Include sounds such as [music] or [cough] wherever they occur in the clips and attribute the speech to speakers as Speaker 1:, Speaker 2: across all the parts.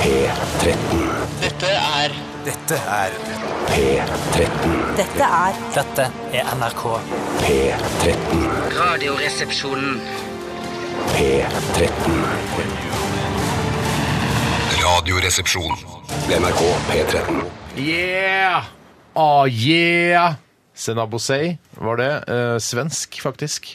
Speaker 1: P13.
Speaker 2: Dette er
Speaker 3: Dette er
Speaker 1: P13.
Speaker 4: Dette er
Speaker 5: Dette er NRK.
Speaker 1: P13.
Speaker 2: Radioresepsjonen.
Speaker 1: P13.
Speaker 6: Radioresepsjon.
Speaker 1: NRK P13.
Speaker 7: Yeah! Ah, yeah! Sena Bosei var det. Eh, svensk, faktisk.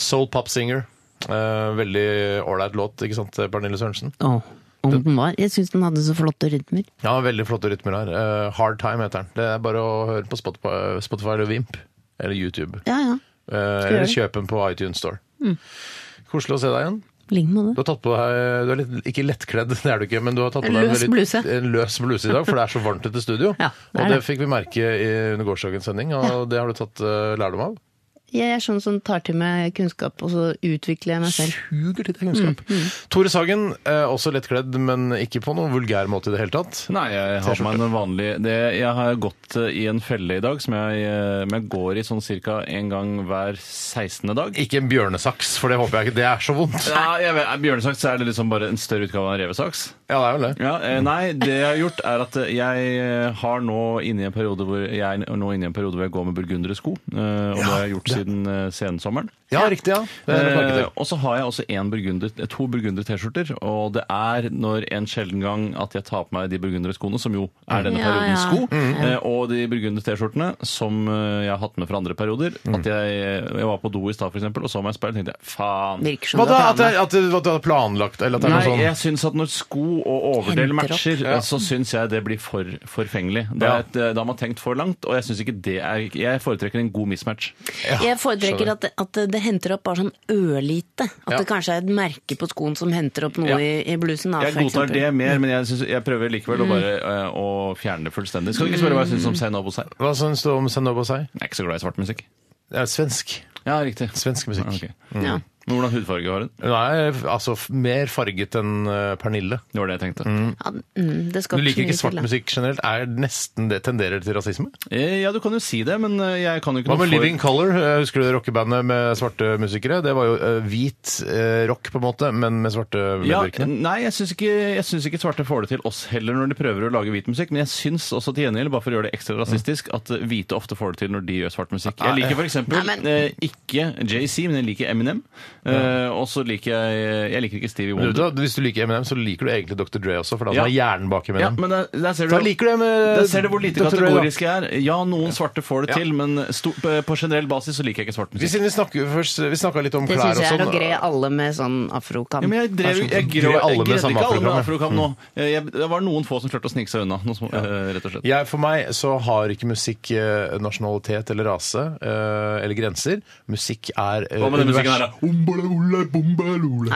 Speaker 7: Soul pop singer. Eh, veldig ålreit låt, ikke sant, Pernille Sørensen?
Speaker 8: Åh, om den var. Jeg syns den hadde så flotte rytmer.
Speaker 7: Ja, veldig flotte rytmer her. Eh, Hard Time heter den. Det er bare å høre på Spotify, Spotify eller Vimp. Eller YouTube.
Speaker 8: Ja, ja.
Speaker 7: Eh, eller kjøpe den på iTunes Store. Koselig å se deg igjen.
Speaker 8: Lign med
Speaker 7: Du
Speaker 8: det.
Speaker 7: har tatt på deg, du er litt, ikke lettkledd, [laughs] det er du ikke, men du har tatt på
Speaker 8: En
Speaker 7: deg
Speaker 8: løs bluse.
Speaker 7: en løs bluse i dag, for det er så varmt ute i studio.
Speaker 8: Ja, det er
Speaker 7: og det
Speaker 8: det.
Speaker 7: fikk vi merke i, under gårsdagens sending, og det har du tatt eh, lærdom av.
Speaker 8: Jeg er sånn som tar til meg kunnskap, og så utvikler jeg meg selv.
Speaker 7: Suger til deg kunnskap. Tore Sagen, eh, også lettkledd, men ikke på noen vulgær måte i det hele tatt.
Speaker 9: Nei, jeg har på meg en vanlig det, Jeg har gått eh, i en felle i dag som jeg, eh, men jeg går i sånn cirka en gang hver 16. dag.
Speaker 7: Ikke en bjørnesaks, for det håper jeg ikke. Det er så vondt.
Speaker 9: Ja, jeg vet, eh, Bjørnesaks er det liksom bare en større utgave av en revesaks.
Speaker 7: Ja, det er vel det.
Speaker 9: Ja, eh, nei, det jeg har gjort er at eh, jeg har nå inne i en periode hvor jeg, er nå inne i en periode hvor jeg går med burgundere sko. eh, Og det har jeg gjort siden eh, sensommeren.
Speaker 7: Ja, riktig, ja. Det er nok merket
Speaker 9: Eh,
Speaker 7: til.
Speaker 9: og så har jeg også en burgunder, eh, to burgunder T-skjorter, og det er når en sjelden gang at jeg tar på meg de burgundere skoene, som jo er denne
Speaker 8: Ja,
Speaker 9: periodens
Speaker 8: ja.
Speaker 9: sko, eh, og de burgunder T-skjortene som eh, jeg har hatt med fra andre perioder. At jeg, jeg var på do i stad, for eksempel, og så meg i speilet og tenkte jeg, faen.
Speaker 3: Eh,
Speaker 8: Virker som
Speaker 7: Hva
Speaker 8: du
Speaker 7: da?
Speaker 8: har
Speaker 7: At, det,
Speaker 8: tatt
Speaker 7: at, det, at du har planlagt, eller at det er
Speaker 9: Nei,
Speaker 7: noe sånn
Speaker 9: jeg syns at når sko og
Speaker 8: Henter
Speaker 9: overdel
Speaker 8: opp.
Speaker 9: matcher, eh, så syns jeg det blir for forfengelig. Da,
Speaker 7: Ja.
Speaker 9: er et, eh, da har man tenkt for langt, og jeg syns ikke det er Jeg foretrekker en god mismatch.
Speaker 8: Jeg foretrekker at, det- at det henter opp bare sånn ørlite. At
Speaker 7: Ja.
Speaker 8: det kanskje er et merke på skoen som henter opp noe
Speaker 9: Ja.
Speaker 8: i, i blusen. Da,
Speaker 9: Jeg
Speaker 8: for
Speaker 9: godtar
Speaker 8: eksempel. Mm.
Speaker 9: det mer, men jeg, synes, jeg prøver likevel å bare eh, å fjerne det fullstendig. Skal du ikke spørre hva jeg syns om Zenobo Sei?
Speaker 7: Hva syns du om Senobo Sei?
Speaker 9: Jeg er ikke så glad i svart musikk.
Speaker 7: Det er svensk.
Speaker 9: Ja, riktig.
Speaker 7: Svensk musikk.
Speaker 9: Ah, Ok.
Speaker 8: Ja.
Speaker 7: Mm.
Speaker 9: Men hvordan hudfarge har hun?
Speaker 7: Hun er altså f- mer farget enn eh, Pernille.
Speaker 9: Det var det jeg tenkte.
Speaker 8: Ja, mm, det skal
Speaker 7: Du liker
Speaker 8: så mye
Speaker 7: ikke
Speaker 8: til,
Speaker 7: svart
Speaker 8: da.
Speaker 7: musikk generelt? Er nesten det tenderer til rasisme?
Speaker 9: Eh, Ja, du kan jo si det, men eh, jeg kan jo ikke
Speaker 7: Hva
Speaker 9: noe
Speaker 7: med
Speaker 9: for-
Speaker 7: Living Color? Eh, Husker du det rockebandet med svarte musikere? Det var jo eh, hvit eh, rock, på en måte, men med svarte
Speaker 9: Ja,
Speaker 7: medvirkende.
Speaker 9: nei, jeg syns ikke, jeg synes ikke svarte får det til oss heller når de prøver å lage hvit musikk, men jeg syns også til gjengjeld, bare for å gjøre det ekstra rasistisk, at eh, hvite ofte får det til når de gjør svart musikk. Jeg liker f.eks.
Speaker 8: Nei, men-
Speaker 9: Eh, ikke JC, men jeg liker Eminem. Eh, og så liker jeg Jeg liker ikke Stevie
Speaker 7: Men vet
Speaker 9: Wonder.
Speaker 7: du hva, Hvis du liker Eminem, så liker du egentlig Dr. Dre også, for det er
Speaker 9: Ja.
Speaker 7: han som er hjernen bak
Speaker 9: Ja,
Speaker 7: Eminem.
Speaker 9: men der, der ser du
Speaker 7: Da liker du det med
Speaker 9: Der ser du hvor lite
Speaker 7: Dr. Dre, da.
Speaker 9: kategorisk jeg er. Ja, noen svarte får det
Speaker 7: Ja.
Speaker 9: til, men sto, eh, på generell basis så liker jeg ikke svart
Speaker 7: Vi,
Speaker 9: musikk.
Speaker 7: siden vi, snakker, først, vi snakka litt om
Speaker 8: Det
Speaker 7: klær
Speaker 8: syns
Speaker 7: og
Speaker 8: jeg er å
Speaker 7: sånn.
Speaker 8: gre alle med sånn afrokam. sånn
Speaker 9: Ja, men jeg drev, jeg
Speaker 7: Gre
Speaker 9: grev,
Speaker 7: sånn alle med
Speaker 9: gredde
Speaker 7: samme Mm.
Speaker 9: ikke alle med
Speaker 7: afrokam,
Speaker 9: afrokam nå. Eh, Jeg, det var noen få som klarte å snike seg unna, noe som, eh, rett og slett.
Speaker 7: Jeg, for meg så har ikke musikk eh, nasjonalitet eller rase eh, eller grenser. Musikk er eh,
Speaker 9: Hva med den musikken her,
Speaker 7: univers-
Speaker 9: da?
Speaker 8: Det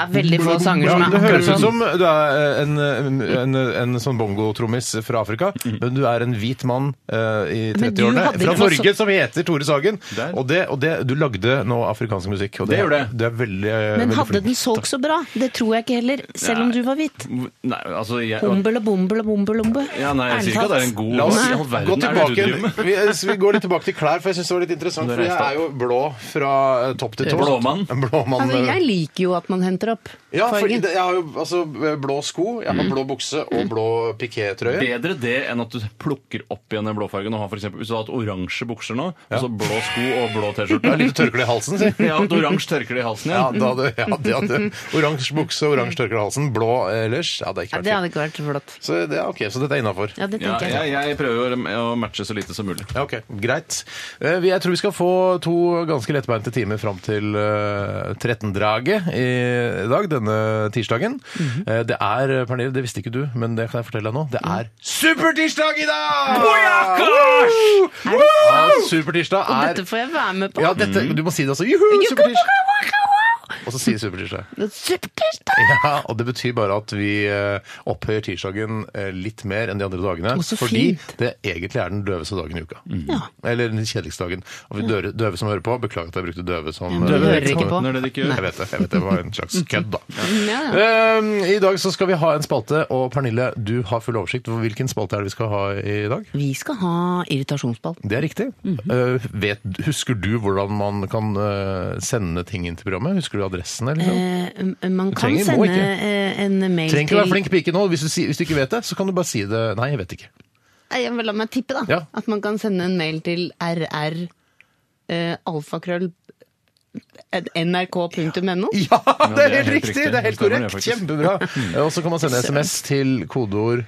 Speaker 8: er veldig få sanger
Speaker 7: Ja,
Speaker 8: som er
Speaker 7: det høres
Speaker 8: akkurat
Speaker 7: ut
Speaker 8: sånn.
Speaker 7: som du er eh, en, en, en, en sånn bongotrommis fra Afrika,
Speaker 9: Mm.
Speaker 7: men du er en hvit mann eh, i
Speaker 8: Men du
Speaker 7: 30-årene
Speaker 8: hadde
Speaker 7: fra
Speaker 8: ikke noe
Speaker 7: Norge som heter Tore Sagen.
Speaker 9: Der.
Speaker 7: Og, det, og det, du lagde nå afrikansk musikk. Og
Speaker 9: Det gjorde jeg.
Speaker 7: Det er veldig, eh,
Speaker 8: Men
Speaker 7: veldig
Speaker 8: hadde
Speaker 7: flink.
Speaker 8: den solgt så bra? Det tror jeg ikke heller, selv om
Speaker 9: Nei.
Speaker 8: du var hvitt.
Speaker 9: Nei, altså jeg,
Speaker 8: Bombel og bombel og bombel og bombe.
Speaker 9: ja, nei, jeg sier ikke at det er en god
Speaker 7: La oss
Speaker 9: Hva i all
Speaker 7: gå
Speaker 9: verden er det du
Speaker 7: tilbake
Speaker 9: driver
Speaker 7: igjen.
Speaker 9: med?
Speaker 7: Vi, så vi går litt tilbake til klær, for jeg syns det var litt interessant.
Speaker 9: Du
Speaker 7: For jeg
Speaker 9: reiste
Speaker 7: er jo blå fra eh, topp til tå.
Speaker 9: Blåmann.
Speaker 7: En Blåmann.
Speaker 8: Altså, jeg
Speaker 7: eh,
Speaker 8: liker jo at man henter opp
Speaker 7: Ja, for
Speaker 8: fargen.
Speaker 7: jeg har jo altså, blå sko, jeg har blå bukse og blå pikétrøye.
Speaker 9: Bedre Mm. det enn at du plukker opp igjen den blåfargen og har for eksempel, hvis du har hatt oransje bukser nå, og så blå sko og blå
Speaker 7: [laughs] Jeg har
Speaker 9: T-skjorte.
Speaker 7: litt tørkle i halsen, si.
Speaker 9: Ja, at oransje tørker det i halsen
Speaker 7: Ja,
Speaker 9: igjen.
Speaker 7: da hadde, ja, det hadde Oransje bukse, oransje tørkle i halsen, blå eh, ellers. Ja,
Speaker 8: Ja,
Speaker 7: det er ikke
Speaker 8: det
Speaker 7: vært fint.
Speaker 8: hadde ikke vært så flott.
Speaker 7: Så, det, ja, ok, så dette er innafor.
Speaker 8: Ja, det
Speaker 9: Ja,
Speaker 8: tenker jeg.
Speaker 9: jeg, jeg prøver å- å matche så lite som mulig.
Speaker 7: Ja, ok, Greit. Eh, vi- Jeg tror vi skal få to ganske lettbeinte timer fram til eh, 13-draget i dag, denne tirsdagen.
Speaker 8: Mhm.
Speaker 7: Eh, Det er, Pernille, det visste ikke du, men det kan jeg fortelle deg nå, det
Speaker 8: Mm.
Speaker 7: er Supertirsdag i dag! Woo! Ja, Supertirsdag
Speaker 8: Og
Speaker 7: er
Speaker 8: dette Mm. får jeg være med på.
Speaker 7: Ja, dette, du må si det også. Juhu, supertirsdag! Og så sier supertirsdag.
Speaker 8: Supertirsdag!
Speaker 7: [laughs] Ja, og det betyr bare at vi eh, opphøyer tirsdagen eh, litt mer enn de andre dagene.
Speaker 8: Å, så
Speaker 7: fordi
Speaker 8: fint. Mhm.
Speaker 7: det egentlig er den døveste dagen i uka.
Speaker 8: Ja.
Speaker 7: Eller den kjedeligste dagen. Og vi døre, døve som hører på, beklager at jeg brukte døve som
Speaker 8: men
Speaker 7: eh,
Speaker 8: døve hører ikke på.
Speaker 9: Når det ikke gjør.
Speaker 7: Jeg vet det. jeg vet Det var en slags kødd, da.
Speaker 8: [laughs] Ja, ja.
Speaker 7: Eh, I dag så skal vi ha en spalte, og Pernille, du har full oversikt. over Hvilken spalte er det vi skal ha i dag?
Speaker 8: Vi skal ha irritasjonsball.
Speaker 7: Det er
Speaker 8: Mhm.
Speaker 7: riktig. Eh, vet, husker du hvordan man kan eh, sende ting inn til programmet? Husker du adressen? Eller noe?
Speaker 8: Eh, man kan
Speaker 7: trenger- må
Speaker 8: sende
Speaker 7: ikke.
Speaker 8: eh, en mail
Speaker 7: Trenger ikke
Speaker 8: til
Speaker 7: være flink pike nå. Hvis du, si- hvis du ikke vet det, så kan du bare si det. Nei, jeg vet ikke.
Speaker 8: Nei, jeg vil La meg tippe, da.
Speaker 7: Ja.
Speaker 8: At man kan sende en mail til rr eh, alfakrøll eh, nrk.no.
Speaker 7: [laughs] Ja, det er helt
Speaker 9: helt
Speaker 7: riktig!
Speaker 9: riktig.
Speaker 7: Det er helt
Speaker 9: Det stemmer,
Speaker 7: korrekt.
Speaker 9: det, faktisk.
Speaker 7: Kjempebra. [laughs] Eh, Og så kan man sende SMS til kodeord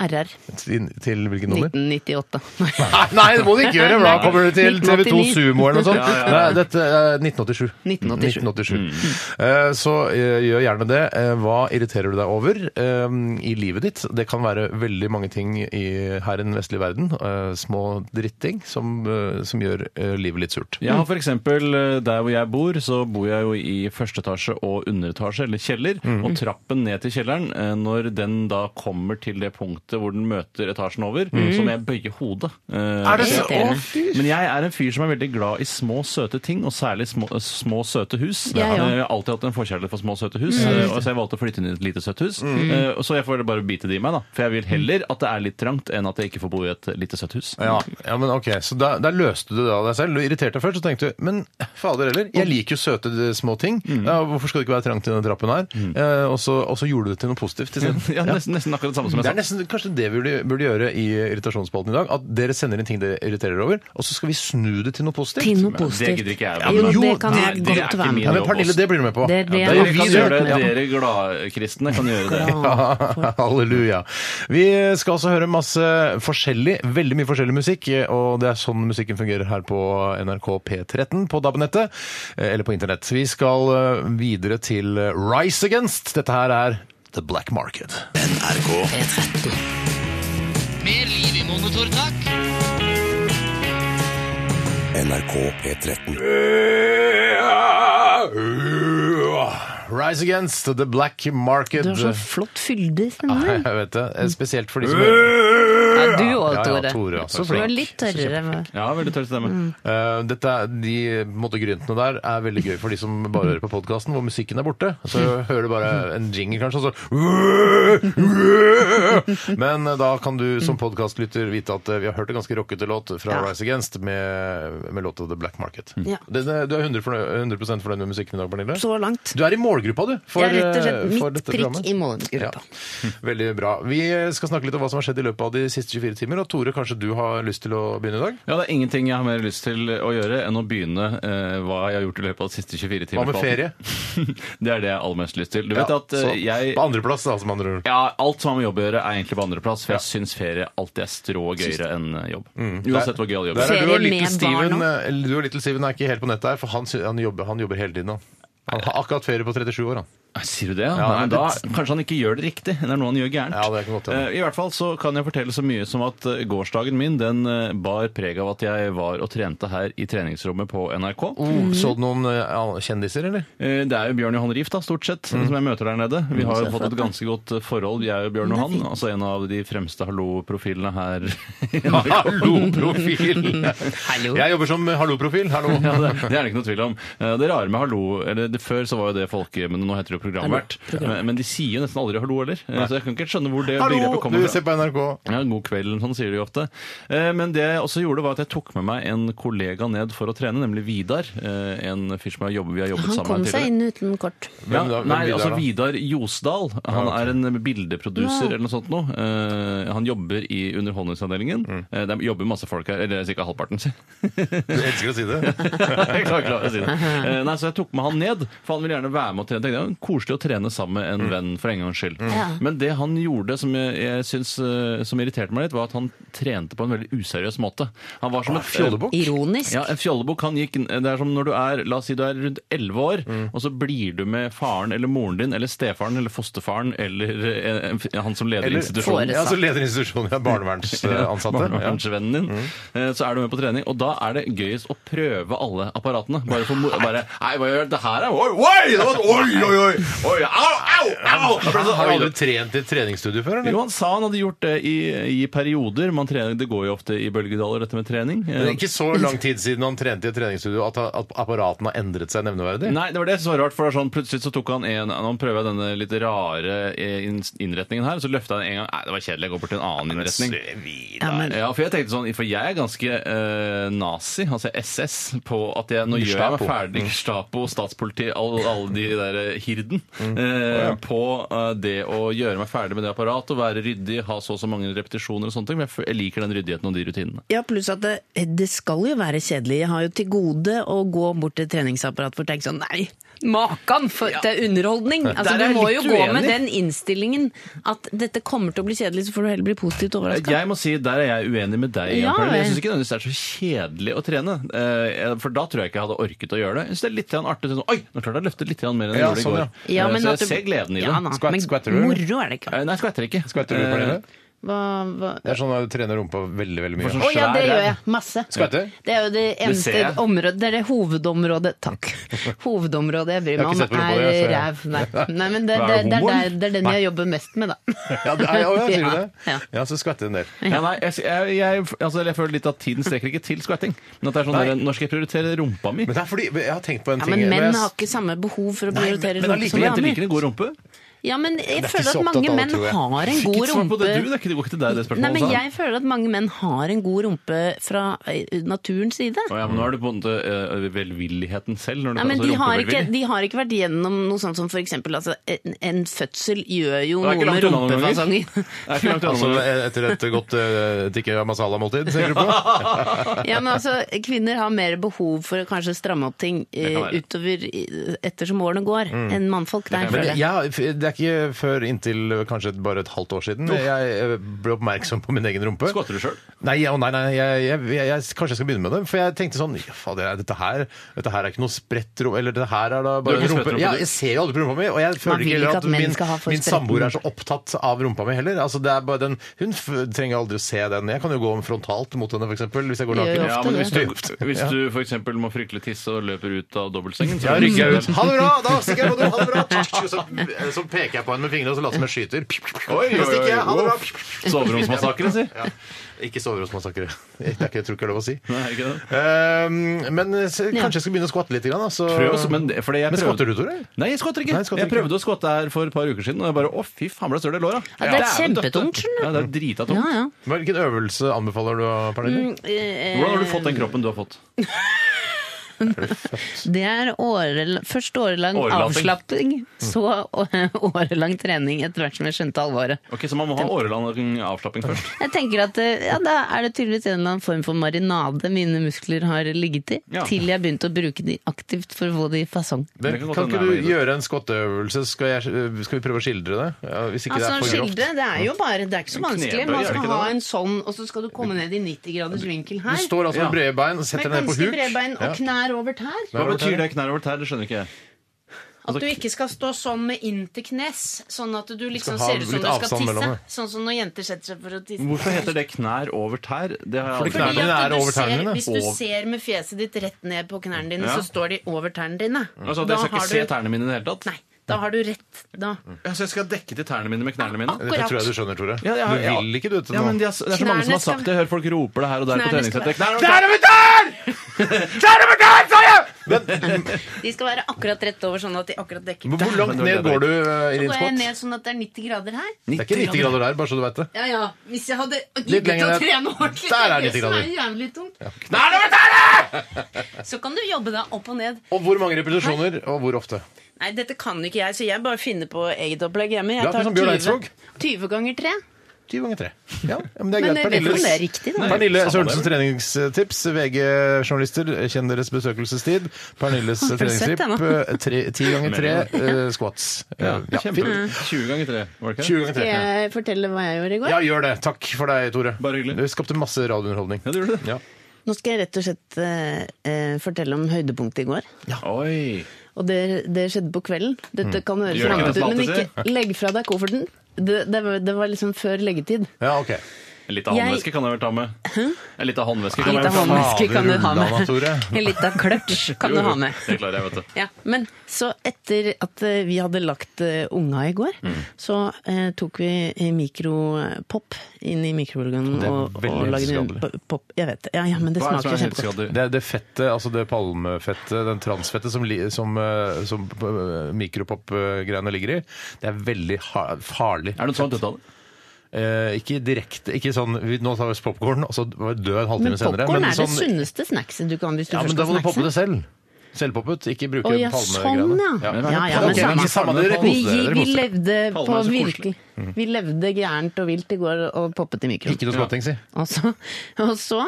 Speaker 8: RR
Speaker 7: til, til hvilket nummer?
Speaker 8: 1998.
Speaker 7: Nei, nei, det må du ikke gjøre! for Da
Speaker 8: Nei.
Speaker 7: kommer du til TV2
Speaker 8: 1989.
Speaker 7: Sumo eller noe sånt.
Speaker 9: [laughs] Ja, Mm. ja, ja.
Speaker 7: Nei, dette er 1987.
Speaker 8: 1987.
Speaker 7: 1987. Eh, Så eh, gjør gjerne det. Eh, Hva irriterer du deg over eh, i livet ditt? Det kan være veldig mange ting i, her i den vestlige verden. eh, Små dritting som, eh, som gjør eh, livet litt surt.
Speaker 9: Jeg har for eksempel, eh, Der hvor jeg bor, så bor jeg jo i første etasje og underetasje, eller kjeller.
Speaker 7: Mm.
Speaker 9: Og trappen ned til kjelleren, eh, når den da kommer til det punktet hvor den møter etasjen over,
Speaker 7: Mm.
Speaker 9: så må jeg bøye hodet. Eh, Er
Speaker 8: så- Irriterende.
Speaker 9: Men jeg er en fyr som er veldig glad i små, søte ting, og særlig små, eh, små søte hus.
Speaker 8: Jeg
Speaker 9: Eh,
Speaker 8: òg.
Speaker 9: Jeg har alltid hatt en forkjærlighet for små, søte hus,
Speaker 7: Mm.
Speaker 9: eh, og så jeg valgte å flytte inn i et lite, søtt hus. Eh, og Så jeg får bare bite det i meg, da. For jeg vil heller at det er litt trangt, enn at jeg ikke får bo i et lite, søtt hus.
Speaker 7: Ja, ja men ok, så da, der løste du det av deg selv. Du irriterte deg først, så tenkte du, men fader heller, jeg liker jo søte eh, små ting. Ja, hvorfor skal det ikke være trangt i denne trappen her? Eh, og, så, og så gjorde du det til noe positivt isteden.
Speaker 9: [laughs] [laughs] Ja, nesten, nesten akkurat det samme som jeg
Speaker 7: Det
Speaker 9: sa.
Speaker 7: er nesten kanskje det vi burde, burde gjøre i irritasjonsspalten i dag. At dere sender inn ting dere irriterer dere over, og så skal vi snu det til noe positivt.
Speaker 8: Til noe
Speaker 9: det
Speaker 8: positivt.
Speaker 9: gidder ikke jeg.
Speaker 8: jo,
Speaker 7: Men jo,
Speaker 8: det kan
Speaker 9: det-
Speaker 8: jeg
Speaker 9: det er
Speaker 8: godt
Speaker 9: ikke
Speaker 8: være
Speaker 9: min
Speaker 7: ja,
Speaker 8: med
Speaker 7: men
Speaker 8: på.
Speaker 7: Pernille, det blir du med på.
Speaker 8: Det blir
Speaker 7: Ja,
Speaker 8: jeg
Speaker 7: gjør
Speaker 8: med
Speaker 9: Dere
Speaker 7: vi
Speaker 8: på.
Speaker 9: kan
Speaker 7: som
Speaker 9: gjøre
Speaker 7: gjør
Speaker 9: det.
Speaker 7: det. Ja.
Speaker 9: Dere gladkristne kan gjøre det.
Speaker 7: Ja, [laughs] halleluja. Vi skal også høre masse forskjellig, veldig mye forskjellig musikk, og det er sånn musikken fungerer her på NRK P13 på DAB-nettet, eh, eller på internett. Vi skal eh, videre til Rise Against. Dette her er The Black Market.
Speaker 2: Mer liv i monitor, takk.
Speaker 1: NRK P13.
Speaker 7: Rise Against, The Black Market.
Speaker 8: Du har så flott fyldig
Speaker 7: [laughs] Ja,
Speaker 8: stemme.
Speaker 7: jeg vet det. Spesielt for de som hører.
Speaker 8: Ja, du òg,
Speaker 7: Ja, ja,
Speaker 8: Tore.
Speaker 7: Tore, ja, så
Speaker 8: du
Speaker 7: flink.
Speaker 8: er litt tørrere. med-
Speaker 9: Ja, veldig tørr stemme.
Speaker 7: Eh, dette, er- de på en måte, gryntene der er veldig gøy for de som bare hører på podkasten, hvor musikken er borte. Så hører du bare en jingle, kanskje, og så Men eh, da kan du som podkastlytter vite at eh, vi har hørt en ganske rockete låt fra
Speaker 8: Ja. Mm.
Speaker 7: Rise Against med, med låta The Black Market.
Speaker 8: Ja.
Speaker 7: Det, det, du er 100, fornøyd, 100 fornøyd med musikken i dag, Pernille?
Speaker 8: Så langt.
Speaker 7: Du er i målgruppa, du. For,
Speaker 8: Det er rett og
Speaker 7: eh, for
Speaker 8: slett mitt
Speaker 7: dette
Speaker 8: prikk
Speaker 7: programmet.
Speaker 8: i målgruppa.
Speaker 7: Ja. Veldig bra. Vi skal snakke litt om hva som har skjedd i løpet av de siste 24 timer. Og Tore, kanskje du har lyst til å begynne i dag?
Speaker 9: Ja, Det er ingenting jeg har mer lyst til å gjøre enn å begynne eh, hva jeg har gjort i løpet av de siste 24 timer.
Speaker 7: Hva med ferie?
Speaker 9: [laughs] det er det jeg har aller mest lyst til. Du
Speaker 7: Ja,
Speaker 9: vet at eh,
Speaker 7: så
Speaker 9: jeg
Speaker 7: På andreplass, da, som andre ord.
Speaker 9: ja, Alt som har med jobb å gjøre, er egentlig på andreplass, for jeg syns ferie alltid er strå gøyere enn eh, jobb. Uansett hvor gøyal jobb
Speaker 7: Mm. Der
Speaker 9: er.
Speaker 7: er du,
Speaker 8: Ferie
Speaker 7: og Little
Speaker 8: med
Speaker 7: Steven,
Speaker 8: barn
Speaker 7: eh, du og Little Steven er ikke helt på nettet her, for han, sy- han, jobber, han jobber hele tiden. Han. han har akkurat ferie på 37 år, han.
Speaker 9: Sier du det? Ja,
Speaker 7: Ja,
Speaker 9: Nei, men
Speaker 7: det-
Speaker 9: da, kanskje han ikke gjør det riktig. Det er noe han gjør gærent.
Speaker 7: Ja, det kan godt hende.
Speaker 9: Eh, I hvert fall så kan jeg fortelle så mye som at eh, gårsdagen min den eh, bar preg av at jeg var og trente her i treningsrommet på NRK.
Speaker 7: Så du noen eh, an- kjendiser,
Speaker 9: [laughs]
Speaker 7: eller?
Speaker 9: Eh, Det er jo Bjørn Johan Rief, da, stort sett,
Speaker 7: Mm.
Speaker 9: som jeg møter der nede. Vi har jo fått et ganske godt eh, forhold, jeg og Bjørn Johan. Altså en av de fremste hallo-profilene her. [laughs]
Speaker 7: [laughs] Hallo-profil!
Speaker 8: Hallo.
Speaker 7: Jeg jobber som eh, hallo-profil. Hallo.
Speaker 9: Ja, det, det er det ikke noe tvil om. Eh, Det rare med hallo eller det, Før så var jo det folke, men nå heter det jo programvert. Eh, Men de sier jo nesten aldri hallo heller. Eh, Så jeg kan ikke skjønne hvor det
Speaker 7: Hallo,
Speaker 9: begrepet
Speaker 7: du
Speaker 9: kommer fra.
Speaker 7: ser på NRK.
Speaker 9: Ja, God kveld, eller sånn sier de jo ofte. Eh, Men det jeg også gjorde, var at jeg tok med meg en kollega ned for å trene, nemlig Vidar. eh, En fyr som jeg har jobbet, vi har jobbet
Speaker 8: Han
Speaker 9: sammen
Speaker 8: kom
Speaker 9: med
Speaker 8: seg
Speaker 9: tidligere.
Speaker 8: inn uten kort.
Speaker 7: Hvem da?
Speaker 9: ja,
Speaker 7: Hvem
Speaker 9: nei,
Speaker 7: Vidar,
Speaker 9: altså
Speaker 7: da?
Speaker 9: Vidar Josdal. Han
Speaker 7: Ja, ok.
Speaker 9: er en bildeproduser
Speaker 8: Ja.
Speaker 9: eller noe sånt noe. Eh, han jobber i Underholdningsavdelingen.
Speaker 7: Mm.
Speaker 9: Eh, det jobber masse folk her, eller ca. halvparten, si.
Speaker 7: Du elsker å si det.
Speaker 9: [laughs] jeg klarer ikke å si det. Eh, nei, så jeg tok med han ned, for han ville gjerne være med og trene. Tenkte, jeg, koselig å trene sammen med
Speaker 7: Mm.
Speaker 9: en venn, for en gangs skyld.
Speaker 8: Ja.
Speaker 9: Men det han gjorde som jeg, jeg syns, eh, som irriterte meg litt, var at han trente på en veldig useriøs måte. Han var som et
Speaker 7: Ah, Fjollebukk?
Speaker 8: Ironisk.
Speaker 9: ja, en fjollebukk han gikk, Det er som når du er la oss si du er rundt 11 år,
Speaker 7: Mm.
Speaker 9: og så blir du med faren eller moren din eller stefaren eller fosterfaren eller eh, en- han som leder institusjonen.
Speaker 8: Foresatt.
Speaker 7: Ja, så leder institusjonen. Ja,
Speaker 9: [laughs]
Speaker 7: barnevernsansatte. Ja. Mm.
Speaker 9: Barnevernsvennen din. Eh, Så er du med på trening, og da er det gøyest å prøve alle apparatene. Bare for mo- bare, Nei, hva gjør det her? da? Oi,
Speaker 7: Oi, oi, oi!
Speaker 9: Oi, au, au, au! For det er så-
Speaker 7: Har du aldri trent i et treningsstudio før? eller?
Speaker 9: Jo, han sa han hadde gjort det i, i perioder. Man trener, det går jo ofte i bølgedaler, dette med trening.
Speaker 7: Det er
Speaker 9: Eh,
Speaker 7: ikke så lang tid siden han trente i et treningsstudio at, at apparatene har endret seg nevneverdig.
Speaker 9: Nei, det var det jeg syntes var rart, for det er sånn, plutselig så tok han en Nå prøver jeg denne litt rare eh, inn- innretningen her, så løfta han en gang Nei, det var kjedelig, jeg går bort til en annen innretning.
Speaker 3: Ja, men-
Speaker 9: Ja, for jeg tenkte sånn, for jeg er ganske eh, nazi, altså SS, på at jeg, nå gjør jeg meg
Speaker 7: Gestapo.
Speaker 9: ferdig Gestapo, statspoliti, alle alle de der eh, hirden, eh, på eh, det å gjøre meg ferdig med det apparatet, og være ryddig, ha så og så mange repetisjoner og sånne ting, men jeg, f- jeg liker den ryddigheten og de rutinene.
Speaker 10: Ja, pluss at det,
Speaker 3: eh,
Speaker 10: det skal jo være kjedelig. Jeg har jo til gode å gå bort til et treningsapparat for å tenke sånn nei.
Speaker 3: Makan for, til underholdning! Altså,
Speaker 9: Der
Speaker 3: du
Speaker 9: er jeg
Speaker 3: må jo
Speaker 9: litt
Speaker 3: gå med
Speaker 9: uenig.
Speaker 3: den innstillingen at dette kommer til å bli kjedelig, så får du heller bli positivt overraska.
Speaker 9: Eh, Jeg må si, Der er jeg uenig med deg.
Speaker 3: Ja,
Speaker 9: Jan Perle. jeg
Speaker 3: vel.
Speaker 9: syns ikke nødvendigvis det er så kjedelig å trene. eh, For da tror jeg ikke jeg hadde orket å gjøre det. Jeg synes det er litt grann artig. Sånn, Oi, nå klarte jeg å løfte litt grann mer enn jeg
Speaker 7: Ja,
Speaker 9: gjorde i
Speaker 7: sånn,
Speaker 9: går.
Speaker 7: ja.
Speaker 3: Ja,
Speaker 9: Eh,
Speaker 3: men
Speaker 9: så
Speaker 3: at
Speaker 9: jeg
Speaker 3: du-
Speaker 9: ser gleden i det.
Speaker 3: Ja, na,
Speaker 7: Skvatt- skvatter du?
Speaker 3: men moro er det ikke.
Speaker 9: Eh, Nei, skvetter ikke.
Speaker 7: Skvetter du, Pernille?
Speaker 3: Hva, hva?
Speaker 7: Det er sånn at du trener rumpa veldig, veldig
Speaker 9: For
Speaker 7: mye.
Speaker 9: sånn
Speaker 3: Å ja, det
Speaker 9: svær
Speaker 3: gjør
Speaker 9: ræv.
Speaker 3: jeg. Masse.
Speaker 7: Skvetter?
Speaker 3: Det er jo det eneste
Speaker 9: ser jeg.
Speaker 3: området, det er det hovedområdet Takk. Hovedområdet jeg bryr
Speaker 7: Jeg
Speaker 3: meg om,
Speaker 7: har ikke sett på rumpa
Speaker 3: er
Speaker 7: di, jeg
Speaker 3: ræv. Nei, Nei men det,
Speaker 9: Hva
Speaker 3: det,
Speaker 9: er
Speaker 3: det, er
Speaker 9: homoen?
Speaker 3: der- det er den jeg jobber mest med, da.
Speaker 7: Ja, det er, ja, ja, sier du det?
Speaker 3: Ja, ja.
Speaker 7: Ja, så skvetter du en del.
Speaker 9: Eh, Ja, nei, jeg, jeg, jeg, altså, jeg føler litt at tiden strekker ikke til skvetting. Men at det er sånn der, når skal jeg prioritere rumpa mi?
Speaker 7: Men det er fordi jeg har tenkt på en
Speaker 3: Ja,
Speaker 7: ting
Speaker 3: men
Speaker 7: men
Speaker 3: menn
Speaker 7: jeg-
Speaker 3: har ikke samme behov for å
Speaker 7: Nei, men-
Speaker 3: prioritere
Speaker 7: men
Speaker 3: rumpe
Speaker 7: allikevel,
Speaker 3: som
Speaker 9: Jenter
Speaker 3: damer.
Speaker 9: liker en god rumpe.
Speaker 3: Ja, men jeg
Speaker 7: Det er
Speaker 3: føler
Speaker 7: ikke så
Speaker 3: at
Speaker 7: opptatt
Speaker 3: mange
Speaker 7: av det,
Speaker 3: menn
Speaker 7: tror jeg.
Speaker 3: har en
Speaker 9: Ikke
Speaker 3: god
Speaker 9: svar på
Speaker 3: rumpe.
Speaker 9: det, du. Det er ikke- det går ikke til deg, det spørsmålet. altså.
Speaker 3: Nei, men
Speaker 9: sa han.
Speaker 3: jeg føler at mange menn har en god rumpe fra eh, naturens side.
Speaker 9: Å, ja, men nå er det på en måte eh, velvilligheten selv. Når du
Speaker 3: Nei, men
Speaker 9: kaller
Speaker 3: de
Speaker 9: det
Speaker 3: har, ikke,
Speaker 9: rumpevelvillig.
Speaker 3: de har ikke vært gjennom noe sånt som for eksempel altså, en, en fødsel gjør jo noe
Speaker 9: Det er ikke
Speaker 3: med
Speaker 9: langt unna noen ganger.
Speaker 3: rumpefasongen.
Speaker 9: Det er
Speaker 7: [laughs]
Speaker 9: ikke langt
Speaker 7: Altså
Speaker 9: unna.
Speaker 7: etter et godt uh, tikka masala-måltid, tenker du
Speaker 3: [laughs]
Speaker 7: på?
Speaker 3: Ja, men altså, kvinner har mer behov for å kanskje stramme opp ting eh,
Speaker 9: kan være. Mm.
Speaker 3: utover eh, ettersom årene går, enn mannfolk. Der,
Speaker 7: Men
Speaker 3: føler jeg.
Speaker 7: jeg, det er ikke før inntil kanskje et- bare et halvt år siden jeg eh, ble oppmerksom på min egen rumpe.
Speaker 9: Skvatter du sjøl?
Speaker 7: Nei, ja, nei, nei jeg, jeg, jeg, jeg, kanskje jeg skal begynne med det. For jeg tenkte sånn ja, fader, dette, her, dette her er ikke noe spredt rom... Eller det her er da
Speaker 9: Du har
Speaker 7: bare
Speaker 9: ikke
Speaker 7: rumpe.
Speaker 9: spredt rumpe,
Speaker 7: Ja,
Speaker 9: du.
Speaker 7: jeg ser jo aldri på rumpa mi, og jeg føler
Speaker 3: vil ikke
Speaker 7: ikke heller
Speaker 3: at
Speaker 7: at
Speaker 3: menn
Speaker 7: min,
Speaker 3: skal ha for
Speaker 7: min
Speaker 3: spredt
Speaker 7: samboer er så opptatt av rumpa mi heller. Altså, det er bare den, hun f trenger aldri å se den. Jeg kan jo gå frontalt mot henne, for eksempel, hvis jeg går
Speaker 3: Gjør jo
Speaker 7: naken.
Speaker 9: Ja,
Speaker 3: Ofte
Speaker 9: men
Speaker 3: det.
Speaker 9: hvis du, hvis du for eksempel må fryktelig tisse og løper ut av dobbeltsengen så
Speaker 7: Ja,
Speaker 9: er det
Speaker 7: rykker jeg [laughs] ut.
Speaker 9: ikke-
Speaker 7: Ha det bra! Da stikker jeg på do! Ha det bra! Så, så peker jeg på henne med fingrene og så later som jeg skyter.
Speaker 9: Oi, oi,
Speaker 7: Da stikker jeg. Ha det bra!
Speaker 9: oi. Soveromsmassakren,
Speaker 7: [laughs]
Speaker 9: si.
Speaker 7: Ja. Ikke soveromsmassakre. Det er ikke, jeg tror ikke det er lov å si.
Speaker 9: Nei, ikke det.
Speaker 7: Ehm, men eh, se- kanskje jeg skal begynne å skvatte litt? Grann, altså.
Speaker 9: Prøv også, men, det- fordi jeg
Speaker 7: Men
Speaker 9: prøvde-
Speaker 7: skvatter du, Tore?
Speaker 9: Nei, jeg skvatter ikke.
Speaker 7: Nei, skvatter
Speaker 9: jeg
Speaker 7: ikke.
Speaker 9: prøvde å skvatte her for et par uker siden, og jeg bare å, fy faen, ble det større i låra.
Speaker 3: Ja, det er
Speaker 9: Dæven døtte.
Speaker 3: kjempetungt, skjønner du.
Speaker 9: Ja, det er drita tungt.
Speaker 3: Ja, ja.
Speaker 7: Hvilken øvelse anbefaler du, Pernille?
Speaker 3: Eh,
Speaker 9: Hvordan har du fått den kroppen du har fått?
Speaker 3: Det er årel, først årelang
Speaker 9: Årelating.
Speaker 3: avslapping,
Speaker 9: Mm.
Speaker 3: så å- [laughs] årelang trening etter hvert som jeg skjønte alvoret.
Speaker 9: Ok, Så man må ha årelang avslapping først.
Speaker 3: Jeg tenker at eh, ja, Da er det tydeligvis en eller annen form for marinade mine muskler har ligget i,
Speaker 9: Ja.
Speaker 3: til jeg begynte å bruke de aktivt for å få de i fasong.
Speaker 7: Men
Speaker 9: det kan
Speaker 7: kan
Speaker 9: godt
Speaker 7: ikke du
Speaker 9: hende jeg er med i det.
Speaker 7: gjøre en skotteøvelse? Skal, jeg, skal vi prøve å skildre det? Ja, hvis ikke
Speaker 3: Altså,
Speaker 7: det er for grovt.
Speaker 3: skildre, det er jo bare Det er ikke så
Speaker 9: En
Speaker 3: vanskelig.
Speaker 9: knebøy,
Speaker 3: Man
Speaker 9: er det
Speaker 3: skal
Speaker 9: ikke
Speaker 3: ha
Speaker 9: det?
Speaker 3: en sånn, og så skal du komme ned i 90 graders vinkel
Speaker 7: Du
Speaker 3: her.
Speaker 7: står altså med
Speaker 9: Ja.
Speaker 7: brede bein
Speaker 3: Med
Speaker 7: og setter deg ned på
Speaker 3: ganske
Speaker 7: huk.
Speaker 3: brede bein
Speaker 7: Ja.
Speaker 3: og knær over tær.
Speaker 9: Hva betyr det knær over tær? Det skjønner ikke jeg.
Speaker 3: At du ikke skal stå sånn med inn til knes. Sånn at du liksom
Speaker 7: ha
Speaker 3: ser ut som
Speaker 7: litt
Speaker 3: du skal
Speaker 7: avstand mellom
Speaker 3: tisse.
Speaker 7: det.
Speaker 3: Sånn som når jenter setter seg for å tisse.
Speaker 9: Hvorfor heter det knær over tær? Det har
Speaker 7: Fordi
Speaker 9: jeg aldri
Speaker 7: knærne
Speaker 3: Fordi
Speaker 7: dine
Speaker 3: at
Speaker 7: er
Speaker 3: du
Speaker 7: over tærne
Speaker 3: ser,
Speaker 7: dine.
Speaker 3: Hvis du
Speaker 9: Over-
Speaker 3: ser med fjeset ditt rett ned på knærne dine,
Speaker 9: Ja.
Speaker 3: så står de over tærne dine.
Speaker 7: Mm.
Speaker 9: Altså, at Jeg skal ikke se tærne mine i det hele tatt?
Speaker 3: Nei, da har du rett. Da.
Speaker 9: Ja, så jeg skal dekke til tærne mine med knærne mine?
Speaker 7: Dette tror jeg du skjønner, Tore.
Speaker 9: Ja, ja,
Speaker 7: Du
Speaker 9: ja.
Speaker 7: vil ikke du til
Speaker 9: Ja,
Speaker 7: nå.
Speaker 9: men det er, så- det er så
Speaker 3: Ah.
Speaker 9: mange som
Speaker 3: Knærne
Speaker 9: har sagt
Speaker 3: skal-
Speaker 9: det. Jeg hører folk roper det her og der på
Speaker 3: Knærne skal-
Speaker 9: treningssenteret. Knær over
Speaker 7: Der er mitt der! Der er mitt der, sa jeg!
Speaker 3: De skal være akkurat rett over, sånn at de akkurat dekker.
Speaker 7: Men Hvor langt
Speaker 9: Men det
Speaker 7: ned
Speaker 9: var
Speaker 7: går
Speaker 9: det
Speaker 7: du eh, i
Speaker 3: Så
Speaker 7: din
Speaker 3: går jeg
Speaker 7: skott?
Speaker 3: ned sånn at det er 90 grader her.
Speaker 7: Det er ikke 90 grader der, bare så du vet det.
Speaker 3: Ja, ja. Hvis jeg hadde
Speaker 7: Litt
Speaker 3: giddet
Speaker 7: lenger
Speaker 3: å
Speaker 7: ned.
Speaker 3: trene ordentlig,
Speaker 7: Der er
Speaker 3: det er det
Speaker 7: 90
Speaker 3: som er
Speaker 7: grader.
Speaker 3: jævlig tungt,
Speaker 7: Der er mitt der!
Speaker 3: så kan du jobbe deg opp og ned.
Speaker 7: Og hvor mange repetisjoner, og hvor ofte?
Speaker 3: Nei, dette kan jo ikke jeg, så jeg bare finner på eget opplegg hjemme.
Speaker 7: Ja,
Speaker 3: Jeg
Speaker 7: for som Bjørn Eidsvåg.
Speaker 3: tar 20, 20 ganger 3.
Speaker 7: 20 ganger 3. Ja, ja, men det er
Speaker 3: Men jeg
Speaker 7: greit.
Speaker 3: vet ikke om det er riktig, da.
Speaker 7: Pernille
Speaker 9: samme
Speaker 7: Sørensens treningstips. VG-journalister, kjenn deres besøkelsestid. Pernilles
Speaker 3: du sett
Speaker 7: treningstipp.
Speaker 3: den,
Speaker 7: eh, tre- 10 ganger 3 squats.
Speaker 9: Ja,
Speaker 7: Eh, Ja,
Speaker 9: kjempe.
Speaker 7: fint.
Speaker 9: 20 ganger 3, var det ikke det?
Speaker 7: 20 ganger 3.
Speaker 3: Skal jeg fortelle hva jeg gjorde i går?
Speaker 7: Ja, gjør det. Takk for deg, Tore.
Speaker 9: Bare hyggelig.
Speaker 7: Du skapte masse radiounderholdning.
Speaker 9: Ja, du gjorde det.
Speaker 7: Ja.
Speaker 3: Nå skal jeg rett og slett eh, eh, fortelle om høydepunktet i går.
Speaker 9: Oi.
Speaker 3: Og det, det skjedde på kvelden. Dette
Speaker 7: Mm.
Speaker 3: kan høres
Speaker 9: Gjør det
Speaker 3: rampete
Speaker 9: ikke
Speaker 3: ut, men
Speaker 9: det som alltid
Speaker 3: ikke legg fra deg kofferten. Det, det, var, det var liksom før leggetid.
Speaker 7: ja, ok.
Speaker 9: Litt av
Speaker 3: Jeg-
Speaker 9: håndveske kan jeg vel ta med. En Litt av håndveske kan
Speaker 8: Litt av
Speaker 9: jeg vel ta med.
Speaker 8: håndveske kan du ha
Speaker 7: Fader,
Speaker 8: med.
Speaker 7: Tore.
Speaker 3: [laughs]
Speaker 8: En liten kløtsj kan
Speaker 9: Jo,
Speaker 8: du
Speaker 9: jo,
Speaker 8: ha med.
Speaker 9: Det klarer jeg, vet du.
Speaker 8: Ja,
Speaker 3: Men så etter at eh, vi hadde lagt eh, unga i går,
Speaker 7: Mm.
Speaker 3: så eh, tok vi eh, mikropop inn i mikroorganen
Speaker 7: Det er
Speaker 3: og, og
Speaker 7: veldig
Speaker 3: lagde en
Speaker 7: helseskadelig.
Speaker 3: po- pop. Jeg vet det. Ja, ja, men det
Speaker 9: Hva er det som
Speaker 3: smaker
Speaker 9: er
Speaker 3: kjempegodt.
Speaker 9: helseskadelig?
Speaker 7: Det er det fettet, altså det palmefettet, den transfettet som, li- som, eh, som eh, mikropop-greiene ligger i, det er veldig ha- farlig.
Speaker 9: Er det noe sånt dødt av det?
Speaker 7: Eh, ikke direkte, ikke sånn vi- Nå tar vi oss popkorn, og så dø en halvtime
Speaker 3: Men
Speaker 7: senere.
Speaker 3: popkorn er det
Speaker 7: sånn-
Speaker 3: sunneste snackset du kan hvis du
Speaker 7: Ja, men
Speaker 3: først
Speaker 7: da
Speaker 3: skal
Speaker 7: må du poppe
Speaker 3: snackse.
Speaker 7: det sånn selv. Selvpoppet, ikke bruke
Speaker 3: Å ja,
Speaker 7: palmegreiene.
Speaker 3: sånn ja.
Speaker 7: Ja.
Speaker 3: Ja, ja,
Speaker 7: Ok,
Speaker 3: men
Speaker 7: men
Speaker 3: samme-
Speaker 7: samme dere
Speaker 3: Vi,
Speaker 7: koser dere, dere
Speaker 3: vi
Speaker 7: koser dere.
Speaker 3: levde
Speaker 9: Palme
Speaker 3: på
Speaker 9: er så
Speaker 3: virkelig Vi levde gærent og vilt i går og poppet i mikroen.
Speaker 7: Mm. Ikke noe småting, si.
Speaker 3: Og så, og så,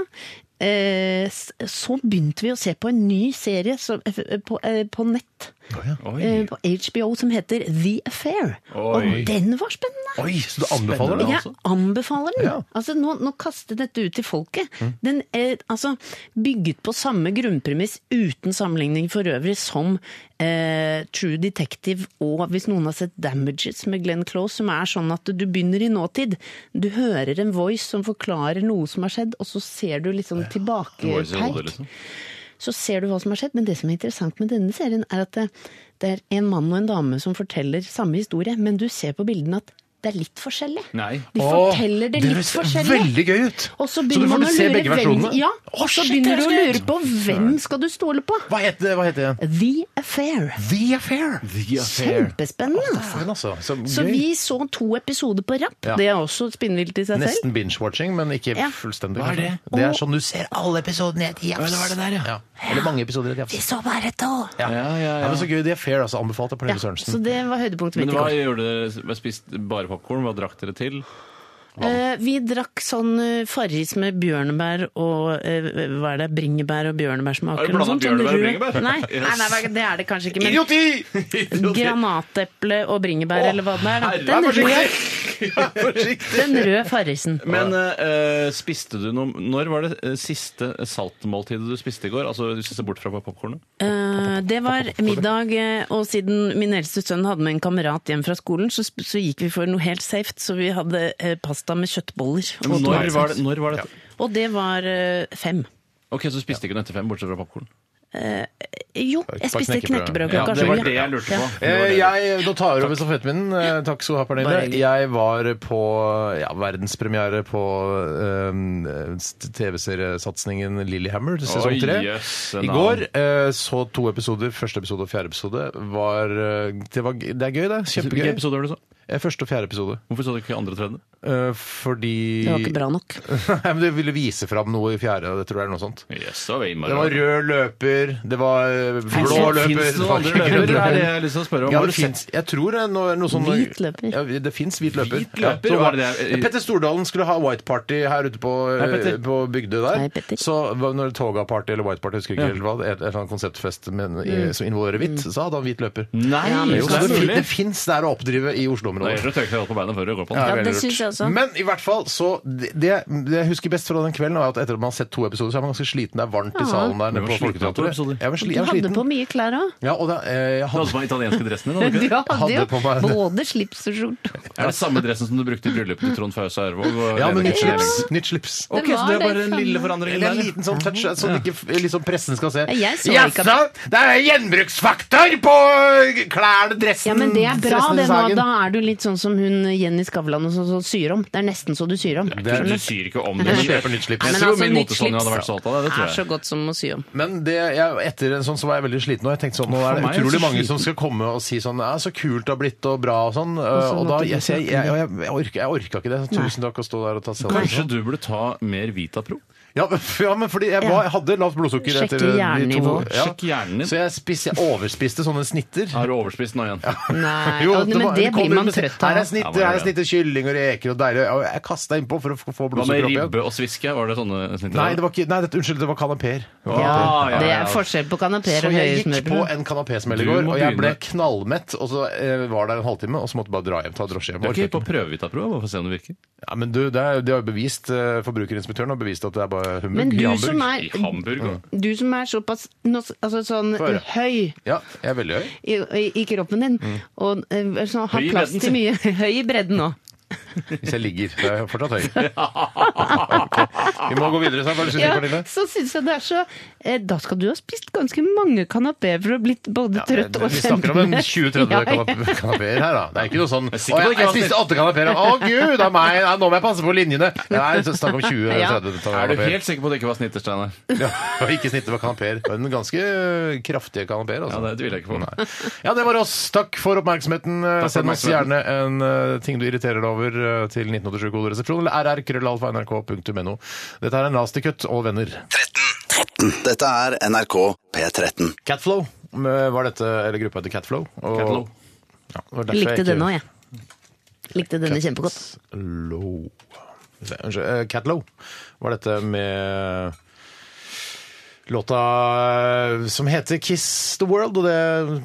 Speaker 3: eh, s- så begynte vi å se på en ny serie som, eh, på, eh, på nett. Eh, på HBO som heter The Affair.
Speaker 9: Oi.
Speaker 3: Og den var spennende!
Speaker 7: Oi, så du anbefaler det?
Speaker 9: Spennende.
Speaker 3: Jeg
Speaker 9: altså.
Speaker 3: anbefaler den!
Speaker 7: Ja.
Speaker 3: Altså, nå, nå kaster dette ut til folket.
Speaker 9: Mm.
Speaker 3: Den er altså, bygget på samme grunnpremiss uten sammenligning for øvrig som eh, True Detective og hvis noen har sett Damages med Glenn Close, som er sånn at du begynner i nåtid. Du hører en voice som forklarer noe som har skjedd, og så ser du liksom
Speaker 9: Voice i hodet,
Speaker 3: tilbakepeik
Speaker 9: liksom.
Speaker 3: så ser du hva som har skjedd. Men det som er interessant med denne serien, er at det, det er en mann og en dame som forteller samme historie, men du ser på bildene at det er litt forskjellig.
Speaker 9: Nei.
Speaker 3: De
Speaker 7: Åh,
Speaker 3: forteller det litt
Speaker 7: ser
Speaker 3: forskjellig.
Speaker 7: Veldig gøy ut!
Speaker 3: Og så
Speaker 7: du
Speaker 3: begynner
Speaker 7: får
Speaker 3: man å
Speaker 7: se
Speaker 3: lure
Speaker 7: begge
Speaker 3: hvem,
Speaker 7: versjonene?
Speaker 3: ja,
Speaker 7: Åh,
Speaker 3: så
Speaker 7: shit,
Speaker 3: begynner du
Speaker 7: det
Speaker 3: å
Speaker 7: er
Speaker 3: lure
Speaker 7: skummelt.
Speaker 3: på hvem skal du stole på?
Speaker 7: Hva het det hva het det igjen?
Speaker 3: The Affair.
Speaker 7: The Affair! The
Speaker 3: Kjempespennende.
Speaker 7: altså, så
Speaker 3: Så
Speaker 7: gøy.
Speaker 3: vi så to episoder på rapp.
Speaker 7: Ja.
Speaker 3: Det er også spinnvilt i seg selv.
Speaker 7: Nesten binge-watching, men ikke
Speaker 3: Ja.
Speaker 7: fullstendig.
Speaker 9: Hva er
Speaker 7: kanskje.
Speaker 9: det?
Speaker 7: Det er sånn du ser alle episodene i et jafs.
Speaker 9: det var det der, ja.
Speaker 7: Eller mange episoder i et jafs.
Speaker 3: Vi så bare to.
Speaker 7: Ja.
Speaker 9: Ja, ja, ja.
Speaker 7: Ja, men så gøy. De er fair, altså. Anbefalt av
Speaker 3: Ja,
Speaker 7: Pernille
Speaker 3: så
Speaker 7: Sørensen. [laughs]
Speaker 3: det var høydepunktet
Speaker 9: Men
Speaker 3: mitt i
Speaker 9: hva
Speaker 3: går.
Speaker 9: gjorde dere? Hva Spiste bare popkorn? Hva drakk dere til?
Speaker 3: Eh, vi drakk sånn eh, Farris med bjørnebær og eh, hva er det, bringebær og bjørnebærsmaker.
Speaker 9: Har du
Speaker 3: noe
Speaker 9: blandet
Speaker 3: sånt, sånn
Speaker 9: bjørnebær og
Speaker 3: rød-
Speaker 9: bringebær?
Speaker 3: Nei,
Speaker 9: [laughs] Yes.
Speaker 3: nei, nei, det er det kanskje ikke.
Speaker 9: [laughs]
Speaker 3: Men
Speaker 7: Idioti!
Speaker 3: granateple og bringebær, eller hva det er. Da.
Speaker 9: herre,
Speaker 3: Den,
Speaker 9: vær
Speaker 3: røde,
Speaker 7: Forsiktig!
Speaker 3: den røde Farrisen.
Speaker 9: [laughs] Men eh, eh, spiste du noe Når var det eh, siste saltmåltidet du spiste i går? Altså, du spiste bort fra popkornet?
Speaker 3: Eh, det var middag, eh, og siden min eldste sønn hadde med en kamerat hjem fra skolen, så, sp- så gikk vi for noe helt safe, så vi hadde eh, pasta med kjøttboller. Og,
Speaker 9: Når var
Speaker 3: tomatsaus.
Speaker 9: det? Når var det?
Speaker 3: og det var eh, fem.
Speaker 9: Ok, Så spiste ikke du etter fem, bortsett fra popkorn?
Speaker 3: Jo, jeg
Speaker 7: par
Speaker 3: spiste
Speaker 7: knekkebrød.
Speaker 3: knekkebrød
Speaker 9: Ja,
Speaker 3: klokka
Speaker 9: det
Speaker 3: sju.
Speaker 9: var det jeg lurte på. Det var
Speaker 7: Eh,
Speaker 9: det.
Speaker 7: jeg, nå tar jeg over stafettpinnen. Eh, Takk skal du ha, Pernille.
Speaker 3: Bare hyggelig.
Speaker 7: Jeg var på ja, verdenspremiere på eh, st- TV-seriesatsingen Lillehammer, sesong
Speaker 9: Oi,
Speaker 7: tre.
Speaker 9: jøsse
Speaker 7: I
Speaker 9: navn.
Speaker 7: går eh, så to episoder. Første episode og fjerde episode. Var, eh, det, var, det er gøy, det. Kjempegøy.
Speaker 9: Hvilken Altså, episode var det du så?
Speaker 7: Eh, Første og fjerde episode.
Speaker 9: Hvorfor så du ikke andre og tredje?
Speaker 7: Eh, fordi
Speaker 3: Det var ikke bra nok.
Speaker 7: [laughs] Nei, men Du ville vise fram noe i fjerde, og det tror jeg er noe sånt.
Speaker 9: Yes, det var
Speaker 7: Det var rød løper, det var eh, blå
Speaker 9: Blå
Speaker 7: løper
Speaker 9: Fins det
Speaker 7: det
Speaker 9: noen andre
Speaker 7: var ikke grønn
Speaker 9: løpere? Det er det jeg har lyst til å spørre om.
Speaker 7: Ja,
Speaker 9: Har
Speaker 7: det
Speaker 9: du sett
Speaker 7: finnes, jeg tror det er noe, noe sånn
Speaker 3: Hvit løper.
Speaker 7: Ja, det fins hvit løper.
Speaker 9: Hvit løper,
Speaker 7: så
Speaker 9: var det det jeg-
Speaker 7: Petter Stordalen skulle ha white party her ute på,
Speaker 9: Hei, Petter.
Speaker 7: eh, på Bygdøy der.
Speaker 3: Hei, Petter.
Speaker 7: så var det når toga party eller white party, husker ikke helt hva, det er, et eller annet konseptfest men, i,
Speaker 3: Mm.
Speaker 7: som involverer hvitt, så hadde han hvit løper.
Speaker 9: Nei!
Speaker 3: Ja, men
Speaker 7: Jo,
Speaker 9: jo, Mm.
Speaker 7: så
Speaker 9: det er
Speaker 7: det,
Speaker 9: mulig.
Speaker 7: det fins der å oppdrive i
Speaker 9: Da gjør
Speaker 7: Oslo-området.
Speaker 9: du tøyt deg godt på beina før du går på den.
Speaker 7: Ja,
Speaker 3: Ja,
Speaker 7: veldig
Speaker 3: det
Speaker 7: lurt.
Speaker 3: synes jeg også.
Speaker 7: Men i hvert fall, så det, det jeg husker best fra den kvelden, var at etter at man har sett to episoder, så er man ganske sliten. Det er varmt i salen der
Speaker 9: Du
Speaker 7: nede
Speaker 9: var
Speaker 7: på
Speaker 9: sliten av to
Speaker 7: Folketeatret.
Speaker 9: episoder.
Speaker 7: Jeg var, sli,
Speaker 3: Du
Speaker 7: jeg var
Speaker 3: hadde
Speaker 7: sliten.
Speaker 3: på mye klær òg.
Speaker 7: Ja, og da, eh, jeg hadde
Speaker 9: Du hadde på den italienske dressen din,
Speaker 3: Du
Speaker 9: hadde du ikke?
Speaker 3: hadde jo
Speaker 7: på meg-
Speaker 3: både slips og skjorte.
Speaker 9: det? Er det samme dressen som du brukte i bryllupet til Trond Fause Ervåg? og
Speaker 7: Ja, men nytt
Speaker 9: Lene Kristiansen
Speaker 7: slips.
Speaker 9: Ellingsen?
Speaker 7: Nytt slips.
Speaker 9: Ok,
Speaker 8: Det
Speaker 9: så
Speaker 8: var
Speaker 9: det er bare
Speaker 8: det
Speaker 9: den lille
Speaker 8: samme.
Speaker 9: forandringen
Speaker 7: Eller en
Speaker 9: der.
Speaker 7: liten sånn touch, sånn at ikke liksom pressen skal se.
Speaker 3: Ja, jeg så
Speaker 7: Jaså,
Speaker 3: ikke at-
Speaker 7: det er gjenbruksfaktor på øh, klærne, dressen
Speaker 3: Ja, men det er bra,
Speaker 7: dressen i
Speaker 3: det nå.
Speaker 7: sagen.
Speaker 3: Da er du litt sånn som hun Jenny Skavlan og sånn som syr om. Det er nesten så du syr om.
Speaker 7: Det er-
Speaker 9: Du syr ikke om det.
Speaker 7: Men
Speaker 9: men-
Speaker 7: kjøper nytt slips.
Speaker 3: Nei,
Speaker 9: Jeg
Speaker 3: men
Speaker 9: tror
Speaker 3: altså,
Speaker 9: min
Speaker 3: nytt
Speaker 9: motesonja hadde
Speaker 3: slips
Speaker 9: vært stolt av deg, det
Speaker 3: er
Speaker 9: tror
Speaker 3: så
Speaker 9: jeg.
Speaker 3: godt som å
Speaker 7: [laughs]
Speaker 3: sy om.
Speaker 7: Men det, jeg, etter en sånn så var jeg veldig sliten, og jeg tenkte sånn, nå er det
Speaker 9: For meg er det
Speaker 7: utrolig
Speaker 9: så
Speaker 7: mange
Speaker 9: sliten.
Speaker 7: som skal komme og si sånn, ja, så kult det har blitt, og bra, og sånn. Og,
Speaker 3: så
Speaker 7: og da,
Speaker 3: måtte du
Speaker 7: jeg, jeg,
Speaker 3: snakke
Speaker 7: jeg, jeg, jeg, orker, jeg orka ikke det. Så tusen takk å stå der og ta selfie.
Speaker 9: Kanskje du burde ta mer Vitapro?
Speaker 7: Ja, men- ja, men fordi jeg, var, jeg hadde lavt blodsukker
Speaker 3: Sjekke
Speaker 7: etter de to-
Speaker 3: jernnivå.
Speaker 7: Ja.
Speaker 9: Sjekk hjernen din.
Speaker 7: Så jeg, spis, jeg overspiste sånne snitter.
Speaker 9: Har du overspist nå igjen?
Speaker 3: Nei,
Speaker 7: Jo,
Speaker 3: og- men
Speaker 7: var-
Speaker 3: det
Speaker 7: kom
Speaker 3: blir man
Speaker 7: med-
Speaker 3: trøtt
Speaker 7: Her er
Speaker 3: av.
Speaker 7: snitter,
Speaker 9: Ja,
Speaker 7: her
Speaker 9: men-
Speaker 7: er snitter kylling og reker og deilig. Og Jeg kasta innpå for å f- få
Speaker 9: Hva med
Speaker 7: blodsukkeret opp igjen.
Speaker 9: ribbe og sviske? Var det sånne snitter?
Speaker 7: Nei, det var ikke, nei det, unnskyld, det var kanapeer.
Speaker 9: Ah, ja, ja,
Speaker 3: Det
Speaker 9: ja.
Speaker 3: er forskjell på kanapeer
Speaker 7: Så
Speaker 3: og høye
Speaker 7: jeg gikk på
Speaker 3: smørbrød.
Speaker 7: en kanapésmell i
Speaker 9: Du
Speaker 7: går,
Speaker 9: må
Speaker 7: og jeg ble
Speaker 9: begynne.
Speaker 7: knallmett. Og så eh, var der en halvtime, og så måtte jeg bare dra hjem. Ta drosje hjem.
Speaker 9: Du er
Speaker 7: Orker
Speaker 9: ikke på
Speaker 7: ikke.
Speaker 9: prøve-Vitapro? Bare for å se om det virker.
Speaker 7: Ja, men du, det, er, de har jo bevist, eh, Forbrukerinspektøren har bevist at det er bare humbug.
Speaker 3: Men du
Speaker 7: i Hamburg.
Speaker 3: som
Speaker 9: I
Speaker 3: er
Speaker 9: Hamburg og
Speaker 3: du som er såpass nå- altså sånn
Speaker 7: Få høre. Mm.
Speaker 3: høy
Speaker 7: Ja, jeg er veldig høy.
Speaker 3: i, i kroppen din, og eh, sånn, har
Speaker 9: Høy i
Speaker 3: plass
Speaker 9: bredden,
Speaker 3: til mye [laughs] Høy i bredden nå.
Speaker 7: Hvis jeg ligger. Da er jeg fortsatt høy.
Speaker 3: [laughs]
Speaker 7: [laughs] Ok. Vi må gå videre, sant? Hva syns du,
Speaker 3: Ja,
Speaker 7: Pernille?
Speaker 3: så synes jeg det er så eh, Da skal du ha spist ganske mange kanapeer for å ha blitt både trøtt og
Speaker 7: Vi snakker om en
Speaker 3: kjempende. [laughs]
Speaker 7: 20-30
Speaker 3: Ja, ja.
Speaker 7: kanap- kanapeer her, da. Det er ikke noe sånn Å,
Speaker 9: sikker på
Speaker 7: jeg,
Speaker 9: det ikke
Speaker 7: jeg
Speaker 9: var
Speaker 7: spiste åtte kanapeer. Å, gud! Det er meg. Nei, nå må jeg passe på linjene. Nei, så snakk om 20-30
Speaker 9: Er du
Speaker 7: kanapeer.
Speaker 9: helt sikker på at det ikke var snitter, Steinar?
Speaker 7: Ja, og ikke snittet var kanapeer. Men ganske øh, kraftige kanapeer,
Speaker 9: Ja,
Speaker 7: altså.
Speaker 9: det tviler jeg ikke på.
Speaker 7: Nei. Ja, det var oss. Takk for oppmerksomheten.
Speaker 9: for
Speaker 7: Send oss gjerne
Speaker 9: oppmerksomheten.
Speaker 7: en eh, ting du irriterer deg over eh, til 1987koderesepsjon eller rrkrøllalfa.nrk.no. Dette er en lastercut og venner.
Speaker 1: Dette er NRK P13.
Speaker 7: Catflow eh, var dette, eller gruppa heter Catflow. og-
Speaker 9: Catlow.
Speaker 7: Ja, det var derfor
Speaker 3: Jeg likte
Speaker 7: ikke-
Speaker 3: den òg, jeg. Likte denne kjempegodt.
Speaker 7: Low. Unnskyld. eh, Catlow var dette med låta eh, som heter 'Kiss the World', og det,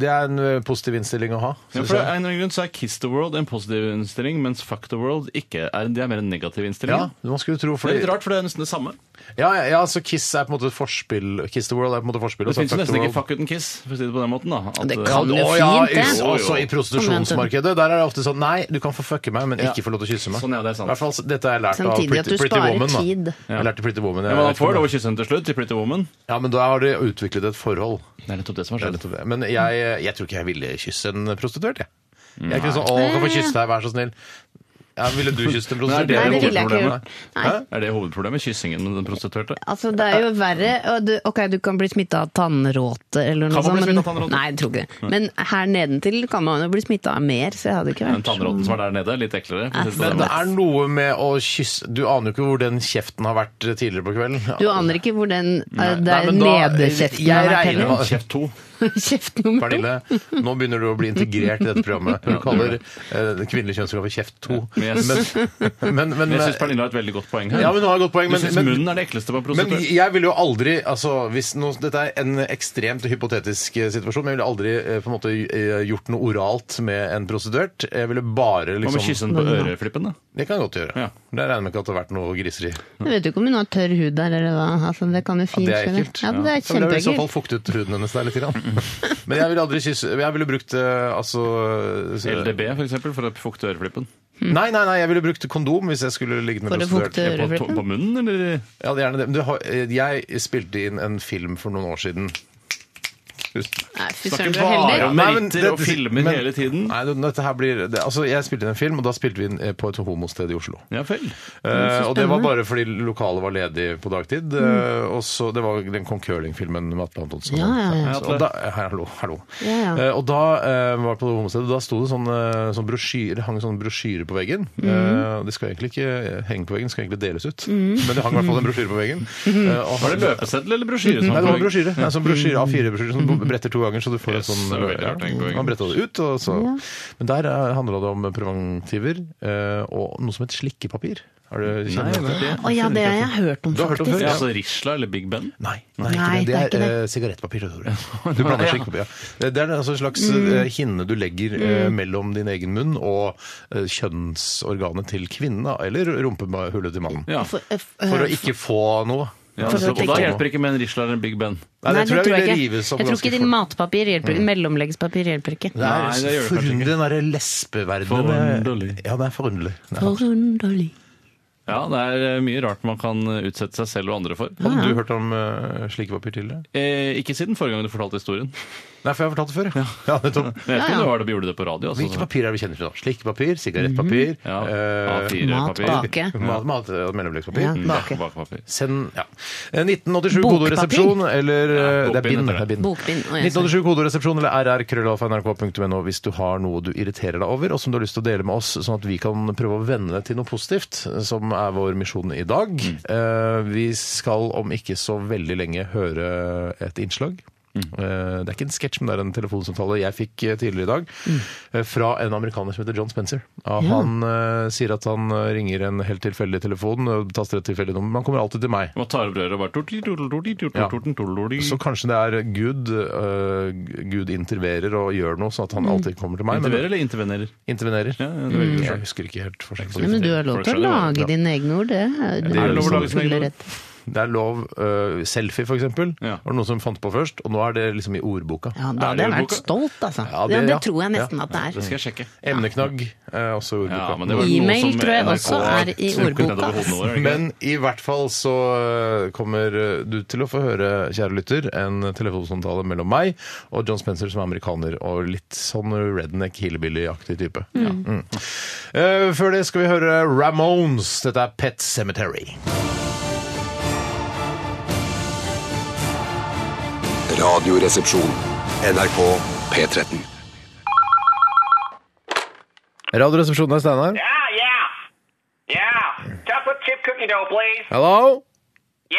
Speaker 7: det er en eh, positiv innstilling å ha.
Speaker 9: Ja, for det er en eller annen grunn så er Kiss the World en positiv innstilling, mens Fuck the World ikke er, det er mer en negativ innstilling.
Speaker 7: Ja, man skulle tro
Speaker 9: Det er
Speaker 7: fordi
Speaker 9: litt rart, for det er nesten det samme.
Speaker 7: Ja, ja, ja, så Kiss er på en måte et forspill Kiss the World er på en måte forspill
Speaker 9: Det fins
Speaker 7: Fuck the
Speaker 9: nesten ikke
Speaker 7: World-
Speaker 9: fuck uten kiss, for å si det på den måten. da. At,
Speaker 3: Det
Speaker 9: eh,
Speaker 3: kan-
Speaker 7: Å,
Speaker 3: Det er
Speaker 7: ja,
Speaker 3: fint, det.
Speaker 7: i- Også i prostitusjonsmarkedet. Der er det ofte sånn Nei, du kan få fucke meg, men
Speaker 9: Ja.
Speaker 7: ikke få lov til å kysse meg.
Speaker 9: Sånn, ja, det er sant.
Speaker 7: I hvert fall, så- dette har jeg lært
Speaker 3: Samtidig
Speaker 7: av
Speaker 3: at
Speaker 7: Pretty,
Speaker 3: du
Speaker 7: pretty
Speaker 3: sparer
Speaker 7: Woman. Da.
Speaker 3: tid.
Speaker 7: Jeg lærte Pretty Woman. jeg
Speaker 9: Ja, men
Speaker 7: vet
Speaker 9: han
Speaker 7: ikke
Speaker 9: får
Speaker 7: om
Speaker 9: lov å
Speaker 7: det-
Speaker 9: kysse henne til slutt, til Pretty Woman.
Speaker 7: Ja, men da har de utviklet et forhold.
Speaker 9: Det er nettopp det som har
Speaker 7: Det er
Speaker 9: skjedd.
Speaker 7: nettopp det. Men jeg, jeg tror ikke jeg ville kysse en prostituert, jeg. Jeg er ikke sånn 'Å, kan få kysse deg, vær så snill'. Ja, ville du kysset en prostituert?
Speaker 9: det
Speaker 3: Nei, det ville jeg ikke gjort.
Speaker 9: hovedproblemet.
Speaker 3: Nei.
Speaker 9: Er det hovedproblemet? Kyssingen med den prostituerte?
Speaker 3: Altså, det er jo verre. og Du, ok, du kan bli smitta av tannråte eller noe
Speaker 9: Kan man bli
Speaker 3: sånt. men-
Speaker 9: smittet av tannråte?
Speaker 3: Nei, jeg tror ikke det. Men her nedentil kan man jo bli smitta av mer, så jeg hadde ikke
Speaker 9: Den
Speaker 3: vært
Speaker 9: tannråten som er der nede, litt eklere. for å si det på
Speaker 7: Men
Speaker 9: den
Speaker 7: det
Speaker 9: måten.
Speaker 7: er noe med å kysse Du aner jo ikke hvor den kjeften har vært tidligere på kvelden.
Speaker 3: Du aner ikke hvor den eh, der
Speaker 7: Nei, men da-
Speaker 3: nederkjeften
Speaker 7: jeg
Speaker 3: har vært [laughs]
Speaker 7: regner
Speaker 3: heller.
Speaker 7: med-
Speaker 9: Kjeft to.
Speaker 3: Kjeft nummer to.
Speaker 7: Pernille, nå begynner du å bli integrert i dette programmet. Du kaller eh, kvinnelig kjønnsorgan for kjeft 2.
Speaker 9: Men jeg syns
Speaker 7: Men, [laughs] men,
Speaker 9: jeg syns Pernille har et veldig godt poeng her.
Speaker 7: ja, men du har et godt poeng.
Speaker 9: Du
Speaker 7: Men,
Speaker 9: syns
Speaker 7: men,
Speaker 9: munnen er det ekleste på en
Speaker 7: men
Speaker 9: prostituert?
Speaker 7: jeg ville jo aldri altså, hvis noe, Dette er en ekstremt hypotetisk eh, situasjon, men jeg ville aldri eh, på en måte eh, gjort noe oralt med en prostituert. Jeg ville bare
Speaker 9: Hva med
Speaker 7: liksom
Speaker 9: kyssen på øreflippen, da?
Speaker 7: Det kan jeg godt gjøre.
Speaker 9: Ja.
Speaker 7: Der regner jeg med ikke at det har vært noe griseri.
Speaker 3: Du vet jo ikke om hun har tørr hud der eller hva. Altså, det kan jo fint
Speaker 7: Det er
Speaker 3: skje, det.
Speaker 7: ekkelt.
Speaker 3: Ja, det er
Speaker 7: Da ville jeg i så fall
Speaker 3: kjempeekkelt.
Speaker 7: fuktet huden hennes der litt. Grann. [laughs] Men jeg ville aldri kysse Jeg ville brukt eh, altså
Speaker 9: LDB, for eksempel, for å fukte øreflippen.
Speaker 7: Nei, nei, nei, jeg ville brukt kondom hvis jeg skulle ligget med
Speaker 3: For å
Speaker 7: prostituert.
Speaker 3: fukte
Speaker 9: På,
Speaker 3: øreflippen.
Speaker 9: på munnen, eller?
Speaker 7: Ja, gjerne det. Men du, har- eh, jeg spilte inn en film for noen år siden. Husk-
Speaker 3: Nei, fy søren,
Speaker 9: Snakker
Speaker 3: du er
Speaker 9: bare
Speaker 3: heldig.
Speaker 9: om
Speaker 7: Nei, men
Speaker 9: meritter og
Speaker 7: dette-
Speaker 9: filmer
Speaker 7: men-
Speaker 9: hele tiden.
Speaker 7: Nei, du, dette her blir det, Altså, jeg spilte inn en film, og da spilte vi inn eh, på et homosted i Oslo.
Speaker 9: Ja vel.
Speaker 3: Mm,
Speaker 7: Eh, og det var bare fordi lokalet var ledig på dagtid. eh, og så, Det var den Kong Curling-filmen med Atle
Speaker 3: Mm.
Speaker 7: Antonsen.
Speaker 3: Ja, ja, ja.
Speaker 7: Så-
Speaker 9: Atle.
Speaker 7: Og da, eh, hei, hallo, hallo.
Speaker 3: Ja, ja.
Speaker 7: Eh, og da eh, var det på homestedet, da sto det sånn, eh, sånn brosjyre, hang sånn brosjyre på veggen.
Speaker 3: Mm.
Speaker 7: Eh, det skal egentlig ikke henge på veggen, det skal egentlig deles ut.
Speaker 3: Mm.
Speaker 7: Men det hang i hvert fall en brosjyre på
Speaker 3: [laughs]
Speaker 7: veggen. Eh, og
Speaker 9: Var det løpeseddel eller brosjyre?
Speaker 7: Nei,
Speaker 9: som
Speaker 7: det var en
Speaker 9: var på-
Speaker 7: brosjyre. Nei, sånn brosjyre A4-brosjyre som du bretter to ganger, så du får en
Speaker 9: Mm. Yes,
Speaker 7: sånn
Speaker 9: det var veldig rart, egentlig.
Speaker 7: Man bretta det ut, og så Men der handla det om preventiver eh, og noe som het slikkepapir. Har du
Speaker 9: Nei,
Speaker 7: kjenner
Speaker 9: det
Speaker 7: du til
Speaker 9: var
Speaker 7: det?
Speaker 9: ikke det.
Speaker 3: Å ja, det har jeg hørt om,
Speaker 7: Du har hørt om før,
Speaker 3: faktisk.
Speaker 9: Ja, altså Risla eller Big Ben?
Speaker 7: Nei, nei,
Speaker 3: Nei,
Speaker 7: ikke det.
Speaker 3: det er ikke
Speaker 7: det
Speaker 3: det.
Speaker 7: er eh, sigarettpapir. Tore. Du blander
Speaker 9: [laughs] Ja.
Speaker 7: slikkepapir. ja. Det er altså en slags
Speaker 3: Mm.
Speaker 7: eh, hinne du legger eh, mellom din egen munn og eh, kjønnsorganet til kvinnen, da, eller rumpehullet til mannen.
Speaker 9: Ja.
Speaker 3: For, eh, f-
Speaker 7: For å
Speaker 3: eh,
Speaker 7: ikke få noe.
Speaker 9: Ja,
Speaker 3: For å
Speaker 9: så, og da
Speaker 3: tenke-
Speaker 9: hjelper ikke med en Risla eller en Big Ben.
Speaker 7: Nei, det tror jeg, ville
Speaker 3: ikke.
Speaker 7: rives opp
Speaker 3: Jeg tror
Speaker 7: ganske
Speaker 3: ikke din
Speaker 7: fort.
Speaker 3: matpapir hjelper ikke. Mellomleggspapir hjelper ikke.
Speaker 7: Det er
Speaker 9: Nei, det gjør det kanskje
Speaker 7: forunderlig, den derre lesbeverdenen.
Speaker 9: Forunderlig.
Speaker 7: Ja, det er forunderlig. Det er-
Speaker 3: Forunderlig.
Speaker 9: Ja, det er eh, mye rart man kan eh, utsette seg selv og andre for.
Speaker 3: Mm.
Speaker 7: Hadde du hørt om uh, slikkepapir tidligere?
Speaker 9: Eh, ikke siden forrige gang du fortalte historien. [laughs]
Speaker 7: Nei, for jeg har fortalt det før. Ja, [laughs] ja nettopp.
Speaker 9: Men jeg vet ikke
Speaker 3: Ja, ja.
Speaker 9: om det var det vi gjorde det på radio.
Speaker 7: Hvilke
Speaker 9: Altså.
Speaker 7: papir er det vi kjenner til nå? Slikkepapir, sigarettpapir
Speaker 9: Mhm. Ja,
Speaker 7: eh,
Speaker 3: Mat,
Speaker 9: A4-papir.
Speaker 3: bake.
Speaker 7: Mat, mat og mellomleggspapir.
Speaker 9: Mm,
Speaker 3: Ja,
Speaker 7: Nei.
Speaker 3: bake.
Speaker 9: Bakepapir.
Speaker 7: Send ja. Eh, 1987
Speaker 3: Bokpapir.
Speaker 7: kodoresepsjon eller eh,
Speaker 9: Ja,
Speaker 7: Det er bind.
Speaker 9: bokbind
Speaker 7: Det
Speaker 9: heter
Speaker 7: er bind.
Speaker 3: Bokbind, å, Ah, jeg ser.
Speaker 7: 1987 kodoresepsjon eller rrkrøllalfa.nrk.no hvis du har noe du irriterer deg over, og som du har lyst til å dele med oss, sånn at vi kan prøve å vende det til noe positivt, som er vår misjon i dag.
Speaker 3: Mm.
Speaker 7: Eh, Vi skal om ikke så veldig lenge høre et innslag.
Speaker 3: Mm.
Speaker 7: Eh, Det er ikke en sketsj, men det er en telefonsamtale jeg fikk eh, tidligere i dag.
Speaker 3: Mm.
Speaker 7: eh, Fra en amerikaner som heter John Spencer. Ja, Han eh, sier at han eh, ringer en helt tilfeldig telefon, eh, taster et tilfeldig nummer. men Han kommer alltid til meg.
Speaker 9: Man tar opp røret og bare torti, torti, torti, torti,
Speaker 7: Ja.
Speaker 9: torti, torti.
Speaker 7: Så kanskje det er Gud øh, Gud interverer og gjør noe, sånn at han alltid kommer til meg. men-
Speaker 9: Interverer eller intervenerer?
Speaker 7: Intervenerer.
Speaker 9: Ja, ja, det velger
Speaker 7: Mm.
Speaker 9: du selv.
Speaker 7: Jeg husker ikke helt forskjellen.
Speaker 3: Ja, men du har lov
Speaker 9: Folk
Speaker 3: til å
Speaker 9: skjønner hva-
Speaker 3: lage dine egne ord. Det er, liksom
Speaker 7: gjør
Speaker 3: er
Speaker 7: de
Speaker 3: lov
Speaker 9: sånn.
Speaker 3: full rett.
Speaker 7: Det er lov uh, selfie, f.eks.
Speaker 9: Ja.
Speaker 7: Var det noen som fant på først, og nå er det liksom i ordboka.
Speaker 3: Ja, da
Speaker 9: Er
Speaker 3: hadde
Speaker 9: det
Speaker 3: jeg vært
Speaker 9: ordboka?
Speaker 3: stolt, altså.
Speaker 7: Ja,
Speaker 3: Ja,
Speaker 7: det-
Speaker 3: det,
Speaker 7: ja.
Speaker 3: tror jeg nesten at det er.
Speaker 9: Det skal jeg sjekke.
Speaker 7: Emneknagg er også i ordboka.
Speaker 9: Ja, men
Speaker 7: men,
Speaker 9: det var noe
Speaker 3: E-mail
Speaker 9: som
Speaker 3: tror jeg
Speaker 9: NRK
Speaker 3: også er i
Speaker 9: snurket
Speaker 3: ordboka.
Speaker 9: nedover hodene våre, er det ikke det?
Speaker 7: i hvert fall så uh, kommer uh, du til å få høre, kjære lytter, en telefonsamtale mellom meg og John Spencer, som er amerikaner og litt sånn redneck hillbilly-aktig type. Ja. Mm. Uh, før det skal vi høre Ramones. Dette er Pet Cemetery.
Speaker 6: Radioresepsjon. NRK P13.
Speaker 7: Radioresepsjonen er Steinar.
Speaker 4: Yeah, yeah. Yeah. Chocolate chip cookie dough, please.
Speaker 7: Hello?
Speaker 4: Yeah.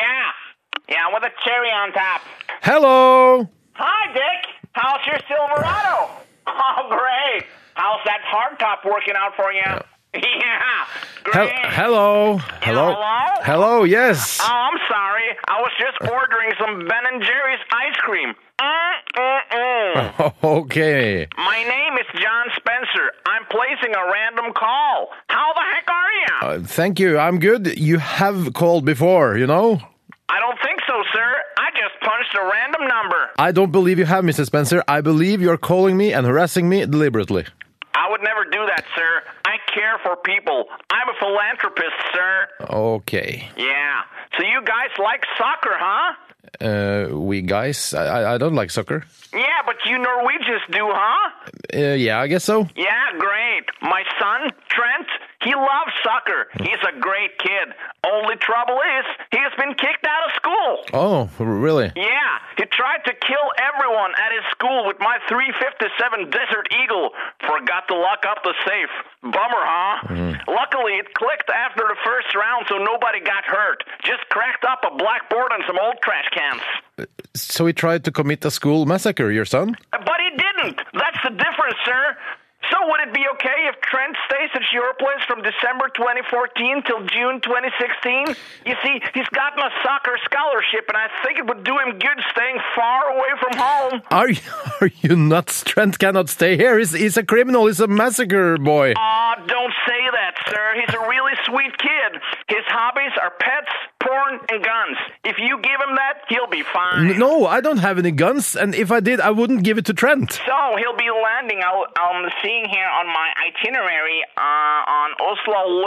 Speaker 4: Yeah, with a cherry on top.
Speaker 7: Hello!
Speaker 4: Hi, Dick. How's your Silverado? [laughs] Oh, great. How's that hardtop working out for you? [laughs] Yeah.
Speaker 7: Hel-
Speaker 4: Great.
Speaker 7: hello. Hello.
Speaker 4: Hello?
Speaker 7: Hello, yes. [laughs]
Speaker 4: Oh, I'm sorry. I was just ordering some Ben and Jerry's ice cream.
Speaker 7: Oh.
Speaker 4: Mm-mm-mm.
Speaker 7: Okay.
Speaker 4: My name is John Spencer. I'm placing a random call. How the heck are you?
Speaker 7: Uh, thank you. I'm good. You have called before, you know?
Speaker 4: I don't think so, sir. I just punched a random number.
Speaker 7: I don't believe you have, Mr. Spencer. I believe you're calling me and harassing me deliberately.
Speaker 4: I would never do that, sir. I care for people. I'm a philanthropist, sir.
Speaker 7: Okay.
Speaker 4: Yeah. So you guys like soccer, huh?
Speaker 7: Uh, we guys, I, I- I don't like soccer.
Speaker 4: Yeah, but you Norwegians do, huh?
Speaker 7: Uh, yeah, I guess so.
Speaker 4: Yeah, great. My son, Trent, he loves soccer. He's a great kid. Only trouble is, he has been kicked out of school.
Speaker 7: Oh, really?
Speaker 4: Yeah, he tried to kill everyone at his school with my 357 Desert Eagle. Forgot to lock up the safe. Bummer, huh? Luckily, it clicked after the first round, so nobody got hurt. Just cracked up a blackboard and some old trash cans.
Speaker 7: So he tried to commit a school massacre, your son?
Speaker 4: But he didn't. That's the difference, sir. So would it be okay if Trent stays at your place from December 2014 till June 2016? You see, he's gotten a soccer scholarship, and I think it would do him good staying far away from home.
Speaker 7: Are you, [laughs] are you nuts? Trent cannot stay here. He's, he's a criminal. He's a massacre boy.
Speaker 4: Ah, don't say that, sir. He's a really sweet kid. His hobbies are pets, porn, and guns. If you give him that, he'll be fine.
Speaker 7: No, I don't have any guns, and if I did, I wouldn't give it to Trent.
Speaker 4: So he'll be landing. I'll, I'm seeing here on my itinerary uh, on Oslo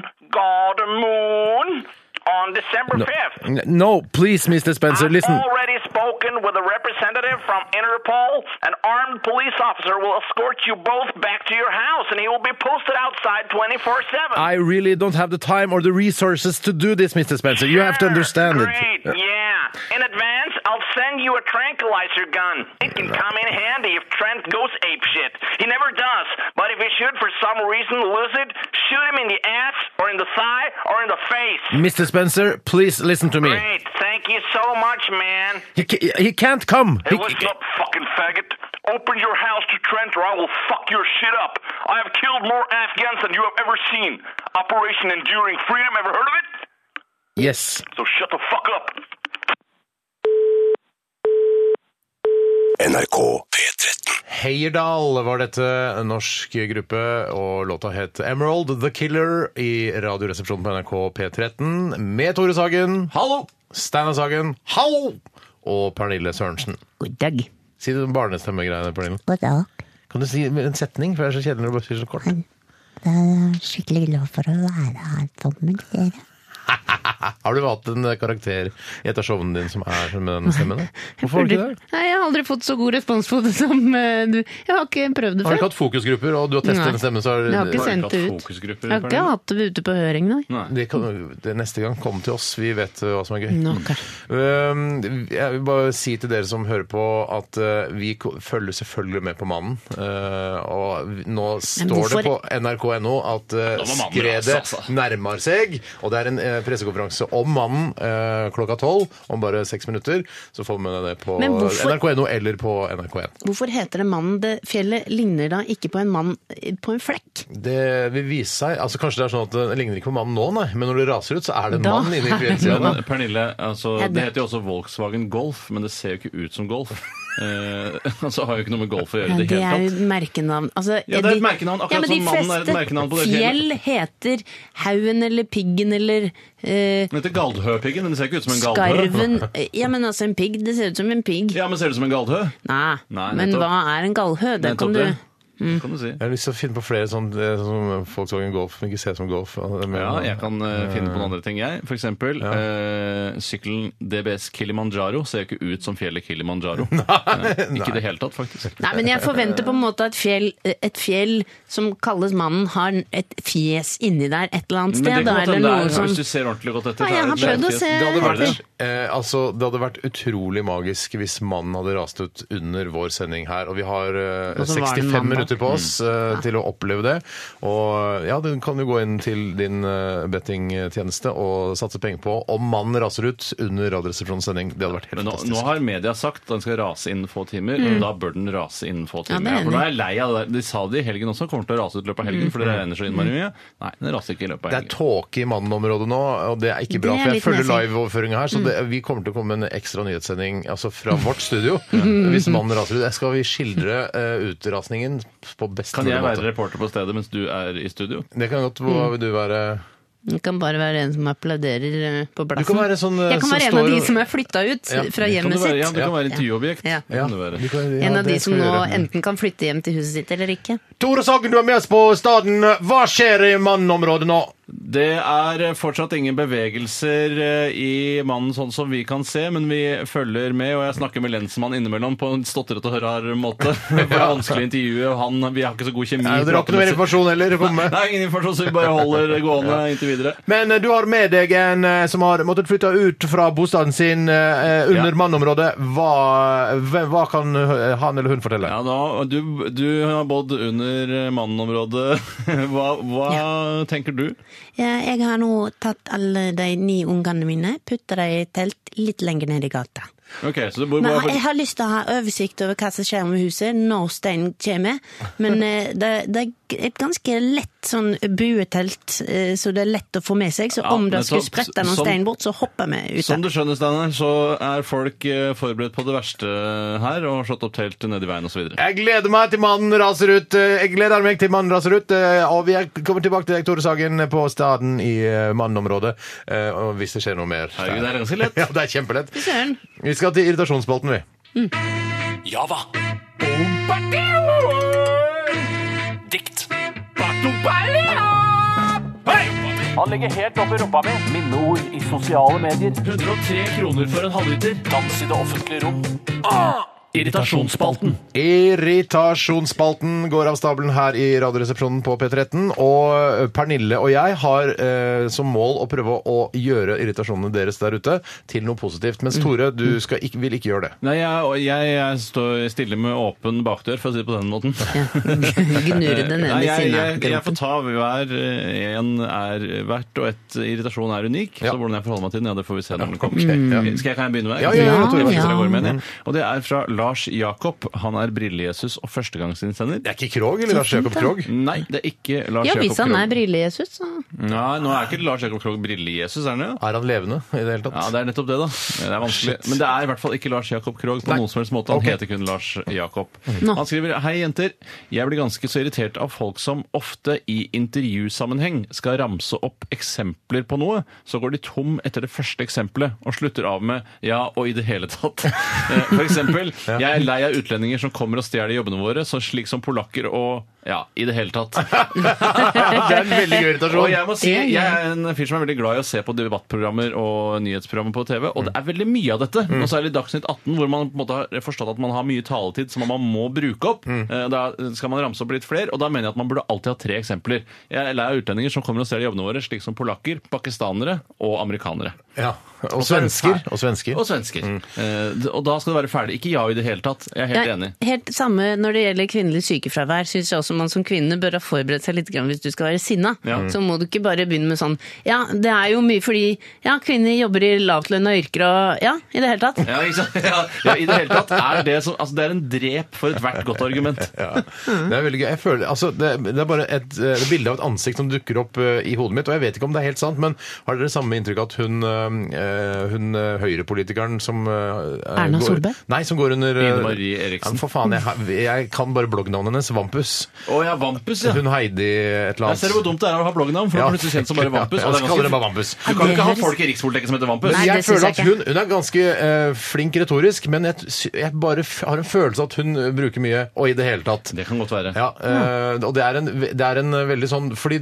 Speaker 4: Lufthavn Gardermoen on December 5th.
Speaker 7: N- No, please, Mr. Spencer,
Speaker 4: I've
Speaker 7: Mm, listen.
Speaker 4: already spoken with a representative from Interpol. An armed police officer will escort you both back to your house, and he will be posted outside 24 7.
Speaker 7: I really don't have the time or the resources to do this, Mr. Spencer. You have to understand
Speaker 4: Great,
Speaker 7: it. Uh,
Speaker 4: yeah. In advance, I'll send you a tranquilizer gun. It can come in handy if Trent goes apeshit. He never does, but if he should for some reason lose it, shoot him in the ass, or in the thigh, or in the face.
Speaker 7: Mr. Spencer, please listen to me.
Speaker 4: Great, thank you so much, man.
Speaker 7: He, ca- he can't come.
Speaker 4: Hey,
Speaker 7: He-
Speaker 4: listen up, fucking faggot. Open your house to Trent or I will fuck your shit up. I have killed more Afghans than you have ever seen. Operation Enduring Freedom, ever heard of it?
Speaker 7: yes.
Speaker 4: So shut the fuck up.
Speaker 6: NRK P13.
Speaker 7: Heyerdahl var dette, en norsk gruppe, og låta het Emerald The Killer i Radioresepsjonen på NRK P13 med Tore Sagen,
Speaker 9: Hallo!
Speaker 7: Steinar Sagen Hallo! og Pernille Sørensen.
Speaker 3: God dag.
Speaker 7: Si det barnestemmegreiene, Pernille.
Speaker 5: God dag.
Speaker 7: Kan du si en setning? For det er så kjedelig når du bare sier så kort.
Speaker 3: Mm.
Speaker 5: Det er eh, skikkelig glad for å være her sammen med dere.
Speaker 7: Har du valgt en eh, karakter i et av showene dine som er med den stemmen? da?
Speaker 3: [laughs]
Speaker 7: Hvorfor har du ikke det?
Speaker 3: Nei, jeg har aldri fått så god respons på det [laughs] som eh, du. Jeg har ikke prøvd det
Speaker 7: Har du
Speaker 3: før.
Speaker 7: ikke hatt fokusgrupper, og du har testet
Speaker 3: Nei.
Speaker 7: en stemme, så
Speaker 3: Jeg har
Speaker 7: har
Speaker 3: ikke
Speaker 9: Har du
Speaker 3: sendt
Speaker 9: ikke
Speaker 3: det
Speaker 9: hatt
Speaker 3: ut. Jeg
Speaker 9: fokusgrupper,
Speaker 3: har ikke
Speaker 9: Pernille?
Speaker 3: hatt det ute på høring, nei.
Speaker 7: det kan, det neste gang, kom til oss. Vi vet uh, hva som er gøy.
Speaker 3: Nå, ok.
Speaker 7: Um, jeg vil bare si til dere som hører på, at uh, vi ko- følger selvfølgelig med på mannen. Uh, og vi- nå står det på
Speaker 3: hvorfor-
Speaker 7: nrk.no at uh,
Speaker 9: Nå var mannen
Speaker 7: skredet
Speaker 9: raus, altså.
Speaker 7: nærmer seg. Og det er en uh, pressekonferanse om mannen uh, klokka tolv, om bare seks minutter. Så får du med deg det på
Speaker 3: Men hvorfor-
Speaker 7: nrk.no eller på NRK1.
Speaker 3: Hvorfor heter det mannen det fjellet ligner da ikke på en mann eh, på en flekk?
Speaker 7: Det vil vise seg altså Kanskje det er sånn at det ligner ikke på mannen nå, nei, men når det raser ut, så er det en
Speaker 3: Da-
Speaker 7: mann inni
Speaker 3: [laughs]
Speaker 9: Men
Speaker 7: fjellsida.
Speaker 9: Pernille, altså,
Speaker 3: Jeg- [laughs]
Speaker 9: det heter jo også Volkswagen Golf, men det ser jo ikke ut som Golf. Eh, [laughs] altså har jo ikke noe med golf å gjøre
Speaker 3: Ja,
Speaker 9: i det
Speaker 3: det
Speaker 9: hele
Speaker 3: er
Speaker 9: tatt.
Speaker 3: jo merkenavn. Altså,
Speaker 9: Ja, det er et
Speaker 3: de-
Speaker 9: merkenavn, akkurat
Speaker 3: ja, men de
Speaker 9: som mannen er et
Speaker 3: fleste
Speaker 9: merkenavn på det
Speaker 3: Fjell heter Haugen eller Piggen eller eh,
Speaker 9: Den heter Galdhøpiggen, men det ser ikke ut som en galdhø.
Speaker 3: Skarven.
Speaker 9: [laughs]
Speaker 3: Ja, men altså en pigg, det ser ut som en pigg.
Speaker 9: Ja, men ser det ut som en galdhø?
Speaker 3: Nei,
Speaker 9: Nei,
Speaker 3: men
Speaker 9: nettopp.
Speaker 3: hva er en gallhø? Det
Speaker 9: Nettopp
Speaker 3: kan Mm. du...
Speaker 9: det. Det kan du si.
Speaker 7: Jeg har lyst til å finne på flere sånn, eh, som Volkswagen Golf, men ikke ser som Golf.
Speaker 9: Ja, jeg kan eh, finne på noen andre ting, jeg. For eksempel eh, sykkelen DBS Kilimanjaro ser jo ikke ut som fjellet [laughs] Kilimanjaro. Nei, ikke i det hele tatt, faktisk.
Speaker 3: Nei, men jeg forventer på en måte at fjell, et fjell som kalles mannen, har et fjes inni der et eller annet
Speaker 9: Men det
Speaker 3: sted.
Speaker 9: kan
Speaker 3: Da,
Speaker 9: godt
Speaker 3: eller
Speaker 9: hende det
Speaker 3: noe
Speaker 9: er,
Speaker 3: som...
Speaker 9: hvis du ser ordentlig godt etter.
Speaker 3: Ja, jeg har prøvd å se
Speaker 7: Det hadde,
Speaker 9: Er det
Speaker 7: vært, eh, altså, det hadde vært utrolig magisk hvis mannen hadde rast ut under vår sending her. Og vi har eh,
Speaker 3: Og så var det
Speaker 7: 65
Speaker 3: mandag. Mm.
Speaker 7: minutter på oss eh, til å oppleve det. Og ja, du kan jo gå inn til din eh, bettingtjeneste og satse penger på om mannen raser ut under Radioresepsjonens sending. Det hadde vært helt
Speaker 9: Men nå,
Speaker 7: fantastisk.
Speaker 9: nå har media sagt at den skal rase innen få timer. Da bør den rase innen få
Speaker 3: Mm. Ja, det
Speaker 9: timer.
Speaker 3: er enig. Mm.
Speaker 9: Ja, for da er jeg lei av det. der. De sa det i helgen også, kommer til å rase ut i løpet av helgen, for det regner så innmari mye. Nei, den raser ikke i løpet av
Speaker 7: Det er
Speaker 9: helgen.
Speaker 7: tåke i mannenområdet nå, og det er ikke bra.
Speaker 3: Det er
Speaker 7: For
Speaker 3: litt Mm.
Speaker 7: jeg følger
Speaker 3: nedsidig.
Speaker 7: liveoverføringa her, så det, vi kommer til å komme med en ekstra nyhetssending altså
Speaker 3: [laughs]
Speaker 7: fra vårt studio.
Speaker 3: Mm.
Speaker 7: Hvis mannen raser ut. Der skal vi skildre eh, utrasningen på best
Speaker 9: Kan
Speaker 7: mulig
Speaker 9: jeg være
Speaker 7: måte.
Speaker 9: reporter på stedet mens du er i studio?
Speaker 7: Det kan godt Hva
Speaker 3: Mm.
Speaker 7: vil du være?
Speaker 3: Det kan bare være en som applauderer eh, på plassen.
Speaker 7: Du kan være sånn, eh,
Speaker 3: jeg kan
Speaker 7: som
Speaker 3: være en av
Speaker 7: står
Speaker 3: de
Speaker 7: og-
Speaker 3: som er flytta ut fra
Speaker 7: Ja,
Speaker 9: Kan du
Speaker 3: hjemmet
Speaker 9: være, ja,
Speaker 3: sitt.
Speaker 9: du kan være intervjuobjekt.
Speaker 3: Ja.
Speaker 9: Det Kan du være.
Speaker 7: du kan- ja,
Speaker 3: En av de
Speaker 7: det
Speaker 3: som
Speaker 7: skal vi
Speaker 3: nå
Speaker 7: gjøre.
Speaker 3: enten kan flytte hjem til huset sitt eller ikke.
Speaker 7: Tore Sagen, du er med oss på Staden. Hva skjer i mannenområdet nå?
Speaker 9: Det er eh, fortsatt ingen bevegelser eh, i mannen sånn som vi kan se, men vi følger med, og jeg snakker med lensmannen innimellom på en stotrete og
Speaker 7: [laughs]
Speaker 9: rar måte. Det er vanskelig å intervjue, og han, vi har ikke så god kjemi.
Speaker 7: Nei, Dere har ikke noe mer informasjon heller? å komme med?
Speaker 9: Nei, ingen informasjon, så vi bare holder det gående inntil videre.
Speaker 7: Men eh, du har med deg en eh, som har måttet flytte ut fra bostaden sin eh, under
Speaker 9: Ja.
Speaker 7: manneområdet. Hva, hva hva kan eh, han eller hun fortelle?
Speaker 9: Ja, da, og du, du har bodd under mannenområdet. [laughs] Hva, hva tenker du?
Speaker 3: Ja, jeg har nå tatt alle de ni ungene mine, putta dem i et telt litt lenger ned i gata.
Speaker 9: Ok, så du bor
Speaker 3: Men
Speaker 9: bare...
Speaker 3: jeg har lyst til å ha oversikt over hva som skjer med huset når steinen kommer. Men eh, det, det er et ganske lett sånn buetelt, eh, så det er lett å få med seg. Så
Speaker 9: Ja,
Speaker 3: om
Speaker 9: men
Speaker 3: det skulle
Speaker 9: så-
Speaker 3: sprette noen
Speaker 9: som-
Speaker 3: stein bort, så hopper vi ut.
Speaker 9: Som du skjønner, Steinar, så er folk eh, forberedt på det verste her, og har slått opp telt nedi veien og så videre.
Speaker 7: Jeg gleder meg til mannen raser ut. Eh, Jeg gleder meg til mannen raser ut. eh, Og vi er- kommer tilbake til deg, Tore Sagen, på staden i eh, mannenområdet. eh, Og hvis det skjer noe mer.
Speaker 9: Herregud, det er ganske lett.
Speaker 7: [laughs] Ja, det er kjempelett.
Speaker 3: Søren.
Speaker 7: Vi skal til irritasjonsspalten, vi.
Speaker 6: Java. Dikt.
Speaker 11: Han ligger helt oppi rumpa mi. Minneord i sosiale medier.
Speaker 9: 103 kroner for en halvliter.
Speaker 11: Dans i det offentlige rom. Irritasjonsspalten.
Speaker 7: Irritasjonsspalten går av stabelen her i Radioresepsjonen på P13. Og Pernille og jeg har eh, som mål å prøve å gjøre irritasjonene deres der ute til noe positivt. Mens Tore, du skal ikke, vil ikke gjøre det.
Speaker 9: Nei, jeg, og jeg, jeg står stille med åpen bakdør, for å si det på den måten.
Speaker 3: Gnurre det ned
Speaker 9: [laughs] Nei,
Speaker 3: i
Speaker 9: jeg, jeg, jeg
Speaker 3: sinnegropen.
Speaker 9: får ta hver eh, en er hvert, og et irritasjon er unik.
Speaker 7: Ja.
Speaker 9: Så hvordan jeg forholder meg til den, ja, det får vi se når den kommer.
Speaker 7: Ok, ja.
Speaker 9: Skal jeg, kan jeg begynne med
Speaker 7: Ja, ja, ja,
Speaker 9: Jeg
Speaker 7: Tore.
Speaker 9: forstår jeg går med
Speaker 7: Ja.
Speaker 9: en, jeg. Og det er fra Lars Jakob. Han er Brille-Jesus og førstegangsinnsender.
Speaker 7: Det er ikke Krog eller Lars Jakob Krog?
Speaker 9: Nei, det er ikke Lars
Speaker 3: Ja,
Speaker 9: Jakob
Speaker 3: hvis han
Speaker 9: Krog.
Speaker 3: er brille-Jesus, så
Speaker 9: Nei, nå er ikke Lars Jakob Krog Brille-Jesus, er han det?
Speaker 7: Er han levende i det hele tatt?
Speaker 9: Ja, det er nettopp det, da. Det er vanskelig.
Speaker 7: Shit.
Speaker 9: Men det er i hvert fall ikke Lars Jakob Krog på
Speaker 7: Nei.
Speaker 9: noen som helst måte.
Speaker 7: Ok.
Speaker 9: Han heter kun Lars Jakob.
Speaker 3: Nå.
Speaker 9: Han skriver Hei, jenter. Jeg blir ganske så irritert av folk som ofte i intervjusammenheng skal ramse opp eksempler på noe. Så går de tom etter det første eksempelet og slutter av med ja og i det hele tatt. [laughs] Eh, For [laughs] eksempel, jeg er lei av utlendinger som kommer og stjeler jobbene våre, så slik som polakker og ja, i det hele [laughs] tatt.
Speaker 7: det er en veldig gøy irritasjon.
Speaker 9: Og jeg må si,
Speaker 3: Det er gøy.
Speaker 9: jeg er en fyr som er veldig glad i å se på debattprogrammer og nyhetsprogrammer på TV, og det er veldig mye av dette.
Speaker 7: Mm.
Speaker 9: Og særlig Dagsnytt 18, hvor man på en måte har forstått at man har mye taletid som man må bruke opp.
Speaker 7: Mm.
Speaker 9: Eh, Da skal man ramse opp litt flere, og da mener jeg at man burde alltid ha tre eksempler. Jeg er lei av utlendinger som kommer og stjeler jobbene våre, slik som polakker, pakistanere og amerikanere.
Speaker 7: Ja. Og svensker. Og
Speaker 9: Og
Speaker 7: svensker. Mm.
Speaker 9: svensker. Eh, Og da skal det være ferdig. Ikke ja i det hele tatt. Jeg er helt
Speaker 3: Ja,
Speaker 9: enig.
Speaker 3: Helt samme når det gjelder kvinnelig sykefravær, syns jeg også man som kvinne bør ha forberedt seg litt grann hvis du skal være sinna. Så må du ikke bare begynne med sånn Ja, det er jo mye fordi ja, kvinner jobber i lavtlønna yrker og ja, i det hele tatt.
Speaker 9: Ja, ikke sant? Ja, ja, i det hele tatt er det som Altså, det er en drep for ethvert godt argument.
Speaker 7: Ja. Det er veldig gøy. Jeg føler, altså, det, det er bare et eh, bilde av et ansikt som dukker opp eh, i hodet mitt, og jeg vet ikke om det er helt sant, men har dere samme inntrykk at hun, eh, hun eh, høyrepolitikeren som eh,
Speaker 3: Erna
Speaker 7: går,
Speaker 3: Solberg?
Speaker 7: Nei, som går under heter eh,
Speaker 9: Ine Marie Eriksen.
Speaker 7: Ja, men for faen, jeg, har- jeg kan bare bloggnavnet hennes. Vampus.
Speaker 9: Å ja, Vampus, ja.
Speaker 7: Hun Heidi et eller
Speaker 9: Jeg
Speaker 7: annet.
Speaker 9: ser hvor dumt det er å ha bloggnavn, for
Speaker 7: Ja.
Speaker 9: da blir du kjent som bare Vampus.
Speaker 7: Ja,
Speaker 9: og det
Speaker 7: så
Speaker 9: er
Speaker 7: kaller
Speaker 9: ganske-
Speaker 7: det bare Vampus.
Speaker 9: Du kan jo ikke ha
Speaker 3: Det høres-
Speaker 9: folk i Rikspolitikken som heter Vampus.
Speaker 3: Nei,
Speaker 7: jeg
Speaker 3: det synes
Speaker 7: føler
Speaker 3: jeg
Speaker 7: at
Speaker 3: ikke.
Speaker 7: hun, hun er ganske eh, flink retorisk, men jeg, t- sy- jeg bare f har en følelse at hun eh, bruker mye 'og' i det hele tatt.
Speaker 9: Det kan godt være.
Speaker 7: Ja, eh, og det er, en, det er en veldig sånn Fordi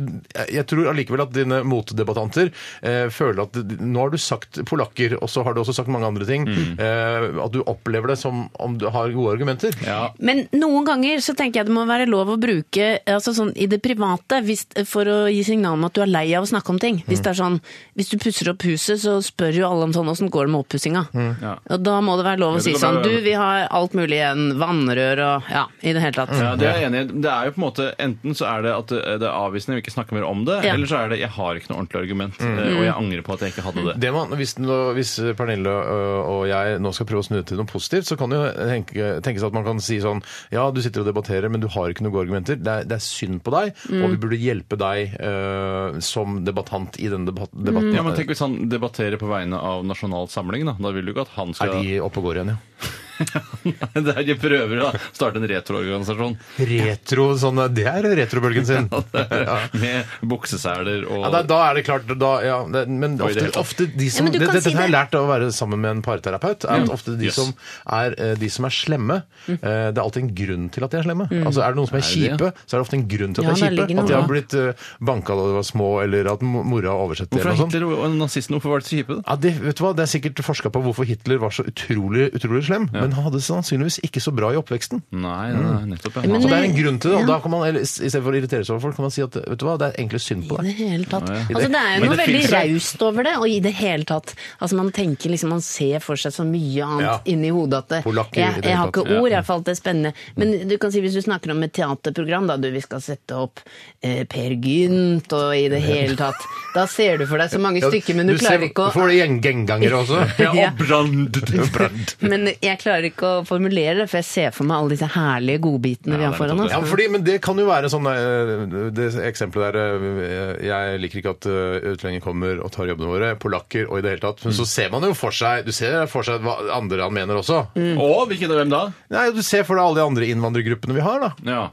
Speaker 7: jeg tror allikevel at dine motdebattanter eh, føler at d- nå har du sagt polakker, og så har du også sagt mange andre ting.
Speaker 9: Mm.
Speaker 7: eh, at du opplever det som om du har gode argumenter.
Speaker 9: Ja.
Speaker 3: Men noen ganger så tenker jeg det må være lov å bruke altså sånn i det private hvis, for å gi signal om at du er lei av å snakke om ting.
Speaker 9: Mm.
Speaker 3: Hvis det er sånn, hvis du pusser opp huset, så spør jo alle om sånn åssen går det med oppussinga.
Speaker 9: Ja.
Speaker 3: Og da må det være lov å
Speaker 9: Mm. Ja,
Speaker 3: si
Speaker 9: det kan
Speaker 3: sånn
Speaker 9: være-
Speaker 3: du, vi har alt mulig igjen. Vannrør og ja, i det hele tatt.
Speaker 9: Ja, det er jeg enig i. Det er jo på en måte Enten så er det at det er avvisende, vi ikke snakker mer om det,
Speaker 3: Ja. Mm.
Speaker 9: eller så er det jeg har ikke noe ordentlig argument, eh, og jeg angrer på at jeg ikke hadde det.
Speaker 7: Mm. Det man, hvis, nå- hvis Pernille ø, og jeg nå skal prøve å snu det til noe positivt, så kan det jo tenke, tenkes at man kan si sånn Ja, du sitter og debatterer, men du har ikke noen gode argumenter. Det er, det er synd på deg, og vi burde hjelpe deg ø, som debattant i denne debat debatten.
Speaker 9: Ja, men tenk hvis han debatterer på vegne av Nasjonal Samling, da. Da vil du ikke at han
Speaker 7: Er
Speaker 9: skal
Speaker 7: de oppe og går igjen, ja?
Speaker 9: [laughs] Det er de prøver å starte en retroorganisasjon
Speaker 7: Retro, sånn, det er retrobølgen sin. [laughs] Ja.
Speaker 9: med bukseseler og
Speaker 7: Ja, da, da er det klart da, ja, det, Men
Speaker 9: Og i
Speaker 7: ofte,
Speaker 9: det hele tatt.
Speaker 7: ofte de som
Speaker 3: men du
Speaker 7: det,
Speaker 3: kan
Speaker 7: Dette
Speaker 3: si
Speaker 7: har jeg
Speaker 3: det.
Speaker 7: lært av å være sammen med en parterapeut. Er
Speaker 9: Mm.
Speaker 7: at ofte de,
Speaker 9: Jøss.
Speaker 7: som er, eh, de som er slemme
Speaker 3: Mm.
Speaker 7: eh, Det er alltid en grunn til at de er slemme. Altså, er det noen som er,
Speaker 9: det
Speaker 7: kjipe, så er det ofte en grunn til at
Speaker 3: Ja,
Speaker 7: de
Speaker 3: der
Speaker 7: er
Speaker 3: ligger
Speaker 7: kjipe.
Speaker 3: noe
Speaker 7: At de har
Speaker 3: bra.
Speaker 7: blitt uh, banka da de var små, eller at mo- mora har oversett det. Eller
Speaker 9: Hvorfor er
Speaker 7: noe sånt.
Speaker 9: Hitler og nazistene hvorfor var de så kjipe? da?
Speaker 7: Ja, det, vet du hva? det er sikkert forska på hvorfor Hitler var så utrolig, utrolig slem. Men han hadde sannsynligvis ikke så bra i oppveksten.
Speaker 9: Nei, nei, nei, nettopp. Ja.
Speaker 3: Men-
Speaker 7: Så det er en
Speaker 3: Nei,
Speaker 7: grunn til det.
Speaker 3: ja.
Speaker 7: Og da kan man, eller, i stedet for å irritere seg over folk, kan man si at vet du hva, det er egentlig synd på
Speaker 3: I
Speaker 7: deg.
Speaker 3: det hele tatt.
Speaker 9: Ja, ja.
Speaker 3: Altså, det er
Speaker 9: Men
Speaker 3: jo noe
Speaker 9: det
Speaker 3: veldig
Speaker 9: finnes jo-
Speaker 3: raust over det, og i det hele tatt. Altså, man tenker liksom, man ser for seg så mye annet
Speaker 7: Ja.
Speaker 3: inni hodet at det,
Speaker 7: Polakker i
Speaker 3: jeg,
Speaker 7: det hele
Speaker 3: jeg har ikke
Speaker 7: tatt, ja.
Speaker 3: ord, jeg falt det er spennende. Men du kan si hvis du snakker om et teaterprogram, da du, vi skal sette opp eh, Per Gynt og i det hele tatt. Da ser du for deg så mange stykker, men du, klarer
Speaker 7: ser-
Speaker 3: ikke å
Speaker 7: Får du gjeng- gjengangere også?
Speaker 3: [laughs] Ja, og Ja.
Speaker 7: brand.
Speaker 3: [laughs] men jeg klarer ikke å formulere det, for jeg ser for meg alle disse herlige godbitene vi
Speaker 9: Ja,
Speaker 3: har
Speaker 9: det er
Speaker 3: foran
Speaker 9: nettopp
Speaker 3: oss.
Speaker 7: Ja, fordi, men det kan jo være sånn eh, Det eksempelet der eh, Jeg liker ikke at eh, utlendinger kommer og tar jobbene våre. Polakker og i det hele tatt. Men så ser man jo for seg Du ser for seg hva andre han mener også.
Speaker 3: Mm.
Speaker 9: Og hvilken av hvem da?
Speaker 7: Nei, Du ser for deg alle de andre innvandrergruppene vi har, da.
Speaker 9: Ja.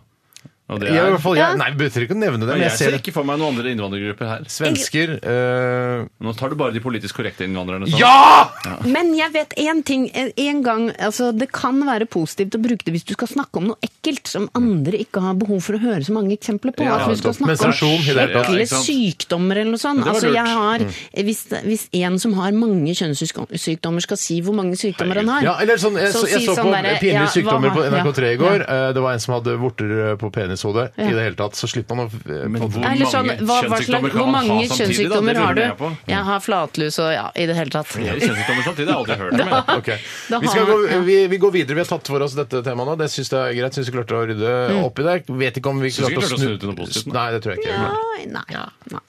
Speaker 9: Og det
Speaker 7: Jeg, i
Speaker 9: er
Speaker 7: hvert fall, jeg, nei, Vi behøver ikke å nevne det,
Speaker 9: Men
Speaker 7: men
Speaker 9: jeg
Speaker 7: jeg ser
Speaker 9: ser
Speaker 7: det.
Speaker 9: ikke for meg noen andre innvandrergrupper her.
Speaker 7: Svensker eh,
Speaker 9: Nå tar du bare de politisk korrekte innvandrerne. sånn.
Speaker 7: Ja!
Speaker 3: Men jeg vet én ting. En gang, altså, det kan være positivt å bruke det hvis du skal snakke om noe ekkelt som andre ikke har behov for å høre så mange eksempler på.
Speaker 9: Mm. Ja,
Speaker 3: altså, hvis du skal
Speaker 7: nettopp.
Speaker 3: snakke om
Speaker 7: Menstruasjon, i det hele tatt.
Speaker 9: Ja,
Speaker 3: ekle
Speaker 9: ikke sant?
Speaker 3: sykdommer eller noe sånt.
Speaker 9: Det var
Speaker 3: Altså,
Speaker 9: lurt. Mm.
Speaker 3: jeg har, hvis, hvis en som har mange kjønnssykdommer skal si hvor mange sykdommer han har
Speaker 7: Ja, eller sånn, jeg, så, jeg
Speaker 3: si
Speaker 7: så på
Speaker 3: sånn derre,
Speaker 7: pinlige
Speaker 3: ja, hva
Speaker 7: sykdommer på
Speaker 3: har-
Speaker 7: NRK3 i
Speaker 3: ja,
Speaker 7: går. Eh, Det var en som hadde vorter eh, på penishodet.
Speaker 3: Ja.
Speaker 7: I det hele tatt, så slipper man å eh,
Speaker 9: Men
Speaker 7: på-
Speaker 9: hvor
Speaker 3: ja. Eller sånn,
Speaker 9: mange
Speaker 3: hva, hva slags,
Speaker 9: kjønnssykdommer kan
Speaker 3: hvor
Speaker 9: man ha
Speaker 3: mange
Speaker 9: samtidig? da?
Speaker 3: kjønnssykdommer
Speaker 9: Det
Speaker 3: har
Speaker 9: lurer
Speaker 3: du?
Speaker 9: jeg på.
Speaker 3: Jeg har flatlus og ja, i det hele tatt.
Speaker 9: Flere kjønnssykdommer samtidig? Jeg har aldri hørt om. jeg.
Speaker 7: Ok.
Speaker 3: Da
Speaker 7: Vi, skal
Speaker 3: har-
Speaker 7: gå, vi, vi går videre. Vi har tatt for oss dette temaet nå. Det syns jeg er greit. Syns vi klarte å rydde
Speaker 3: Mm.
Speaker 7: opp i det. Vet ikke om vi
Speaker 9: Synes vi
Speaker 7: klarte å
Speaker 9: klarte å
Speaker 7: snu
Speaker 9: snu til noe positivt nå?
Speaker 7: Nei, det tror jeg ikke.
Speaker 3: Nei, nei, nei.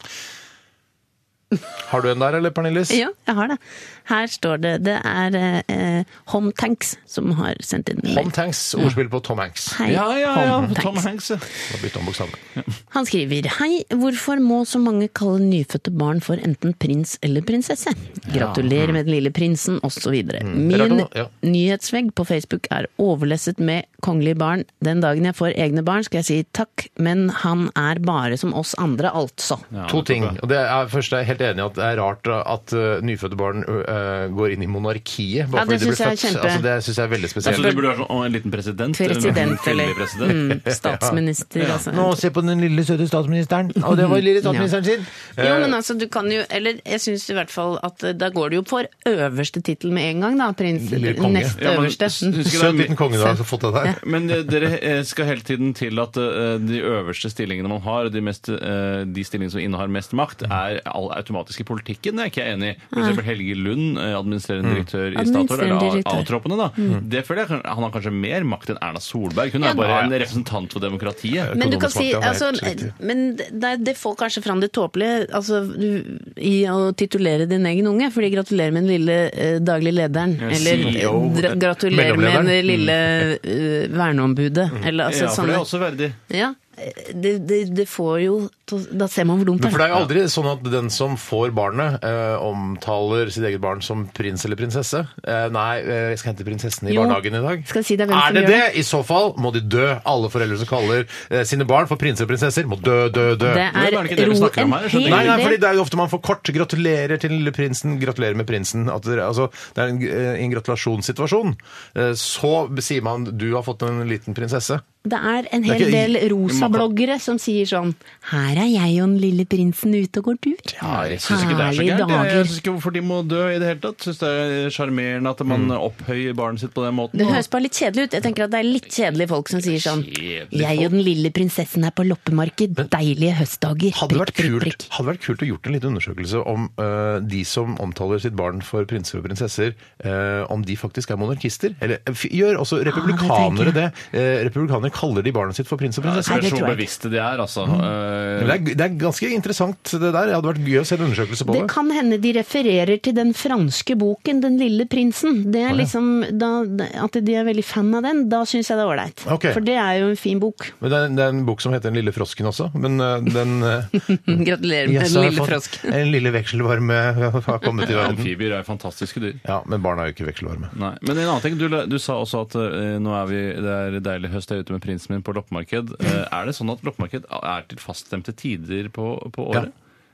Speaker 7: Har du en der, eller, Pernillis?
Speaker 3: Ja, jeg har det. Her står det Det er eh, Home Tanks som har sendt inn en
Speaker 7: Tom
Speaker 3: mail.
Speaker 7: Tanks. Ordspill på Tom Hanks.
Speaker 3: Hei,
Speaker 9: Ja, ja, ja.
Speaker 3: Home
Speaker 9: Tom
Speaker 3: Tanks.
Speaker 9: Hanks. ja.
Speaker 7: Da bytter han bokstavene.
Speaker 3: Han skriver Hei, hvorfor må så mange kalle nyfødte barn for enten prins eller prinsesse? Gratulerer med den lille prinsen, osv.
Speaker 9: Mm.
Speaker 7: Rart
Speaker 3: Min
Speaker 7: å- ja.
Speaker 3: nyhetsvegg på Facebook er overlesset med kongelige barn. Den dagen jeg får egne barn skal jeg si takk, men han er bare som oss andre, altså.
Speaker 9: Ja,
Speaker 7: To
Speaker 9: nettopp,
Speaker 7: ting.
Speaker 9: ja.
Speaker 7: og det er, Først er jeg helt enig i at det er rart at eh, nyfødte barn eh, går inn i monarkiet bare
Speaker 3: Ja, det
Speaker 7: fordi de blir
Speaker 3: synes jeg er
Speaker 7: født.
Speaker 3: kjempe-
Speaker 7: Altså, det syns jeg er veldig
Speaker 9: Jeg
Speaker 7: spesielt.
Speaker 9: tror det burde være sånn, å, en liten president. eller en
Speaker 3: President,
Speaker 9: kvinnelig
Speaker 3: eller
Speaker 9: president.
Speaker 3: mm,
Speaker 9: [laughs]
Speaker 3: statsminister, altså.
Speaker 7: se på den lille søte statsministeren. Og det var lille
Speaker 3: statsministeren
Speaker 7: sin.
Speaker 3: Jo,
Speaker 9: Eh,
Speaker 3: men altså, du kan jo Eller jeg syns i hvert fall at eh, da går det jo for øverste tittel med en gang, da. Prins.
Speaker 7: Lille konge.
Speaker 3: Nest
Speaker 9: Ja, men
Speaker 3: øverste.
Speaker 9: s-
Speaker 3: [laughs]
Speaker 9: husker jeg det
Speaker 7: Eh,
Speaker 9: er
Speaker 7: Søt liten konge du har fått av deg.
Speaker 9: Men eh, dere eh, skal hele tiden til at eh, de øverste stillingene man har, de, mest, eh, de stillingene som innehar mest makt, er all automatisk i politikken. Det er ikke jeg enig i. For eksempel Helge Lund, eh, administrerende direktør i Statoil,
Speaker 3: Administrerende
Speaker 9: eller
Speaker 3: direktør. Mm.
Speaker 9: A- A-troppene, da. Det føler jeg kan- han har kanskje mer makt enn Erna Solberg. Hun
Speaker 3: Ja,
Speaker 9: er bare
Speaker 3: da,
Speaker 9: en representant for demokratiet.
Speaker 3: Men du kan
Speaker 7: Økonomisk
Speaker 3: si
Speaker 7: makt, ja, det er
Speaker 3: altså,
Speaker 7: helt riktig.
Speaker 3: Men det, det- det får kanskje fram det tåpelige altså, du- i å titulere din egen unge. Fordi gratulerer med den lille eh, daglig lederen.
Speaker 9: Ja,
Speaker 3: Eller eh,
Speaker 9: CEO,
Speaker 3: dra- gratulerer med
Speaker 7: mellomlederen.
Speaker 3: den lille eh, verneombudet. Eller altså
Speaker 9: Mm. Ja, for det
Speaker 3: sånne
Speaker 9: er også verdig.
Speaker 3: ja, det, det, det får jo Da ser man hvor dumt
Speaker 7: Men for det
Speaker 3: det
Speaker 7: er jo aldri sånn at den som får barnet, eh, omtaler sitt eget barn som prins eller prinsesse. Eh, nei, eh, jeg skal hente prinsessen i
Speaker 3: Jo.
Speaker 7: barnehagen i dag.
Speaker 3: Skal jeg si deg hvem
Speaker 7: er
Speaker 3: som
Speaker 7: det
Speaker 3: gjør
Speaker 7: det? I så fall må de dø. Alle foreldre som kaller eh, sine barn for prinser og prinsesser, må dø, dø, dø.
Speaker 3: Det
Speaker 9: er
Speaker 3: er
Speaker 9: bare ikke det vi
Speaker 3: ro
Speaker 9: snakker om
Speaker 3: en
Speaker 9: her, jeg skjønner
Speaker 3: hel
Speaker 7: Nei, nei, fordi
Speaker 3: del
Speaker 7: det er jo ofte man får kort 'gratulerer til den lille prinsen', 'gratulerer med prinsen'. At det, altså, det er en, eh, en gratulasjonssituasjon. Eh, Så sier man 'du har fått en liten prinsesse'.
Speaker 3: Det er en
Speaker 7: Det er
Speaker 3: hel
Speaker 7: ikke-
Speaker 3: del rosabloggere som sier sånn Her er jeg og den lille prinsen ute og går tur.
Speaker 9: Jeg syns ikke det er så
Speaker 3: Herlige
Speaker 9: gærent. Jeg,
Speaker 3: dager.
Speaker 9: jeg syns ikke hvorfor de må dø i det hele tatt. Syns det er eh, sjarmerende at man opphøyer barnet sitt på den måten.
Speaker 3: Det høres bare litt kjedelig ut. Jeg tenker at det er litt kjedelige folk som sier sånn
Speaker 9: Kjedelige
Speaker 3: Jeg og den lille prinsessen er på loppemarked. Deilige høstdager.
Speaker 7: Hadde det
Speaker 3: Prikk,
Speaker 7: vært
Speaker 3: prikk,
Speaker 7: kult,
Speaker 3: prikk.
Speaker 7: hadde det vært kult å gjort en liten undersøkelse om eh, de som omtaler sitt barn for prinser og prinsesser, eh, om de faktisk er monarkister? Eller eh, f- gjør også republikanere
Speaker 3: Ah, det tenker jeg.
Speaker 7: det? Eh, republikanere kaller de barnet sitt for prins og
Speaker 9: Ja,
Speaker 7: prinsesse.
Speaker 9: det spørs
Speaker 3: tror
Speaker 9: hvor
Speaker 3: jeg ikke.
Speaker 9: bevisste de er, altså.
Speaker 7: Men
Speaker 9: Eh,
Speaker 7: det, er, det er ganske interessant det der. Det hadde vært gøy å se en undersøkelse på
Speaker 3: Det
Speaker 7: det.
Speaker 3: kan hende de refererer til den franske boken 'Den lille prinsen'. Det er liksom, da, At de er veldig fan av den, da syns jeg det er ålreit.
Speaker 7: Ok.
Speaker 3: For det er jo en fin bok.
Speaker 7: Men det, er, det er en bok som heter 'Den lille frosken' også. Men eh,
Speaker 3: [laughs]
Speaker 7: den eh,
Speaker 3: Gratulerer med
Speaker 7: yes,
Speaker 3: den
Speaker 7: har
Speaker 3: lille
Speaker 7: fått-
Speaker 3: frosk.
Speaker 7: [laughs] En lille vekselvarme [laughs] har kommet i verden.
Speaker 9: Amfibier er jo fantastiske dyr.
Speaker 7: Ja, men barna er jo ikke vekselvarme.
Speaker 9: Nei. Men en annen ting, du, du sa også at eh, nå er vi, det er deilig høst, jeg er ute med prinsen min på loppemarked. Eh, er det sånn at loppemarked er til faststemte tider på, på året?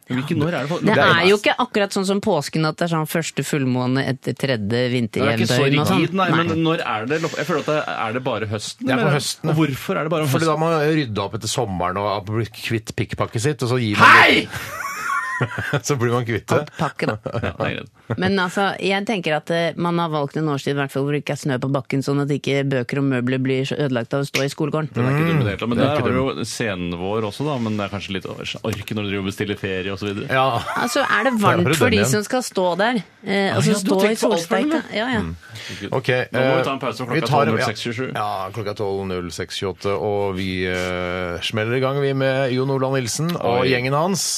Speaker 9: Hvilke når er det? på-
Speaker 3: Det
Speaker 9: er-
Speaker 3: er jo ikke akkurat sånn som påsken at det er sånn første fullmåne etter tredje
Speaker 9: det er ikke så
Speaker 3: vinterjevndøgn og sånn.
Speaker 9: rigid, nei, men når er det lopp- Jeg føler at det er det bare høsten?
Speaker 7: Det er på
Speaker 9: eller?
Speaker 7: høsten, ja.
Speaker 9: Og hvorfor er det bare om
Speaker 7: Fordi
Speaker 9: høsten?
Speaker 7: da må man rydde opp etter sommeren og bli kvitt pikkpakket sitt, og så gir man
Speaker 9: Hei!
Speaker 7: [laughs] Så blir man kvitt det.
Speaker 3: Alt pakke, da.
Speaker 9: Ja, det er greit.
Speaker 3: Men altså, jeg tenker at eh, man har valgt en årstid i hvert fall hvor det ikke er snø på bakken, sånn at ikke bøker og møbler blir så ødelagt av å stå i skolegården.
Speaker 9: Den er ikke dum i det hele tatt. Men der har du jo senvår også, da. Men det er kanskje litt ork når du driver og bestiller ferie osv. videre
Speaker 7: Ja.
Speaker 3: Altså, er det
Speaker 7: Da er
Speaker 3: varmt
Speaker 7: det
Speaker 3: for
Speaker 7: den
Speaker 3: de
Speaker 7: igjen.
Speaker 3: som skal stå der? Eh, altså,
Speaker 9: ja, du
Speaker 3: stå
Speaker 9: tenker
Speaker 3: i
Speaker 9: på alt for dem, Mm.
Speaker 3: solsteika? Ja, ja.
Speaker 7: Ok,
Speaker 9: Nå må vi
Speaker 7: eh,
Speaker 9: ta en pause
Speaker 7: vi
Speaker 9: klokka
Speaker 7: tar-
Speaker 9: 12.06.27.
Speaker 7: Ja, klokka 12.06.28, og vi eh, smeller i gang vi med Jon Olav Nilsen og
Speaker 9: Oi.
Speaker 7: gjengen hans.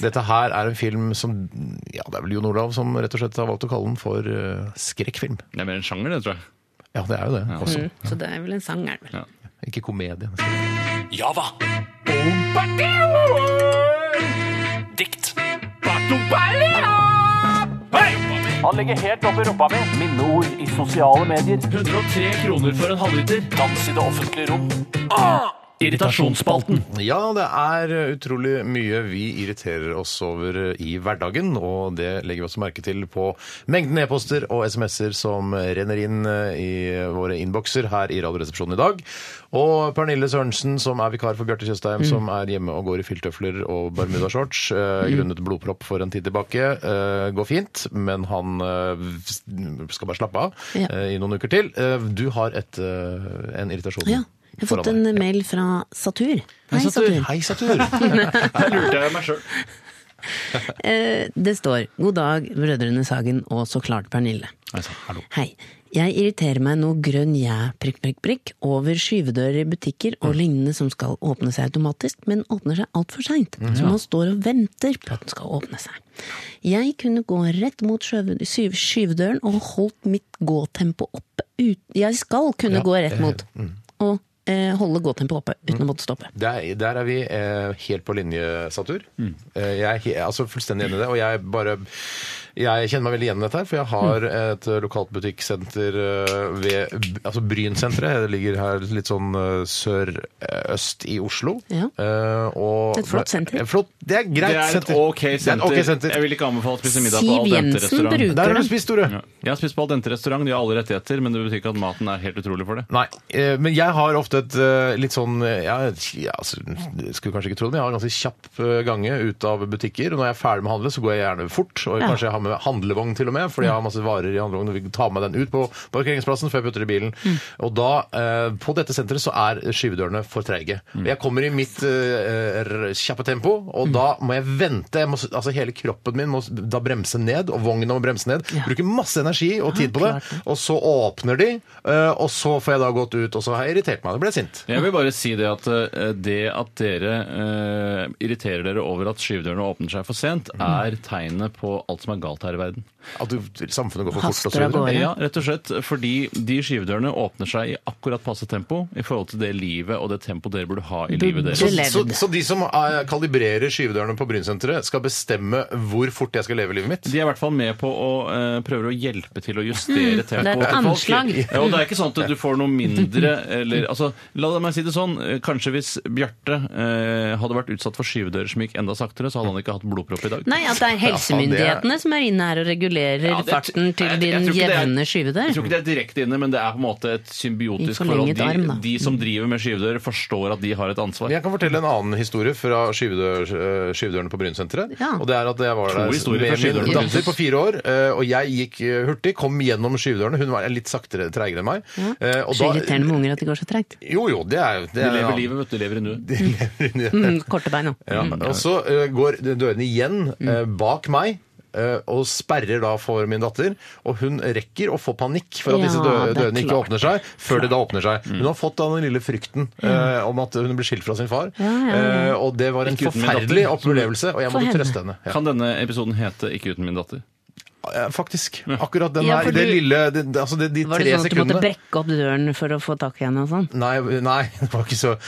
Speaker 7: Dette her er en film som Ja, det er vel Jon Olav som rett og slett har valgt å kalle den for eh, skrekkfilm.
Speaker 9: Det er mer en sjanger, det, tror jeg. [laughs]
Speaker 7: Ja, det er jo det. Også.
Speaker 3: Mm, så det er vel en sang, er det vel.
Speaker 7: Ikke komedie.
Speaker 6: Java. Dikt.
Speaker 11: Han legger helt opp i rumpa mi. Minneord i sosiale medier.
Speaker 6: 103 kroner for en halvliter.
Speaker 11: Dans i det offentlige rom.
Speaker 6: Ah! Irritasjonsspalten.
Speaker 7: Ja, det er utrolig mye vi irriterer oss over eh, i hverdagen, og det legger vi også merke til på mengden e-poster og SMS-er som renner inn eh, i våre innbokser her i Radioresepsjonen i dag. Og Pernille Sørensen, som er vikar for Bjarte
Speaker 3: Mm.
Speaker 7: Tjøstheim, som er hjemme og går i filttøfler og bermudashorts eh,
Speaker 3: Mm.
Speaker 7: grunnet blodpropp for en tid tilbake, eh, går fint, men han eh, skal bare slappe av
Speaker 3: Ja.
Speaker 7: eh, i noen uker til. Eh, Du har et, eh, en irritasjon.
Speaker 3: Ja. Jeg har fått
Speaker 7: foran
Speaker 3: en eh,
Speaker 7: deg.
Speaker 3: mail fra Satur. Hei,
Speaker 7: Hei, Satur!
Speaker 3: [laughs]
Speaker 9: Der lurte jeg meg sjøl.
Speaker 3: Eh, Det står 'God dag, Brødrene Sagen og så klart Pernille'. Hei. Jeg irriterer meg noe grønn jæ prikk, prikk, prikk over skyvedører i butikker
Speaker 9: Mm.
Speaker 3: og lignende som skal åpne seg automatisk, men åpner seg altfor seint.
Speaker 9: Mm,
Speaker 3: Så man står og venter på at den skal åpne seg. Jeg kunne gå rett mot sjøve- syv- skyvedøren og holdt mitt gåtempo oppe. Ut. Jeg skal kunne gå rett mot
Speaker 9: mm.
Speaker 3: og eh, holde gåtempoet oppe uten å måtte stoppe.
Speaker 7: Der, der er vi eh, helt på linje, Satur.
Speaker 9: Mm.
Speaker 7: Eh, jeg er he altså fullstendig enig i det. Og jeg bare Jeg kjenner meg veldig igjen i dette, her, for jeg har
Speaker 9: Mm.
Speaker 7: et eh, lokalt butikksenter eh, ved B- altså Brynsenteret. Det ligger her litt sånn eh, sør-øst i Oslo.
Speaker 3: Ja.
Speaker 7: Eh, og,
Speaker 3: Et flott senter.
Speaker 7: Eh, Flott, det er
Speaker 9: Det
Speaker 7: greit
Speaker 9: er et
Speaker 7: senter.
Speaker 9: ok
Speaker 7: Det er et
Speaker 9: senter.
Speaker 7: ok senter.
Speaker 9: Jeg vil ikke anbefale å spise middag på
Speaker 3: Siv
Speaker 9: Al
Speaker 3: Jensen
Speaker 9: Dente-restaurant.
Speaker 3: bruker
Speaker 7: Der har
Speaker 3: det.
Speaker 7: du spist, Tore.
Speaker 9: Ja. Jeg har spist på Al Dente-restaurant, de har alle rettigheter, men det betyr ikke at maten er helt utrolig for det.
Speaker 7: Nei, eh, men jeg har ofte et eh, litt sånn eh, ja, ja, altså, jeg Skulle kanskje ikke tro det, men jeg har en ganske kjapp eh, gange ut av butikker. Og når jeg er ferdig med å handle, så går jeg gjerne fort. Og kanskje jeg har med handlevogn til og med, fordi jeg har masse varer i handlevogn og vil ta med den ut på parkeringsplassen før jeg putter i bilen. Og da, eh, på dette senteret, så er skyvedørene for treige. Og Jeg kommer i mitt eh, r- kjappe tempo, og da må jeg vente. Jeg må, s- altså hele kroppen min må s- da bremse ned, og vogna må bremse ned. Bruker masse energi og tid på det.
Speaker 3: Ah, klart det.
Speaker 7: Og så åpner de, eh, og så får jeg da gått ut, og så har jeg irritert meg. ble sint.
Speaker 9: Jeg vil bare si det at eh, det at dere eh, irriterer dere over at skyvedørene åpner seg for sent,
Speaker 7: Mm.
Speaker 9: er tegnet på alt som er galt her i verden.
Speaker 7: At du, samfunnet går for fort.
Speaker 3: Haster
Speaker 7: og så
Speaker 3: av
Speaker 7: videre.
Speaker 3: gårde.
Speaker 9: Ja, rett og slett fordi de skyvedørene åpner seg i akkurat passe tempo i forhold til det livet og det tempo dere burde ha i livet
Speaker 3: Så-
Speaker 9: deres.
Speaker 3: levd.
Speaker 7: Så, så de som eh, kalibrerer skyvedørene på Brynsenteret, skal bestemme hvor fort jeg skal leve livet mitt?
Speaker 9: De er i hvert fall med på å eh, prøver å hjelpe til å justere
Speaker 3: Mm. et
Speaker 9: tempoet. til folk.
Speaker 3: anslag.
Speaker 9: Ja, og det er ikke sånn at du får noe mindre eller altså, La meg si det sånn. eh, Kanskje hvis Bjarte eh, hadde vært utsatt for skyvedører som gikk enda saktere, så hadde han ikke hatt blodpropp i dag.
Speaker 3: Nei, at det er helsemyndighetene som er inne her og regulerer
Speaker 9: Ja, det-
Speaker 3: farten til
Speaker 9: jeg- jeg
Speaker 3: din
Speaker 9: tror ikke det er-
Speaker 3: jevne skyvedør.
Speaker 9: Jeg tror ikke det er direkte inne, men det er på en måte et
Speaker 3: I
Speaker 9: symbiotisk
Speaker 3: forlenget
Speaker 9: forhold. De,
Speaker 3: arm, da.
Speaker 9: de som driver med skyvedører, forstår at de har et ansvar.
Speaker 7: Men Jeg kan fortelle en annen historie fra skyvedør, eh, skyvedørene på Brynsenteret.
Speaker 3: Ja.
Speaker 7: Og det er at jeg var der
Speaker 9: historier fra
Speaker 7: med
Speaker 9: skyvedørene
Speaker 7: min
Speaker 9: på
Speaker 7: datter på fire år, eh, og jeg gikk eh, hurtig, kom gjennom skyvedørene. Hun var litt saktere, treigere enn meg. Eh, og
Speaker 3: Så
Speaker 7: da-
Speaker 3: irriterende med unger at det går så tregt.
Speaker 7: Jo, jo, det er jo det
Speaker 9: De
Speaker 7: er-
Speaker 9: lever
Speaker 7: [laughs]
Speaker 9: livet, vet du. De lever i nuet.
Speaker 3: Mm, Mm. korte bein, ja.
Speaker 7: Ja. Og så eh, går dørene igjen eh, bak meg. eh, og sperrer da for min datter. Og hun rekker å få panikk for at
Speaker 3: Ja,
Speaker 7: disse dø
Speaker 3: det er
Speaker 7: dørene ikke
Speaker 3: klart. Mm.
Speaker 7: åpner seg, før det da åpner seg. Hun har fått da den lille frykten eh, om at hun blir skilt fra sin far.
Speaker 3: Ja, ja, ja.
Speaker 7: Eh, og det var en
Speaker 9: Ikke uten min
Speaker 7: forferdelig
Speaker 9: datter.
Speaker 7: opplevelse, og jeg
Speaker 3: For
Speaker 7: måtte
Speaker 3: henne.
Speaker 7: trøste henne. Ja.
Speaker 9: Kan denne episoden hete 'Ikke uten min datter'?
Speaker 7: Eh, Faktisk. Akkurat den
Speaker 3: Ja,
Speaker 7: her,
Speaker 3: for
Speaker 7: det
Speaker 3: du-
Speaker 7: lille det, det- Altså det, de
Speaker 3: Var det
Speaker 7: tre
Speaker 3: sånn at du måtte
Speaker 7: sekundene.
Speaker 3: brekke opp døren for å få tak i henne og sånn?
Speaker 7: Nei, nei, [laughs] det var ikke så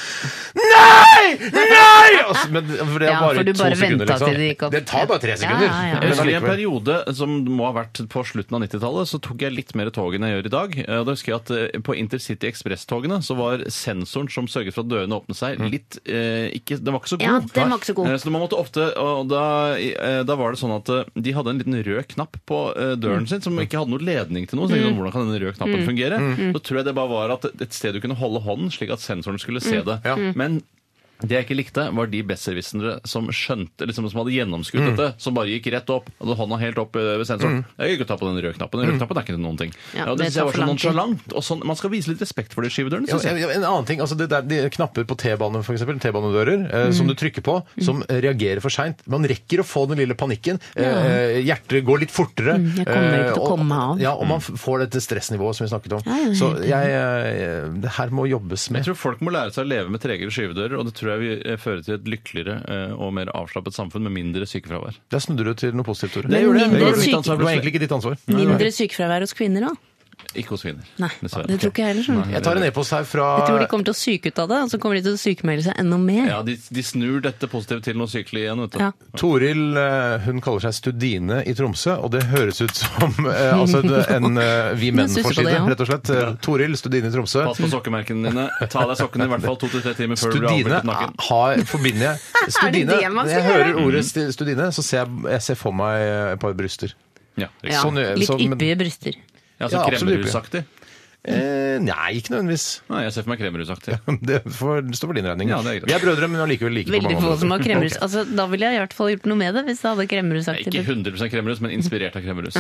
Speaker 7: Nei! Nei! Altså, men, for det er
Speaker 3: Ja,
Speaker 7: bare
Speaker 3: for du
Speaker 7: to
Speaker 3: bare
Speaker 7: sekunder,
Speaker 3: ventet
Speaker 7: liksom.
Speaker 3: til det gikk opp.
Speaker 7: tar bare tre
Speaker 3: Ja,
Speaker 7: sekunder.
Speaker 3: ja, ja.
Speaker 9: Jeg
Speaker 7: Men
Speaker 9: husker I en
Speaker 7: allikevel.
Speaker 9: periode som må ha vært på slutten av 90-tallet, så tok jeg litt mer tog enn jeg gjør i dag. Eh, Og da husker jeg at eh, På Intercity Express-togene så var sensoren som sørget for at dørene åpnet seg, litt eh, ikke, Den var ikke så
Speaker 3: Ja,
Speaker 9: god.
Speaker 3: den var ikke så god.
Speaker 9: Eh, Så man måtte ofte, og da, eh, da var det sånn at eh, de hadde en liten rød knapp på eh,
Speaker 3: Mm.
Speaker 9: døren sin som ikke hadde noe ledning til noe. Så tenkte jeg, sånn, hvordan kan denne røde knappen fungere?
Speaker 3: Mm.
Speaker 9: Så tror jeg det bare var at et sted du kunne holde hånden, slik at sensoren skulle se
Speaker 3: Mm.
Speaker 9: det.
Speaker 7: Ja.
Speaker 9: Men det jeg ikke likte, var de besserwissere som skjønte, liksom, som hadde gjennomskutt
Speaker 3: Mm.
Speaker 9: dette, som bare gikk rett opp, hadde hånda helt opp eh, ved sensoren. Jeg gikk ikke ta på den røde knappen. Den røde knappen er ikke til noen ting.
Speaker 3: Mm. Ja,
Speaker 9: Ja, og
Speaker 3: det
Speaker 9: det synes jeg
Speaker 3: tar
Speaker 9: var
Speaker 3: for
Speaker 9: så
Speaker 3: lang tid.
Speaker 9: nonchalant. Og sånn, man skal vise litt respekt for de skyvedørene,
Speaker 7: Ja,
Speaker 9: synes jeg.
Speaker 7: ja, en annen ting, altså det der, de knapper på T-banen for eksempel, T-banedører, eh,
Speaker 3: Mm.
Speaker 7: som du trykker på, som reagerer for seint. Man rekker å få den lille panikken. Eh, hjertet går litt fortere.
Speaker 3: Mm, jeg kommer ikke til å
Speaker 7: eh, og-
Speaker 3: komme meg av.
Speaker 7: Ja, og man f- får dette stressnivået som vi snakket om.
Speaker 3: Ja, ja,
Speaker 7: Så
Speaker 3: helt
Speaker 7: jeg, eh, det her må jobbes
Speaker 9: Jeg
Speaker 7: med.
Speaker 9: tror folk må lære seg å leve med tregere skyvedører, og det tror jeg vil eh, føre til et lykkeligere eh, og mer avslappet samfunn med mindre sykefravær.
Speaker 7: Der snudde du til noe positivt, Tore.
Speaker 3: Men gjorde jeg. mindre Mm.
Speaker 7: Det gjorde du.
Speaker 3: syk-
Speaker 7: Det var egentlig ikke ditt ansvar.
Speaker 3: Mindre sykefravær hos kvinner òg?
Speaker 9: Ikke hos kvinner.
Speaker 3: Nei,
Speaker 9: dessverre.
Speaker 3: det tror ikke jeg heller. skjønner du.
Speaker 7: Jeg tar en e-post her fra
Speaker 3: Jeg tror de kommer til å syke ut av det, og så kommer de til å sykemelde seg enda mer.
Speaker 9: Ja, de, de snur dette positivt til noe sykelig igjen, vet du.
Speaker 3: Ja.
Speaker 7: Toril eh, hun kaller seg Studine i Tromsø, og det høres ut som eh, altså et- en eh,
Speaker 3: [laughs]
Speaker 7: Vi
Speaker 3: Jeg stusser på
Speaker 7: menn-forside,
Speaker 3: det, ja.
Speaker 7: rett og slett. Eh, Toril, Studine i Tromsø.
Speaker 9: Pass på sokkemerkene dine. Ta av deg sokkene i hvert fall to til tre timer før du blir
Speaker 7: Studine
Speaker 9: avbildet naken.
Speaker 7: [laughs] har, forbinder
Speaker 3: [laughs]
Speaker 7: jeg Studine,
Speaker 3: det man
Speaker 7: Når
Speaker 3: skal
Speaker 7: jeg
Speaker 3: gjøre?
Speaker 7: hører ordet sti- studine, så ser jeg, jeg ser for meg eh, et par bryster.
Speaker 9: Ja, riktig. sånn
Speaker 3: Ja,
Speaker 7: Sånn gjør-
Speaker 3: litt
Speaker 7: sånn, men-
Speaker 3: yppige bryster.
Speaker 9: Ja, så
Speaker 7: Ja, absolutt.
Speaker 9: kremmerhusaktig.
Speaker 7: Eh, nei, ikke nødvendigvis. [laughs]
Speaker 9: Nei, jeg ser for meg kremmerhusaktig.
Speaker 7: Det får stå for din regning.
Speaker 9: Ja, det er greit.
Speaker 7: Vi er brødre, men allikevel like
Speaker 3: Veldig få
Speaker 7: på mange
Speaker 3: som har kremmerhus. Altså, da ville jeg i hvert fall gjort noe med det, hvis jeg hadde
Speaker 9: Ikke
Speaker 3: kremmerhusaktig.
Speaker 9: 100 kremmerhus, men inspirert av
Speaker 3: [laughs]
Speaker 9: kremmerhus.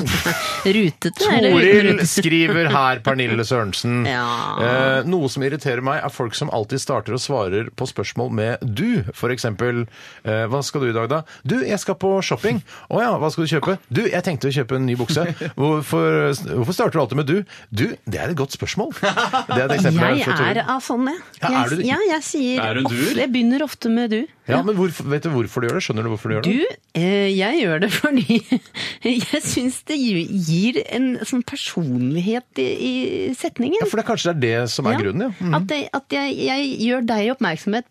Speaker 3: Rutete eller uten [laughs]
Speaker 7: Toril
Speaker 3: rutete?
Speaker 7: skriver her, Pernille Sørensen.
Speaker 3: Ja.
Speaker 7: Eh, noe som irriterer meg, er folk som alltid starter og svarer på spørsmål med du. For eksempel, eh, hva skal du i dag, da? Du, jeg skal på shopping. Å ja, hva skal du kjøpe? Du, jeg tenkte å kjøpe en ny bukse. Hvorfor, hvorfor starter du alltid med du? Du, det er et godt spørsmål. Det er et eksempel her
Speaker 3: Jeg
Speaker 7: fra Toril.
Speaker 3: er av sånn, jeg.
Speaker 7: Ja, er du
Speaker 3: Jeg,
Speaker 7: det?
Speaker 3: ja, jeg sier
Speaker 9: Er du en duer?
Speaker 3: ofte Jeg begynner ofte med du.
Speaker 7: Ja, men hvorfor, vet du hvorfor du gjør det? Skjønner du hvorfor du gjør det?
Speaker 3: Du, eh, jeg gjør det fordi [laughs] jeg syns det gi- gir en sånn personlighet i, i setningen.
Speaker 7: Ja, for det er kanskje det er det som er
Speaker 3: Ja.
Speaker 7: grunnen, ja. Mm.
Speaker 3: At, det, at jeg, jeg gjør deg oppmerksomhet,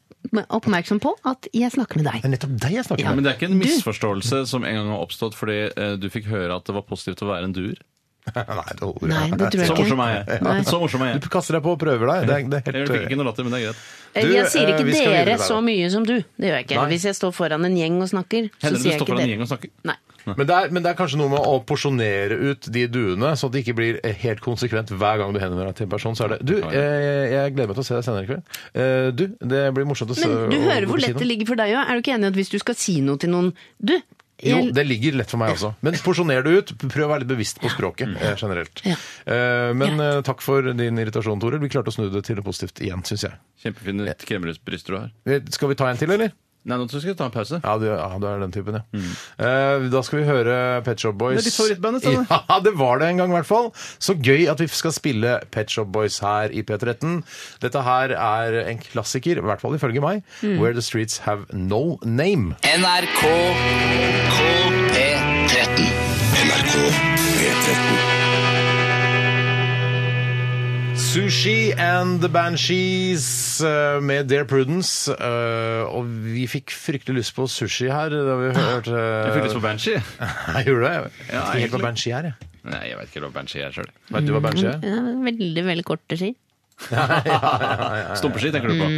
Speaker 3: oppmerksom på at jeg snakker med
Speaker 7: Det
Speaker 3: deg.
Speaker 7: er nettopp deg jeg snakker
Speaker 9: Ja,
Speaker 7: med.
Speaker 9: men det er ikke en misforståelse som en gang har oppstått fordi eh, du fikk høre at det var positivt å være en duer.
Speaker 7: [laughs] Nei, det holder.
Speaker 3: Nei, det tror jeg
Speaker 9: Så
Speaker 3: ikke.
Speaker 9: morsom er
Speaker 3: Nei.
Speaker 9: jeg. Så morsom er
Speaker 7: Du
Speaker 9: jeg.
Speaker 7: kaster deg på og prøver deg. Det er, det er
Speaker 9: Jeg
Speaker 7: helt
Speaker 9: fikk ikke noe latter, men det er greit.
Speaker 3: Eh,
Speaker 7: Du,
Speaker 3: jeg sier
Speaker 7: eh,
Speaker 3: ikke
Speaker 7: vi skal videre
Speaker 3: dere
Speaker 7: der, da.
Speaker 3: så mye som du. Det gjør jeg ikke.
Speaker 7: Nei.
Speaker 3: Hvis jeg står foran en gjeng og snakker, så
Speaker 9: Hender det
Speaker 3: sier
Speaker 9: du
Speaker 3: jeg
Speaker 9: står
Speaker 3: ikke
Speaker 9: foran en gjeng
Speaker 3: dere.
Speaker 9: og snakker?
Speaker 3: Nei.
Speaker 7: Men det, er, men det er kanskje noe med å porsjonere ut de duene, sånn at det ikke blir helt konsekvent hver gang du henvender deg til en person. Så er det Du, eh, jeg gleder meg til å se deg senere i kveld. Eh, du, det blir morsomt å se
Speaker 3: Men du
Speaker 7: å-
Speaker 3: hører hvor
Speaker 7: å si
Speaker 3: lett
Speaker 7: noe.
Speaker 3: det ligger for deg òg. Er du ikke enig i at hvis du skal si noe til noen Du!
Speaker 7: Jo,
Speaker 3: jeg-
Speaker 7: det ligger lett for meg også. Men porsjoner det ut. Prøv å være litt bevisst på språket eh, generelt.
Speaker 3: Mm. Ja.
Speaker 7: Eh, men eh, takk for din irritasjon, Toril. Vi klarte å snu det til noe positivt igjen, syns jeg.
Speaker 9: Kjempefine kremmerhusbryster du har.
Speaker 7: Eh, Skal vi ta en til, eller?
Speaker 9: Nei, nå skal vi ta en pause.
Speaker 7: Ja, du, ja, du er den typen, ja.
Speaker 9: Mm.
Speaker 7: Eh, da skal vi høre Pet Shop Boys.
Speaker 9: Det er ditt favorittband, dette, da.
Speaker 7: [laughs] Ja, det var det en gang, i hvert fall. Så gøy at vi skal spille Pet Shop Boys her i P13. Dette her er en klassiker, i hvert fall ifølge meg,
Speaker 9: Mm.
Speaker 7: Where the Streets Have No Name.
Speaker 2: NRK P13.
Speaker 12: NRK P13.
Speaker 7: Sushi and the Banshees eh, med Dear Prudence. Eh, og vi fikk fryktelig lyst på sushi her da vi hørte
Speaker 9: Ah, Jeg fikk lyst på Banshee.
Speaker 7: [laughs] Jeg gjorde det. Jeg vet
Speaker 9: Ja,
Speaker 7: ikke helt hva
Speaker 9: egentlig.
Speaker 7: Banshee er, jeg.
Speaker 9: Nei, jeg vet ikke hva Banshee er sjøl.
Speaker 7: Vet du hva Banshee er?
Speaker 3: Ja, veldig, veldig korte ski.
Speaker 9: Stumpeski tenker du
Speaker 3: Mm.
Speaker 9: på. Ja.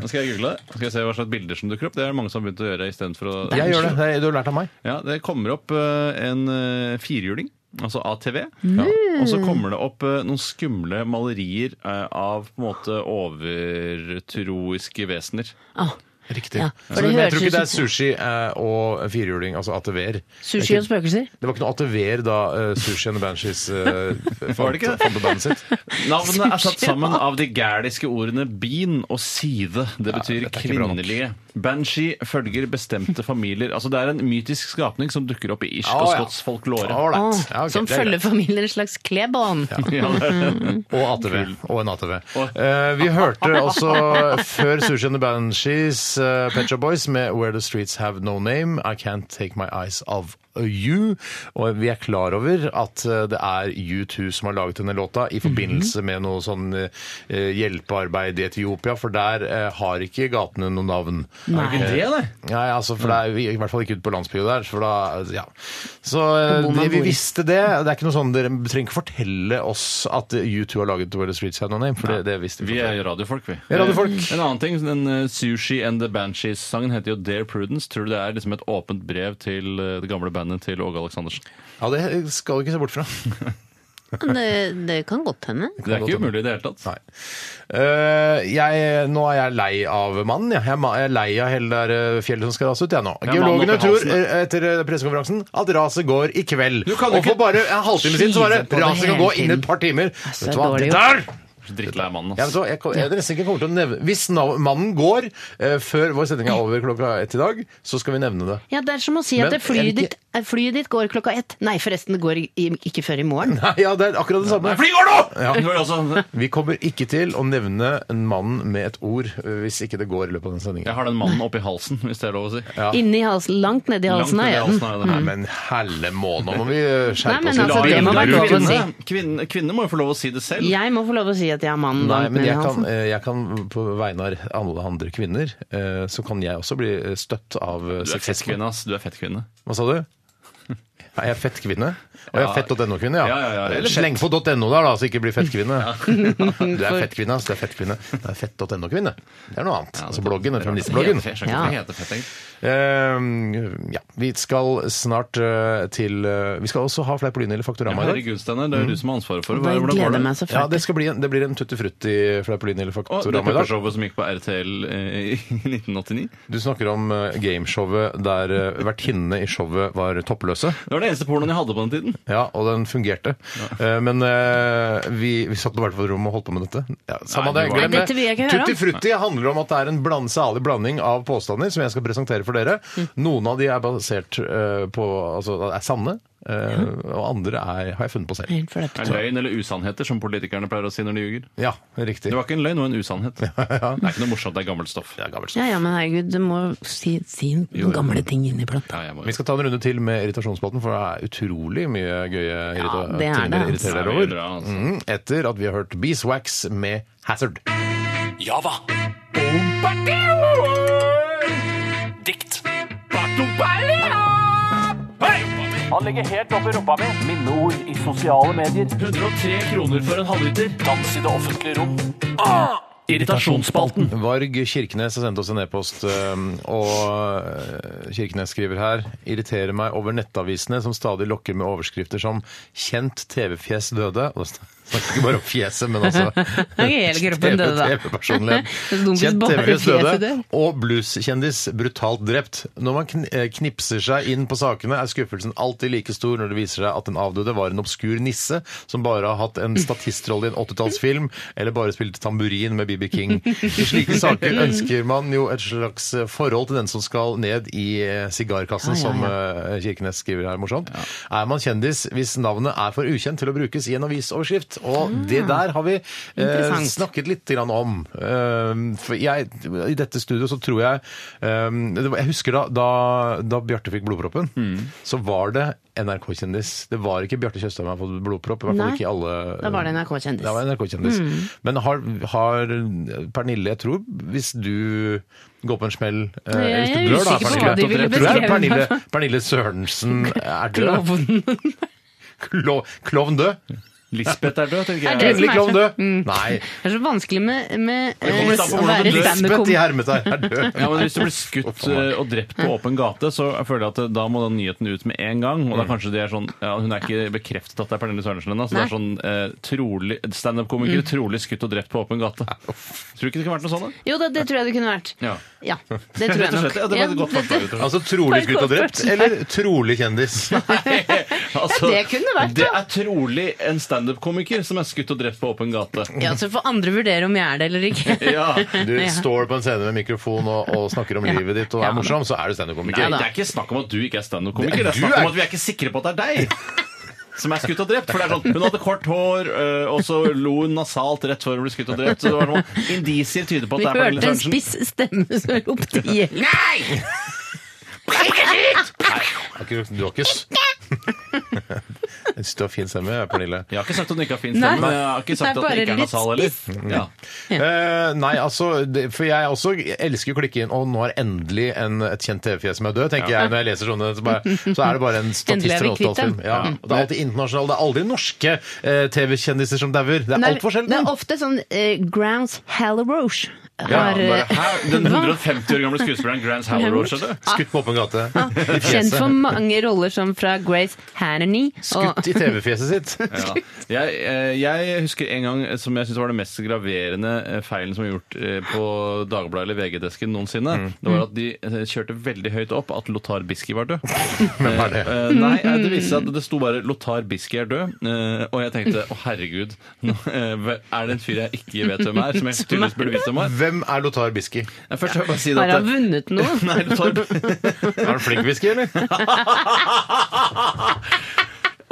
Speaker 9: Nå skal jeg google det. Nå skal jeg se hva slags bilder som dukker opp. Det er det mange som har begynt å gjøre istedenfor å
Speaker 7: Jeg gjør det. det. Du har lært av meg.
Speaker 9: Ja, det kommer opp eh, en eh, firhjuling, altså ATV.
Speaker 3: Mm.
Speaker 9: Og så kommer det opp eh, noen skumle malerier eh, av på en måte overtroiske vesener.
Speaker 3: Ah,
Speaker 7: Riktig.
Speaker 3: Ja,
Speaker 7: Så,
Speaker 3: for det
Speaker 7: men jeg
Speaker 3: høres
Speaker 7: tror ikke
Speaker 3: ut
Speaker 7: det er sushi eh, og firhjuling, altså ATV-er.
Speaker 3: sushi og
Speaker 7: Det er ikke-
Speaker 3: spøkelser.
Speaker 7: det var ikke noe ATV-er da eh, Sushi and the Banshees eh,
Speaker 9: [laughs] Var det ikke
Speaker 7: fant,
Speaker 9: det?
Speaker 7: fant på bandet sitt.
Speaker 9: Navnet er satt sammen av de gæliske ordene bin og side. Det betyr
Speaker 7: dette er ikke bra nok.
Speaker 9: kvinnelige. Banshee følger bestemte familier. Altså Det er en mytisk skapning som dukker opp i irsk
Speaker 7: Å,
Speaker 9: og
Speaker 7: ja.
Speaker 9: skotsk folklore.
Speaker 7: All right.
Speaker 3: Ah,
Speaker 7: Ja, ok,
Speaker 3: som
Speaker 7: det er greit.
Speaker 3: følger familien en slags klebånd.
Speaker 9: Ja, det er det.
Speaker 7: Og ATV. Og en ATV.
Speaker 9: Og-
Speaker 7: Eh, vi hørte også før Sushi and the Banshees uh, Pet Shop Boys med Where the Streets Have No Name, I Can't Take My Eyes Of You. Og vi er klar over at eh, det er U2 som har laget denne låta i forbindelse med noe sånn eh, hjelpearbeid i Etiopia, for der eh, har ikke gatene noe navn.
Speaker 3: Nei.
Speaker 9: Det, nei.
Speaker 7: Nei, altså, for det er vi- i hvert fall ikke ute på landsbyen der. For da, ja. Så eh,
Speaker 3: bor man
Speaker 7: det, vi
Speaker 3: hvor?
Speaker 7: visste det. Det er ikke noe sånn, Dere trenger ikke fortelle oss at U2 har laget Where the Streets Have No Name, for det, det visste vi.
Speaker 9: Vi
Speaker 7: fra før.
Speaker 9: er radiofolk, vi.
Speaker 7: er radiofolk.
Speaker 9: Eh, En annen ting, den eh, Sushi and the Banshees-sangen heter jo Dear Prudence. Tror du det er liksom et åpent brev til eh, det gamle bandet til Åge Aleksandersen?
Speaker 7: Ja, det skal du ikke se bort fra.
Speaker 3: Men Det, det kan godt hende.
Speaker 9: Det er ikke umulig i det hele tatt.
Speaker 7: Nei. Eh, jeg, nå er jeg lei av mannen. Jeg, jeg er ma- jeg er lei av hele det der, eh, fjellet som skal rase ut. Jeg, nå.
Speaker 9: Ja, mannen
Speaker 7: Geologene
Speaker 9: oppi
Speaker 7: tror
Speaker 9: halsen.
Speaker 7: eh, etter eh, pressekonferansen at raset går i kveld.
Speaker 9: Du kan jo
Speaker 7: Og for
Speaker 9: ikke
Speaker 7: bare en halvtime siden så var det
Speaker 3: skyve på det
Speaker 7: raset kan
Speaker 3: hele
Speaker 7: gå innen
Speaker 3: tiden.
Speaker 7: et par timer.
Speaker 3: så
Speaker 7: Vet du hva?
Speaker 3: dårlig
Speaker 7: Det
Speaker 3: gjort.
Speaker 7: der
Speaker 9: Så Drittlei mannen, altså.
Speaker 7: Jeg, vet
Speaker 9: ass.
Speaker 7: hva, jeg, kom- jeg nesten ikke kommer til å nevne Hvis nav- mannen går eh, før vår sending er over klokka ett i dag, så skal vi nevne det. [laughs]
Speaker 3: Ja, Det er som å si at
Speaker 7: Men
Speaker 3: det flyet,
Speaker 7: er det
Speaker 3: ditt, eh, flyet ditt går klokka ett. Nei, forresten, det går i, ikke før i morgen.
Speaker 7: Nei, ja, det er akkurat det samme.
Speaker 9: Fly går nå!
Speaker 7: Ja.
Speaker 9: Nå er det altså-
Speaker 7: Vi kommer ikke til å nevne en mann med et ord eh, hvis ikke det går i løpet av den
Speaker 9: Jeg
Speaker 7: sendingen.
Speaker 9: har den mannen oppi halsen, hvis det er lov å si.
Speaker 7: Ja.
Speaker 3: Inni halsen, langt nedi halsen av
Speaker 9: ned i
Speaker 3: øynene.
Speaker 9: halsen er det
Speaker 7: Nei,
Speaker 9: her.
Speaker 7: men helle måne, må vi eh,
Speaker 3: Nei,
Speaker 7: skjerpe
Speaker 3: men
Speaker 7: oss
Speaker 3: altså,
Speaker 7: litt.
Speaker 3: det må være lov å si.
Speaker 9: Kvinner- Kvinner, kvinner må jo få lov å si det selv.
Speaker 3: Jeg må få lov å si at jeg har mannen
Speaker 7: Nei,
Speaker 3: bak meg
Speaker 7: men
Speaker 3: i
Speaker 7: jeg kan,
Speaker 3: halsen.
Speaker 7: eh, jeg kan på vegne av alle andre kvinner, eh, så kan jeg også bli eh, støtt av eh,
Speaker 9: Du er
Speaker 7: sexisme.
Speaker 9: fettkvinne, ass. Du er fettkvinne.
Speaker 7: Hva sa du? Er jeg fettkvinne? Og jeg er
Speaker 9: Ja.
Speaker 7: fett.no-kvinne, ja.
Speaker 9: Ja, ja, ja. Eller
Speaker 7: Sleng på .no der, da, så ikke blir fettkvinne.
Speaker 9: [laughs]
Speaker 7: Du er fettkvinne, ass. Du er fettkvinne. Du er fett.no-kvinne. Det er noe annet. Altså bloggen, den feministbloggen.
Speaker 9: Jeg skjønner ikke hva det heter, fett, egentlig.
Speaker 7: Eh, ja. Vi skal snart eh, til eh, Vi skal også ha Fleipolini eller
Speaker 9: Ja,
Speaker 7: Faktorama i dag.
Speaker 9: Herregud, Steinar,
Speaker 7: Mm.
Speaker 9: det er jo du som har ansvaret for det.
Speaker 3: Da
Speaker 9: Hvordan går
Speaker 3: gleder jeg
Speaker 9: det?
Speaker 3: meg så
Speaker 7: Ja, det,
Speaker 3: fælt.
Speaker 7: skal bli en, det blir en tutti frutti Fleipolini eller
Speaker 9: Og det
Speaker 7: Faktorama i dag.
Speaker 9: peppershowet som gikk på RTL eh, i 1989.
Speaker 7: Du snakker om eh, gameshowet der eh, vertinnene i showet var toppløse.
Speaker 9: Det var det eneste pornoen jeg hadde på den tiden.
Speaker 7: Ja, og den fungerte. Eh, Men eh, vi, vi satt på hvert vårt rom og holdt på med dette. Ja, samme
Speaker 9: Nei, det
Speaker 7: det,
Speaker 9: var-
Speaker 3: Nei,
Speaker 7: glem det.
Speaker 3: dette vil jeg ikke høre om.
Speaker 7: Tutti frutti handler om at det er en bland, salig blanding av påstander som jeg skal presentere for dere.
Speaker 3: Mm.
Speaker 7: Noen av de er basert eh, på Altså er sanne, eh, og andre er, har jeg funnet på selv.
Speaker 3: Mm. Helt for dette.
Speaker 9: Er Løgn eller usannheter, som politikerne pleier å si når de ljuger.
Speaker 7: Ja, riktig.
Speaker 9: Det var ikke en løgn, det var en
Speaker 7: [laughs]
Speaker 9: usannhet. Det er ikke noe morsomt, det er gammelt stoff.
Speaker 7: Det er gammelt.
Speaker 3: Ja ja, men herregud, du må si, si gamle ting inniblant.
Speaker 9: Ja, jeg må...
Speaker 7: Vi skal ta en runde til med irritasjonsspalten, for det er utrolig mye gøye irrita
Speaker 3: Ja, det er
Speaker 7: ting
Speaker 3: det,
Speaker 7: dere
Speaker 3: altså.
Speaker 7: irriterer
Speaker 9: Det
Speaker 7: dere
Speaker 9: er
Speaker 7: over.
Speaker 9: veldig bra, altså.
Speaker 7: Mm, etter at vi har hørt Beeswax med Hazard.
Speaker 6: Java. Dikt.
Speaker 11: Han legger helt opp i rumpa mi. Minneord i sosiale medier.
Speaker 6: 103 kroner for en halvliter. Ah!
Speaker 11: Dans i det offentlige rom.
Speaker 6: Irritasjonsspalten.
Speaker 7: Varg Kirkenes har sendt oss en e-post, um, og uh, Kirkenes skriver her irriterer meg over nettavisene som stadig lokker med overskrifter som 'Kjent TV-fjes døde'. Og det Snakker ikke bare om fjeset, men altså
Speaker 3: [laughs] Ok, hele kroppen døde,
Speaker 7: [laughs]
Speaker 3: da. [laughs]
Speaker 7: TV-personlighet.
Speaker 3: Det er så dumt hvis
Speaker 7: Kjent
Speaker 3: bare
Speaker 7: TV-kjendis
Speaker 3: fjeset
Speaker 7: døde,
Speaker 3: dør.
Speaker 7: og blueskjendis brutalt drept. Når man kn- eh, knipser seg inn på sakene, er skuffelsen alltid like stor når det viser seg at den avdøde var en obskur nisse som bare har hatt en statistrolle i en 80-tallsfilm, eller bare spilte tamburin med BB King. I slike saker ønsker man jo et slags eh, forhold til den som skal ned i eh, sigarkassen,
Speaker 3: Ja, ja,
Speaker 7: som
Speaker 3: ja.
Speaker 7: eh, Kirkenes skriver her, morsomt. Er man kjendis hvis navnet er for ukjent til å brukes i en avisoverskrift? Og det der har vi eh,
Speaker 3: Ah. Interessant.
Speaker 7: snakket litt grann om. Eh, for jeg, I dette studioet så tror jeg eh, det var- Jeg husker da, da, da Bjarte fikk blodproppen,
Speaker 3: Mm.
Speaker 7: så var det NRK-kjendis. Det var ikke Bjarte Tjøstheim som hadde fått blodpropp. I hvert fall
Speaker 3: Nei.
Speaker 7: ikke i alle
Speaker 3: Da var det NRK-kjendis. Mm.
Speaker 7: Da var det NRK-kjendis. Men har, har Pernille, jeg tror hvis du går på en smell eh,
Speaker 3: Jeg
Speaker 7: hvis du
Speaker 3: er
Speaker 7: blør, da,
Speaker 3: usikker på
Speaker 7: Pernille,
Speaker 3: hva de ville
Speaker 7: tror
Speaker 3: beskrevet
Speaker 7: jeg
Speaker 3: meg
Speaker 7: Pernille,
Speaker 3: som.
Speaker 7: Pernille Sørensen er død.
Speaker 3: Klovnen.
Speaker 7: Klo, klovn død?
Speaker 9: Lisbeth er død, tenker
Speaker 3: Er
Speaker 9: jeg.
Speaker 3: det-
Speaker 7: Endelig klovn død!
Speaker 3: Mm.
Speaker 7: Nei.
Speaker 3: Det er så vanskelig med, med
Speaker 9: Det kommer litt an
Speaker 3: eh, å
Speaker 9: på hvordan
Speaker 3: være
Speaker 7: Lisbeth
Speaker 9: du dør.
Speaker 7: i
Speaker 3: standup-komiker.
Speaker 7: Hermetegn er død.
Speaker 9: Ja, men Hvis du blir skutt eh, og drept på åpen gate, så føler jeg at eh, da må den nyheten ut med en gang. Og da kanskje det er sånn, ja, Hun er ikke bekreftet at det er Pernille Sørensen ennå, så det er sånn eh, trolig, standup-komiker
Speaker 3: Mm.
Speaker 9: trolig skutt og drept på åpen gate. Tror du ikke det kunne vært noe sånt? da?
Speaker 3: Jo da, det tror jeg det kunne vært.
Speaker 9: Ja.
Speaker 3: Ja, det tror jeg
Speaker 9: Rett og
Speaker 3: nok.
Speaker 9: slett, ja, det var et
Speaker 3: Ja,
Speaker 9: godt forslag.
Speaker 3: [laughs]
Speaker 9: rett og slett.
Speaker 7: Altså trolig skutt og drept, eller trolig kjendis?
Speaker 9: Altså,
Speaker 3: det kunne vært,
Speaker 9: Det
Speaker 3: ja.
Speaker 9: er trolig en standup-komiker som er skutt og drept på åpen gate.
Speaker 3: Ja, så får andre vurdere om jeg er det eller ikke.
Speaker 9: Ja.
Speaker 7: Du står på en scene med mikrofon og, og snakker om
Speaker 3: Ja.
Speaker 7: livet ditt og
Speaker 3: Ja,
Speaker 7: er
Speaker 3: men-
Speaker 7: morsom, så er du standup-komiker.
Speaker 9: Nei, det er ikke snakk om at du ikke er standup-komiker.
Speaker 7: Det-
Speaker 9: Det er
Speaker 7: du
Speaker 9: snakk
Speaker 7: er-
Speaker 9: om at vi er ikke sikre på at det er deg. Som er skutt og drept. For det er sånn, Hun hadde kort hår, øh, og så lo hun nasalt rett før hun ble skutt og drept. Så det var noen indisier tyder på at
Speaker 3: Vi
Speaker 9: det er Pernille
Speaker 3: hørte en
Speaker 9: Sørensen.
Speaker 3: spiss stemme som ropte
Speaker 9: [laughs]
Speaker 3: hjelp.
Speaker 7: Har ikke- Du har ikke s- Jeg synes [laughs] du har fin stemme, Pernille.
Speaker 9: Jeg har ikke sagt at hun ikke har fin stemme,
Speaker 3: Nei.
Speaker 9: men øh, jeg har ikke sagt
Speaker 3: Nei,
Speaker 9: at den
Speaker 3: bare
Speaker 9: ikke er
Speaker 3: litt
Speaker 9: nasal heller. Ja.
Speaker 7: Eh, nei, altså, det, for jeg også elsker å klikke inn, og nå er endelig en, et kjent TV-fjes som er død, tenker jeg når jeg leser sånne, så,
Speaker 3: [laughs]
Speaker 7: bare, så er det bare en
Speaker 3: Endelig
Speaker 7: statist
Speaker 3: er
Speaker 7: fra
Speaker 3: vi kvitt
Speaker 7: 80-tallsfilm.
Speaker 3: dem.
Speaker 7: Ja, og det er alltid internasjonale, det er aldri norske eh, TV-kjendiser som dauer. Det er
Speaker 3: Nei,
Speaker 7: altfor
Speaker 3: Det
Speaker 7: sjelden.
Speaker 3: er ofte sånn eh, Grounds Halleroche
Speaker 7: Ja,
Speaker 3: har eh,
Speaker 7: bare,
Speaker 3: [laughs]
Speaker 9: Hæ? Den [laughs] 150 år gamle skuespilleren Grant Hallerow, skjønner du?
Speaker 7: Skutt på åpen gate. I
Speaker 3: Ah. Kjent for
Speaker 7: fjeset.
Speaker 3: mange roller som fra Grace Hannity og
Speaker 7: Skutt i TV-fjeset sitt.
Speaker 3: [laughs]
Speaker 9: Ja. Jeg, eh, jeg husker en gang eh, som jeg synes var det mest graverende eh, feilen som var gjort eh, på Dagbladet eller VG-desken noensinne.
Speaker 7: Mm.
Speaker 9: Det var at de eh, kjørte veldig høyt opp at Lothar Bisky var død.
Speaker 7: [laughs] Hvem er det?
Speaker 9: Eh, nei, eh, det viste seg at det sto bare 'Lothar Bisky er død'. eh, og jeg tenkte 'Å, herregud, nå, eh, er det en fyr jeg ikke vet hvem er?' Som jeg tydeligvis burde visst hvem
Speaker 3: [laughs]
Speaker 9: er.
Speaker 7: Hvem er Lothar Bisky?
Speaker 9: Jeg først vil jeg bare si det
Speaker 3: Har
Speaker 9: at
Speaker 3: han vunnet noe?
Speaker 9: [laughs] Nei, Lothar
Speaker 7: Er han flink whisky, eller?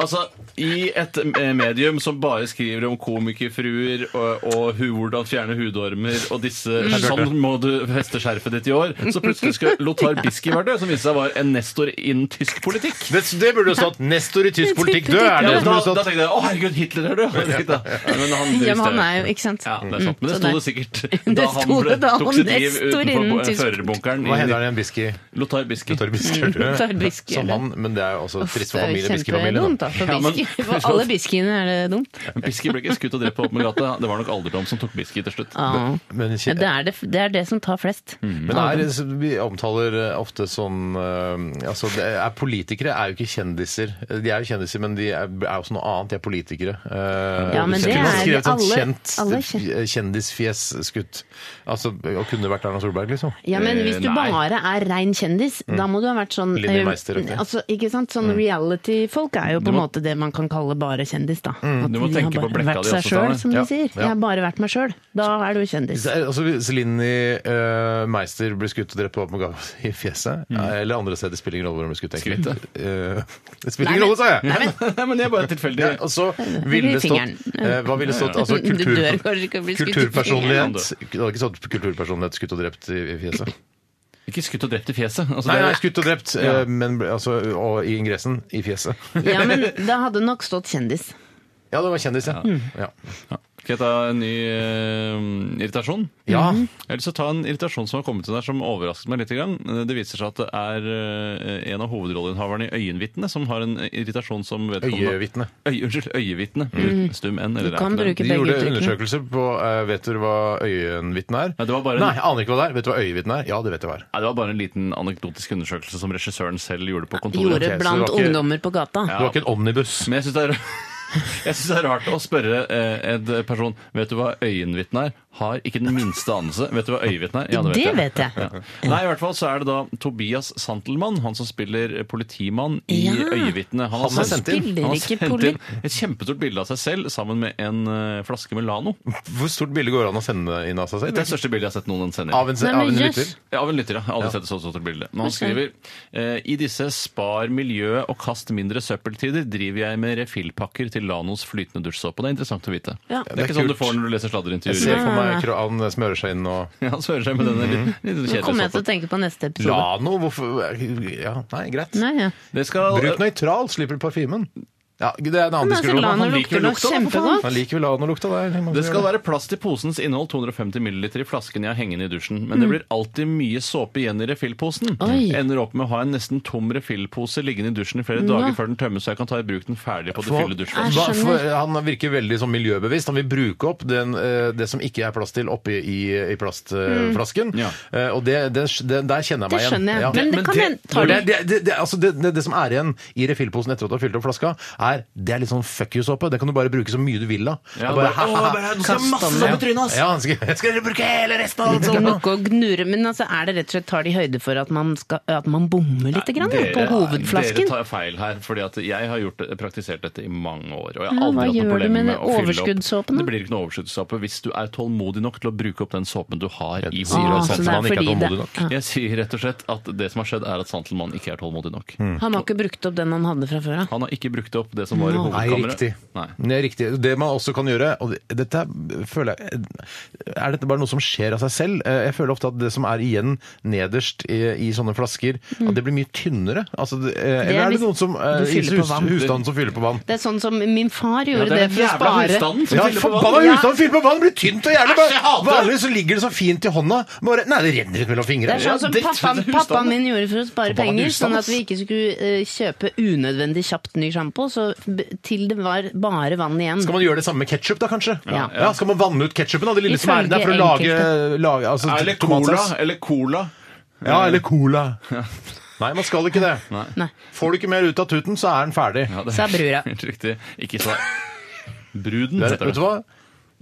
Speaker 9: Altså, I et eh, medium som bare skriver om komikerfruer og, og hu, hvordan fjerne hudormer og disse
Speaker 7: Mm.
Speaker 9: Sånn må du feste skjerfet ditt i år. Så plutselig skal Lothar Bisky være død, som viste seg var en nestor innen tysk politikk.
Speaker 7: Det, det burde jo stått 'Nestor i
Speaker 3: [laughs]
Speaker 7: tysk politikk død'. Er
Speaker 9: Ja,
Speaker 7: det
Speaker 9: men
Speaker 7: det
Speaker 9: da,
Speaker 7: som burde
Speaker 9: da
Speaker 7: stått?
Speaker 9: tenkte jeg å herregud, Hitler er død! Jeg tenkte, ja, men han,
Speaker 3: Ja, men han
Speaker 9: visste
Speaker 3: er
Speaker 9: jeg.
Speaker 3: jo, ikke sant? Mm.
Speaker 9: ja, det
Speaker 7: Mm.
Speaker 9: er sant, men det
Speaker 3: Så
Speaker 9: sto
Speaker 3: der-
Speaker 9: det
Speaker 3: [laughs]
Speaker 9: sikkert
Speaker 3: Det
Speaker 9: da han
Speaker 3: sto
Speaker 9: ble,
Speaker 3: det da
Speaker 9: tok
Speaker 3: han
Speaker 9: sitt liv
Speaker 3: nestor innen
Speaker 9: utenfor eh,
Speaker 3: tysk-
Speaker 9: førerbunkeren.
Speaker 7: Hva
Speaker 9: i-
Speaker 7: heter han igjen? Bisky?
Speaker 9: Lothar Bisky.
Speaker 7: Lothar Bisky er død.
Speaker 3: Lothar Bisky er
Speaker 7: Som
Speaker 3: død.
Speaker 7: han, men det er jo også
Speaker 3: Uff,
Speaker 7: trist
Speaker 3: det
Speaker 7: for
Speaker 3: er jo
Speaker 7: familien Bisky-familien.
Speaker 3: kjempedumt,
Speaker 7: da.
Speaker 3: da, for
Speaker 9: Ja, men-
Speaker 3: Bisky. For alle Biskyene er det dumt.
Speaker 9: Bisky ble ikke skutt og drept på åpen gate. Det var nok alderdom som tok Bisky til slutt.
Speaker 3: Ja.
Speaker 7: Men,
Speaker 3: Ja,
Speaker 7: kje-
Speaker 3: det, er det, det er det som tar flest.
Speaker 9: Mm.
Speaker 7: men er, vi omtaler eh, ofte sånn eh, altså det er Politikere er jo ikke kjendiser. De er jo kjendiser, men de er, er også noe annet. De er politikere. Eh,
Speaker 3: Ja, men det
Speaker 7: Kjendis-
Speaker 3: er
Speaker 7: skrev et sånt
Speaker 3: alle-
Speaker 7: kjent
Speaker 3: alle
Speaker 7: eh, kjendisfjes skutt. Altså, og kunne det vært Erna Solberg, liksom?
Speaker 3: Ja, men
Speaker 9: Eh,
Speaker 3: hvis du
Speaker 9: nei. Mm.
Speaker 3: bare er rein kjendis, da må du ha vært sånn
Speaker 7: Linni
Speaker 3: eh,
Speaker 7: Meister-aktig.
Speaker 3: altså, Ikke sant? Sånn reality-folk er jo på en
Speaker 9: må- Mm.
Speaker 3: måte det man kan kalle bare kjendis, da. At
Speaker 9: du må
Speaker 3: de
Speaker 9: tenke
Speaker 3: har
Speaker 9: på blekka
Speaker 3: bare vært
Speaker 9: di
Speaker 3: seg
Speaker 9: også,
Speaker 3: sjøl,
Speaker 9: Steinar.
Speaker 3: som
Speaker 7: Ja,
Speaker 3: de sier.
Speaker 7: ja.
Speaker 3: Jeg har bare vært meg sjøl. Da er du
Speaker 9: [laughs]
Speaker 3: kjendis.
Speaker 7: Så er- Altså, hvis Linni eh, Meister blir skutt og drept på åpen gate i fjeset,
Speaker 3: Mm.
Speaker 7: eh, eller andre steder, spiller ingen rolle hvor hun blir skutt. tenker jeg. Eh, [laughs] det spiller ingen rolle, sa jeg!
Speaker 3: Nei, men
Speaker 9: [laughs] Nei, men det er bare tilfeldig.
Speaker 7: Ja, og så altså, ville det
Speaker 3: Fingeren.
Speaker 7: stått eh, Hva ville det stått? Altså,
Speaker 3: Du
Speaker 7: kultur,
Speaker 3: dør kanskje ikke av å bli skutt i
Speaker 7: kulturpersonlighet Det hadde ikke stått kulturpersonlighet skutt og drept i i fjeset.
Speaker 9: Ikke skutt og drept i fjeset. Altså,
Speaker 7: Nei,
Speaker 9: det er-
Speaker 7: nei, skutt og drept, eh, men ble- altså, og i ingressen i
Speaker 9: [laughs]
Speaker 7: fjeset.
Speaker 3: Ja, men det hadde nok stått kjendis.
Speaker 7: Ja, det var kjendis, ja.
Speaker 3: Mm.
Speaker 7: ja.
Speaker 9: Ja. Skal jeg ta en ny eh, irritasjon?
Speaker 7: Ja.
Speaker 9: Jeg har lyst til å ta en irritasjon som har kommet inn der som overrasket meg litt. Grann. Eh, Det viser seg at det er eh, en av hovedrolleinnehaverne i Øyenvitne som har en eh, irritasjon som vedkommende
Speaker 7: Øyevitne.
Speaker 9: Øy, Unnskyld, Øyevitne. Uten Stum N. Eller
Speaker 3: Du kan
Speaker 9: er ikke
Speaker 3: bruke
Speaker 7: De
Speaker 9: det.
Speaker 7: gjorde
Speaker 3: begge uttrykkene.
Speaker 7: undersøkelser på eh, Vet du hva øyenvitne er?
Speaker 9: Ja, det var bare en-
Speaker 7: Nei, jeg aner ikke hva det er. Vet du hva øyevitne er? Ja, det vet jeg hva er.
Speaker 9: Nei, det var bare en liten anekdotisk undersøkelse som regissøren selv gjorde på kontoret.
Speaker 3: Gjorde
Speaker 7: Ok, så det
Speaker 3: blant
Speaker 7: var ikke-
Speaker 3: ungdommer på gata.
Speaker 7: Det var ikke en omnibus.
Speaker 9: Men jeg syns det er [laughs] Jeg syns det er rart å spørre eh, en person Vet du hva øyenvitne er? Har ikke den minste anelse. Vet du hva øyevitne er? Ja,
Speaker 3: Det vet jeg.
Speaker 9: Ja. Nei, i hvert fall så er det da Tobias Santelmann, han som spiller politimann i
Speaker 3: Ja.
Speaker 9: Øyevitne.
Speaker 3: Han spiller
Speaker 9: Han har
Speaker 3: ikke
Speaker 9: sendt
Speaker 3: poli-
Speaker 9: inn et kjempestort bilde av seg selv sammen med en eh, flaske Melano.
Speaker 7: Hvor stort bilde går det an å sende inn av seg
Speaker 9: Det
Speaker 7: selv?
Speaker 9: er det største bildet jeg har sett noen sende inn.
Speaker 7: Av en, se-
Speaker 3: Nei, men
Speaker 7: av en
Speaker 3: jøss.
Speaker 7: lytter?
Speaker 9: Ja, Av en lytter, ja. Jeg har Aldri sett et så stort bilde. Men han
Speaker 3: Ok.
Speaker 9: skriver eh, I disse spar miljøet og kast mindre søppeltider driver jeg med refillpakker til Lanos flytende dusjsåpe. Det er interessant å vite.
Speaker 3: Ja.
Speaker 9: Det er ikke
Speaker 7: Det er
Speaker 9: sånn
Speaker 7: kult.
Speaker 9: du får når du
Speaker 7: Jeg
Speaker 9: leser
Speaker 7: ser
Speaker 9: sladreintervjuer.
Speaker 7: for meg
Speaker 3: Nei.
Speaker 7: kro- han smører seg inn og
Speaker 9: [laughs] Ja, han smører seg med denne litt, litt
Speaker 3: Nå kommer jeg til
Speaker 9: kjedelige
Speaker 3: å tenke på neste episode.
Speaker 7: Lano, hvorfor Ja, nei, greit.
Speaker 3: Nei, ja.
Speaker 9: Det skal
Speaker 7: Bruk nøytral, slipper parfymen. Ja, det er en annen
Speaker 3: Men altså,
Speaker 7: diskusjon.
Speaker 3: Lano
Speaker 9: Han
Speaker 3: lukter
Speaker 9: liker jo
Speaker 3: nå
Speaker 9: lukta, da, for faen.
Speaker 3: kjempegodt.
Speaker 7: Han liker vel Lano-lukta der. man
Speaker 9: Det
Speaker 7: gjøre
Speaker 9: skal være plass til posens innhold 250 ml i flasken jeg har hengende i dusjen. Men det blir alltid mye såpe igjen i refillposen.
Speaker 3: Mm. Oi.
Speaker 9: Ender opp med å ha en nesten tom refillpose liggende i dusjen i flere
Speaker 3: Nå.
Speaker 9: dager før den tømmes, så jeg kan ta i bruk den ferdig på det
Speaker 7: For-
Speaker 9: fylle
Speaker 3: Æsj.
Speaker 9: dusjen.
Speaker 7: Hva-
Speaker 3: skjønner.
Speaker 7: for han virker veldig sånn miljøbevisst. Han vil bruke opp den, eh, det som ikke er plass til, oppi i, i plastflasken.
Speaker 9: Ja.
Speaker 7: Eh, Og det, det, det, der kjenner
Speaker 3: Det
Speaker 7: jeg meg igjen.
Speaker 3: skjønner jeg. Men det kan hende- tar
Speaker 7: det,
Speaker 3: du-
Speaker 7: det, det, det, altså det, det, det som er igjen i refillposen etter at du har fylt opp flaska, er, det er litt sånn fuck you-såpe. Det kan du bare bruke så mye du vil av.
Speaker 9: Ja,
Speaker 7: Og bare,
Speaker 9: bare, «Åh,
Speaker 7: «Ha, ha, ha,
Speaker 9: bare, nå skal jeg
Speaker 7: kast
Speaker 9: masse
Speaker 7: den
Speaker 9: opp i
Speaker 7: ned».
Speaker 9: trynet, ass.
Speaker 7: Ja, han skal, [laughs] jeg skal bruke hele resten [laughs] av den
Speaker 3: Det er
Speaker 7: såpen.
Speaker 3: noe Sånn å gnure, men altså, er det rett og slett, tar de høyde for at man, skal, at man bommer litt grann, ja, på
Speaker 9: Dere
Speaker 3: hovedflasken?
Speaker 9: tar feil her, fordi at jeg har gjort, det- praktisert dette i mange år. Og
Speaker 3: Ja,
Speaker 9: jeg har aldri
Speaker 3: Mm, hva
Speaker 9: hatt noe
Speaker 3: gjør du
Speaker 9: problem
Speaker 3: med
Speaker 9: med å fylle opp.
Speaker 3: overskuddssåpen da?
Speaker 9: Det blir ikke noe overskuddssåpe hvis du er tålmodig nok til å bruke opp den såpen du har i
Speaker 7: sier
Speaker 3: Ah,
Speaker 7: at
Speaker 9: hodet.
Speaker 3: så det er
Speaker 7: Santelmann ikke er
Speaker 3: fordi det-
Speaker 7: tålmodig nok.
Speaker 3: ja.
Speaker 9: Jeg sier rett og slett at det som har skjedd, er at Santelmann ikke er tålmodig nok.
Speaker 7: Mm.
Speaker 3: Han har ikke brukt opp den han hadde fra før av.
Speaker 9: Han har ikke brukt opp det som var i
Speaker 7: Nei,
Speaker 9: hovedkammeret.
Speaker 7: riktig.
Speaker 9: Nei.
Speaker 7: Det, er riktig. det man også kan gjøre og det- dette føler jeg, Er dette bare noe som skjer av seg selv? Eh, Jeg føler ofte at det som er igjen nederst i, i sånne flasker, at det blir mye tynnere. Altså, det, eh, eller er
Speaker 3: Mm.
Speaker 7: det
Speaker 3: hvis
Speaker 7: noen som, eh,
Speaker 3: du
Speaker 7: i
Speaker 3: fyller på
Speaker 7: hus,
Speaker 3: vann.
Speaker 7: husstanden som fyller på vann?
Speaker 3: Det er sånn som min far
Speaker 9: Ja,
Speaker 3: gjorde
Speaker 9: det
Speaker 3: det,
Speaker 9: er den
Speaker 3: for å
Speaker 9: jævla
Speaker 3: spare.
Speaker 9: husstanden som
Speaker 7: Ja,
Speaker 9: fyller på vann.
Speaker 7: forbanna husstand fyller på vann! Det blir tynt og jævlig! Bare, vanligvis så ligger det så fint i hånda. Bare, nei, det renner ut mellom
Speaker 3: Det
Speaker 7: fingrene.
Speaker 3: er
Speaker 9: Ja,
Speaker 3: sånn som
Speaker 9: dritt for
Speaker 3: pappaen,
Speaker 9: den husstanden.
Speaker 3: pappaen min gjorde for å spare
Speaker 9: Forbanna
Speaker 3: penger,
Speaker 9: husstand,
Speaker 3: sånn
Speaker 9: ass.
Speaker 3: at vi ikke skulle eh, kjøpe unødvendig kjapt ny sjampo, så b- til det var bare vann igjen.
Speaker 7: Skal man gjøre det samme med ketsjup, da, kanskje?
Speaker 3: Ja.
Speaker 7: Skal man vanne ut ketsjupen, da? Det lille som er der for å
Speaker 3: Ifølge
Speaker 7: lage, lage altså,
Speaker 9: Eller cola.
Speaker 7: tomatsaus?
Speaker 9: Eller cola.
Speaker 7: Ja, eller cola. Nei, man skal ikke det.
Speaker 3: Nei,
Speaker 7: Får du ikke mer ut av tuten, så er den ferdig.
Speaker 9: Ja, det Mm.
Speaker 3: sa
Speaker 9: er
Speaker 3: brura.
Speaker 9: [laughs] helt riktig. Ikke sa Bruden.
Speaker 7: Det er-
Speaker 9: heter
Speaker 7: vet
Speaker 9: det.
Speaker 7: du hva?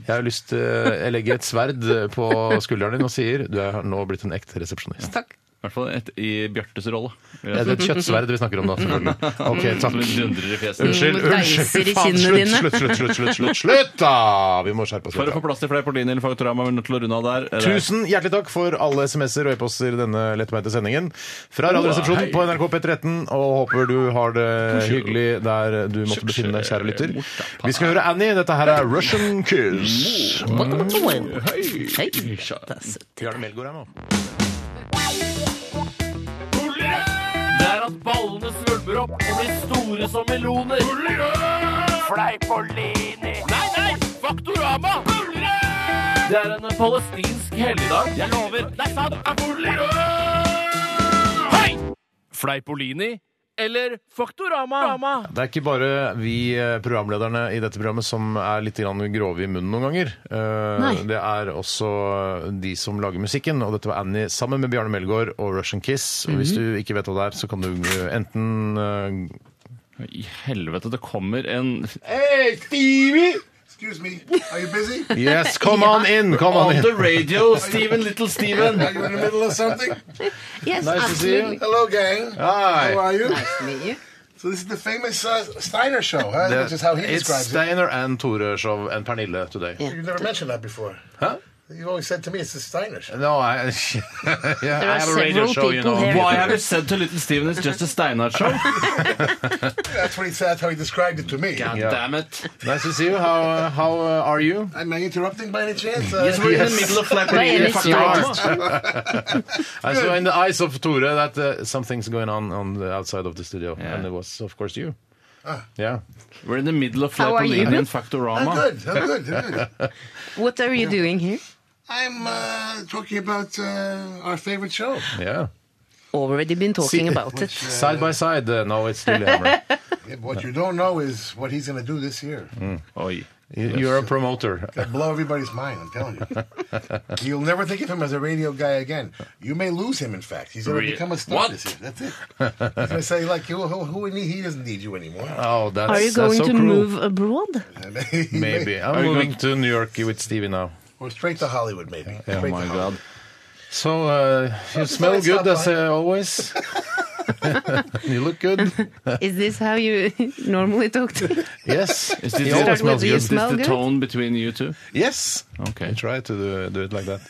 Speaker 7: Jeg har lyst til Jeg legger et sverd eh, på skulderen din og sier du er nå blitt en ekte resepsjonist.
Speaker 3: Takk.
Speaker 9: I hvert fall et, i Bjartes rolle. vil
Speaker 7: Ja,
Speaker 9: jeg
Speaker 7: Det er et
Speaker 9: si.
Speaker 7: kjøttsverd vi snakker om da, selvfølgelig. Ok,
Speaker 9: Som
Speaker 7: takk.
Speaker 9: dundrer i fjeset.
Speaker 7: Unnskyld,
Speaker 3: Noen reiser
Speaker 7: unnskyld,
Speaker 3: i
Speaker 7: faen,
Speaker 3: kinnene
Speaker 7: slutt,
Speaker 3: dine.
Speaker 7: slutt, slutt, slutt, slutt, slutt, slutt, da! Vi må skjerpe oss
Speaker 9: For å
Speaker 7: litt.
Speaker 9: få
Speaker 7: da.
Speaker 9: plass til flere på linjen, Faktorama, vi er nødt til å runde av der. Det er-
Speaker 7: Tusen hjertelig takk for alle sms'er og e-poster i denne lettbeinte sendingen fra Radioresepsjonen på NRK P13, og håper du har det hyggelig der du måtte befinne deg, kjære lytter. Vi skal høre Annie, dette her er Russian Kiss.
Speaker 3: Hei.
Speaker 7: Bjarne Melgaard er med.
Speaker 11: Det er at ballene svulmer opp og blir store som meloner. Fleipolini. Nei, nei! Faktorama! Det er en palestinsk helligdag. Jeg lover. Det er sant. Hei! Fleipolini eller Faktorama?
Speaker 7: Det er ikke bare vi eh, programlederne i dette programmet som er litt grann grove i munnen noen ganger. Eh,
Speaker 3: Nei.
Speaker 7: Det er også de som lager musikken, og dette var Annie sammen med Bjarne Melgaard og Russian Kiss. Og hvis du ikke vet hva det er, så kan du eh, enten eh,
Speaker 9: I helvete, det kommer en
Speaker 12: Excuse me, are you busy?
Speaker 7: [laughs]
Speaker 12: Oh,
Speaker 7: Yes, come on in! Come on
Speaker 9: On the
Speaker 7: in!
Speaker 9: radio, Steven, little Steven!
Speaker 12: Are you in the middle of something?
Speaker 3: Yes,
Speaker 7: Nice to see
Speaker 3: absolutely.
Speaker 7: you.
Speaker 12: Hello, gang.
Speaker 7: Hi.
Speaker 12: How are you?
Speaker 3: Nice to meet you.
Speaker 12: So this is the famous uh, Steiner show, huh? That's just how he
Speaker 7: It's
Speaker 12: describes it.
Speaker 7: Steiner and Tore Show and Pernille today.
Speaker 3: Yeah.
Speaker 12: You've never mentioned that before.
Speaker 7: Huh?
Speaker 12: You've always said to me it's the Steiner show.
Speaker 7: No, I, [laughs] yeah,
Speaker 3: There
Speaker 7: I
Speaker 3: are
Speaker 7: have a radio
Speaker 3: several
Speaker 7: show, you
Speaker 3: people
Speaker 7: know.
Speaker 3: here.
Speaker 9: [laughs] Why have you said to little Steven it's just a Steinar show?
Speaker 12: That's what he said. That's how he described it to me.
Speaker 9: God
Speaker 7: Yeah.
Speaker 9: damn it.
Speaker 7: Nice to see you. How, how uh, are you?
Speaker 12: Am I interrupting by any chance? Uh,
Speaker 9: Yes, we're in the middle of
Speaker 3: Hva er det
Speaker 9: Fleipolini.
Speaker 3: Steiner?
Speaker 7: I saw in the eyes of Tore that uh, something's going on on the outside of the studio,
Speaker 9: Yeah.
Speaker 7: and it was, of course, you.
Speaker 12: Ah.
Speaker 7: Yeah.
Speaker 9: We're in the middle of
Speaker 3: How are you?
Speaker 9: Fleipolini and
Speaker 12: I'm
Speaker 9: Faktorama.
Speaker 12: good. I'm
Speaker 7: [laughs]
Speaker 12: good. I'm good.
Speaker 3: What are you doing here?
Speaker 12: I'm uh, talking about uh, our favorite show.
Speaker 7: Yeah.
Speaker 3: Already been talking
Speaker 7: See-
Speaker 3: about it.
Speaker 12: [laughs]
Speaker 7: Side by side. Uh, no, it's Lillehammer.
Speaker 12: Yeah, what you don't know is what he's going to do this year.
Speaker 9: Oi.
Speaker 7: You're a promoter.
Speaker 12: Gonna blow everybody's mind. I'm telling
Speaker 7: [laughs]
Speaker 12: you. You'll never think of him as a radio guy again. You may lose him. In fact, he's going to
Speaker 7: Really?
Speaker 12: become a star
Speaker 7: What?
Speaker 12: this year. That's it. He's going to say like, "Who, who, who in- he doesn't need you anymore." [laughs]
Speaker 7: Oh, that's,
Speaker 3: Are you
Speaker 7: that's
Speaker 3: going
Speaker 7: so
Speaker 3: to
Speaker 7: cruel.
Speaker 3: move abroad?
Speaker 7: Maybe.
Speaker 9: Are
Speaker 7: I'm
Speaker 9: you
Speaker 7: moving
Speaker 9: going-
Speaker 7: to New York with Stevie now.
Speaker 12: Or straight to Hollywood, maybe.
Speaker 9: Oh
Speaker 12: Straight
Speaker 9: my
Speaker 12: to
Speaker 9: god.
Speaker 7: So uh, you smell
Speaker 12: it's
Speaker 7: good
Speaker 12: not
Speaker 7: as
Speaker 12: fine.
Speaker 7: uh, always. [laughs] you look good.
Speaker 3: Is this how you [laughs] normally talk to
Speaker 7: Yes.
Speaker 9: Is this,
Speaker 7: He always
Speaker 3: Start with
Speaker 7: smells
Speaker 3: you
Speaker 7: good.
Speaker 9: is this
Speaker 3: smell
Speaker 9: the
Speaker 3: good?
Speaker 9: tone between you two?
Speaker 7: Yes. I
Speaker 9: Okay.
Speaker 7: try to do, do it like that.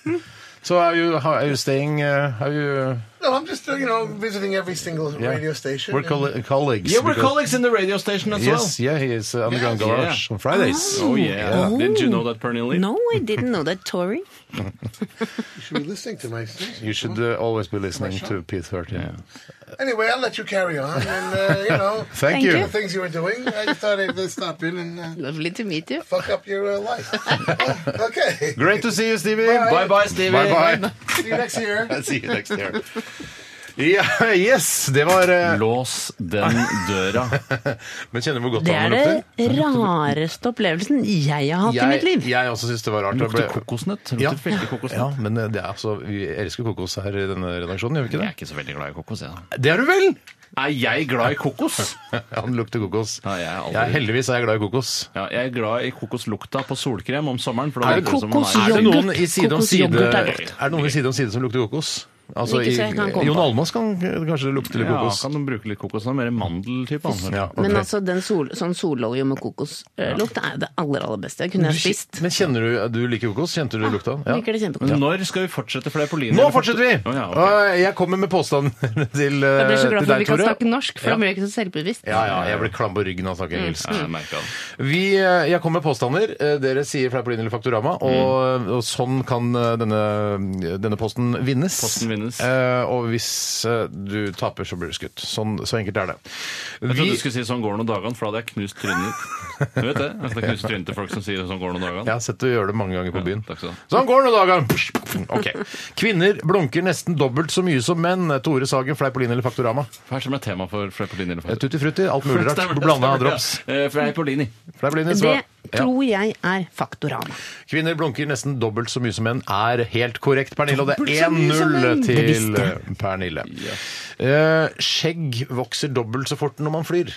Speaker 7: so are you how, are you staying? Uh, are you?
Speaker 12: No, I'm just uh, you know visiting every single
Speaker 7: yeah.
Speaker 12: radio station.
Speaker 7: We're
Speaker 12: and-
Speaker 7: colle- colleagues.
Speaker 9: Yeah, we're
Speaker 7: because-
Speaker 9: colleagues in the radio station as
Speaker 7: Yes, yeah, he is uh, underground
Speaker 9: Yeah.
Speaker 7: garage on Fridays.
Speaker 9: well. Oh yeah.
Speaker 3: Oh.
Speaker 9: Did you know that, Pernille?
Speaker 3: No, I didn't know that, Tori.
Speaker 12: You should be listening to my station.
Speaker 7: You should uh, always be listening to P13.
Speaker 9: Yeah.
Speaker 12: Anyway, I'll let you carry on, and uh, you know
Speaker 7: [laughs] Thank,
Speaker 3: Thank
Speaker 7: you.
Speaker 3: you.
Speaker 12: the things you were doing. I just thought I'd uh, stop in and uh,
Speaker 3: Lovely to meet you.
Speaker 12: fuck up your
Speaker 7: [laughs]
Speaker 12: uh, life. okay.
Speaker 7: Great to see you, Stevie.
Speaker 12: Bye.
Speaker 7: bye, Stevie. Bye, bye. [laughs]
Speaker 12: See you next year.
Speaker 7: See you next year. Ja, [laughs] yes, det var eh,
Speaker 9: Lås den døra. [laughs]
Speaker 7: Men kjenner du hvor godt
Speaker 3: Det er
Speaker 7: han lukter?
Speaker 3: den rareste opplevelsen jeg har hatt i mitt liv.
Speaker 7: jeg også syns det var rart.
Speaker 9: Den lukter
Speaker 7: Jeg ble-
Speaker 9: kokosnøtt. Den
Speaker 7: Ja.
Speaker 9: Lukter veldig kokosnøtt.
Speaker 7: Ja, men eh, det er altså, vi elsker kokos her i denne redaksjonen, gjør vi ikke
Speaker 9: Jeg
Speaker 7: det?
Speaker 9: er ikke så veldig glad i kokos, jeg. da.
Speaker 7: Det er du vel! [laughs]
Speaker 9: Er jeg glad i kokos?
Speaker 7: Han lukter kokos.
Speaker 9: Ja, jeg er aldri-
Speaker 7: Ja, heldigvis er jeg glad i kokos.
Speaker 9: Ja, jeg er glad i kokoslukta på solkrem om sommeren. For da
Speaker 7: Er det
Speaker 9: virker som man
Speaker 3: kokos-
Speaker 9: er-
Speaker 7: Er det noen i side om side,
Speaker 3: Kokosyoghurt
Speaker 7: er
Speaker 3: er godt.
Speaker 7: det noen i side, om side som lukter kokos? Altså,
Speaker 3: Ikke så jeg kan
Speaker 7: i-
Speaker 3: komme på.
Speaker 7: Jon Almaas kan kanskje lukte litt
Speaker 9: Ja,
Speaker 7: kokos.
Speaker 9: kan de bruke litt kokos. Han er mer mandeltype. han.
Speaker 7: Ja, ok.
Speaker 3: Men altså, den sol, sånn sololje med kokoslukt er det aller, aller beste. Det kunne jeg
Speaker 7: Du kjen-
Speaker 3: spist. Ah,
Speaker 7: Men kjenner du Du liker kokos? Kjente du lukta? Ja. Mm,
Speaker 3: Liker det kjempegodt.
Speaker 9: Men når skal vi fortsette? For det er på linje.
Speaker 7: Nå fortsetter vi!
Speaker 9: Å, ja, ok.
Speaker 7: Og Jeg kommer med påstanden [laughs] til, eh,
Speaker 3: Jeg blir så glad
Speaker 7: til
Speaker 3: for at
Speaker 7: deg,
Speaker 3: vi kan
Speaker 7: Tore.
Speaker 3: snakke norsk, for
Speaker 7: Ja.
Speaker 3: da blir jeg ikke så selvbevisst.
Speaker 7: Ja, ja, jeg ble klam på ryggen av å snakke
Speaker 3: Mm.
Speaker 7: engelsk.
Speaker 9: Ja, jeg merker det.
Speaker 7: Vi, eh, jeg kommer med påstander. Eh, Dere sier Fleipolin eller Faktorama.
Speaker 9: Mm.
Speaker 7: Og, og sånn kan eh, denne, denne posten vinnes.
Speaker 9: Posten vinnes.
Speaker 7: Eh, og hvis eh, du taper, så blir du skutt. Sånn, så enkelt er det.
Speaker 9: Jeg trodde
Speaker 7: Vi-
Speaker 9: du skulle si 'sånn går det noen dagene', for da hadde jeg knust trynet ditt. Du vet det? Jeg skal knuse trynet til folk som sier 'sånn går det noen dagene'.
Speaker 7: Jeg har sett deg gjøre det mange ganger på byen.
Speaker 9: takk skal du ha.
Speaker 7: sånn går det nå, Dagan! Ok. Kvinner blunker nesten dobbelt så mye som menn. Tore Sagen, Fleipolin eller Faktorama?
Speaker 9: Hva er det som er tema for Fleipolini? eller Faktor?
Speaker 7: Tutti frutti, alt mulig rart.
Speaker 9: Stemmer [laughs] det,
Speaker 7: Blanda
Speaker 9: stemmer det.
Speaker 7: drops.
Speaker 9: [laughs] Eh, Fleipolini.
Speaker 7: Fleipolin, så-
Speaker 3: Det
Speaker 7: Ja.
Speaker 3: tror jeg er faktorama.
Speaker 7: Kvinner blunker nesten dobbelt så mye som menn er helt korrekt, Pernille. Og det
Speaker 3: Dobbelt
Speaker 7: er
Speaker 3: så mye som
Speaker 7: 1-0
Speaker 3: menn. Det
Speaker 7: til
Speaker 3: visste
Speaker 7: eh, Pernille. Eh, skjegg vokser dobbelt så fort når man flyr.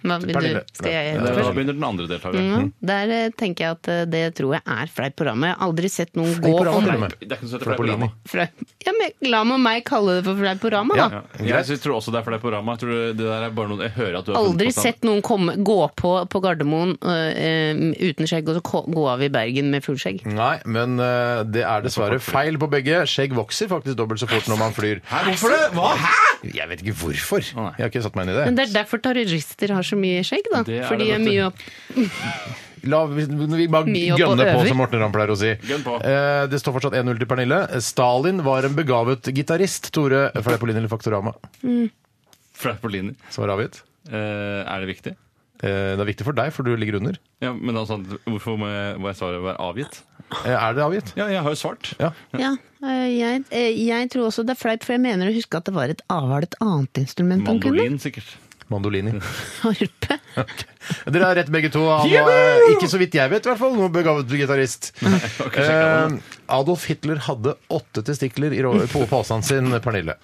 Speaker 3: Hva vil
Speaker 7: Pernille.
Speaker 3: du? Skal jeg
Speaker 7: Nei,
Speaker 9: Da
Speaker 7: det Mm.
Speaker 3: først?
Speaker 9: begynner den andre deltakeren.
Speaker 3: Ja, der eh, tenker jeg at eh, det tror jeg er fleiporama. Jeg har aldri sett noen gå
Speaker 7: Fleiporama,
Speaker 3: om
Speaker 7: til og med.
Speaker 9: Det er ikke noe som heter
Speaker 7: Fleipolini.
Speaker 9: Fleipolini.
Speaker 3: Fle- ja, men La meg meg kalle det for fleiporama, da.
Speaker 9: Ja. Jeg synes- tror også det er Fleiporama. Jeg tror det der er bare noe jeg hører at du har funnet
Speaker 3: Aldri
Speaker 9: på sånn-
Speaker 3: sett noen komme, gå på på Gardermoen øh, øh, uten skjegg og så ko- gå av i Bergen med fullskjegg.
Speaker 7: Nei, men eh, det er dessverre feil på begge. Skjegg vokser faktisk dobbelt så fort når man flyr.
Speaker 9: Hæ, hvorfor det? Hva? Hæ?
Speaker 7: Jeg vet ikke hvorfor. Jeg
Speaker 9: nei.
Speaker 7: har ikke satt meg inn i
Speaker 3: Men
Speaker 7: det.
Speaker 3: det er derfor terrorister har så mye skjegg, da.
Speaker 9: Det er
Speaker 3: For de
Speaker 9: det,
Speaker 3: er
Speaker 9: vet du.
Speaker 3: mye opp...
Speaker 7: La, vi, vi bare
Speaker 3: Mye opp og
Speaker 7: gønne på,
Speaker 3: øver.
Speaker 7: som Morten Ramm pleier å si.
Speaker 9: Gønn på.
Speaker 7: Eh, det står fortsatt 1-0 til Pernille. Stalin var en begavet gitarist. Tore Fleipolin eller Faktorama?
Speaker 9: Fleipolini.
Speaker 7: Svar avgitt.
Speaker 9: Eh, er det viktig?
Speaker 7: Eh, det er viktig for deg, for du ligger under.
Speaker 9: Ja, men altså, hvorfor må, jeg, må jeg svaret være avgitt?
Speaker 7: Eh, er det avgitt?
Speaker 9: Ja, jeg har jo svart.
Speaker 7: Ja.
Speaker 3: Ja, øh, jeg, øh, jeg tror også det er fleip, for jeg mener å huske at det var et avhalt et annet instrument han kunne.
Speaker 9: Mandolin, sikkert.
Speaker 7: Mandolini.
Speaker 3: Harpe.
Speaker 7: Dere har rett begge to. Han var ikke så vidt jeg vet, i hvert fall noen begavet
Speaker 9: [laughs]
Speaker 7: gitarist. Eh, Adolf Hitler hadde åtte testikler i rå-
Speaker 9: [laughs]
Speaker 7: på posen sin, Pernille.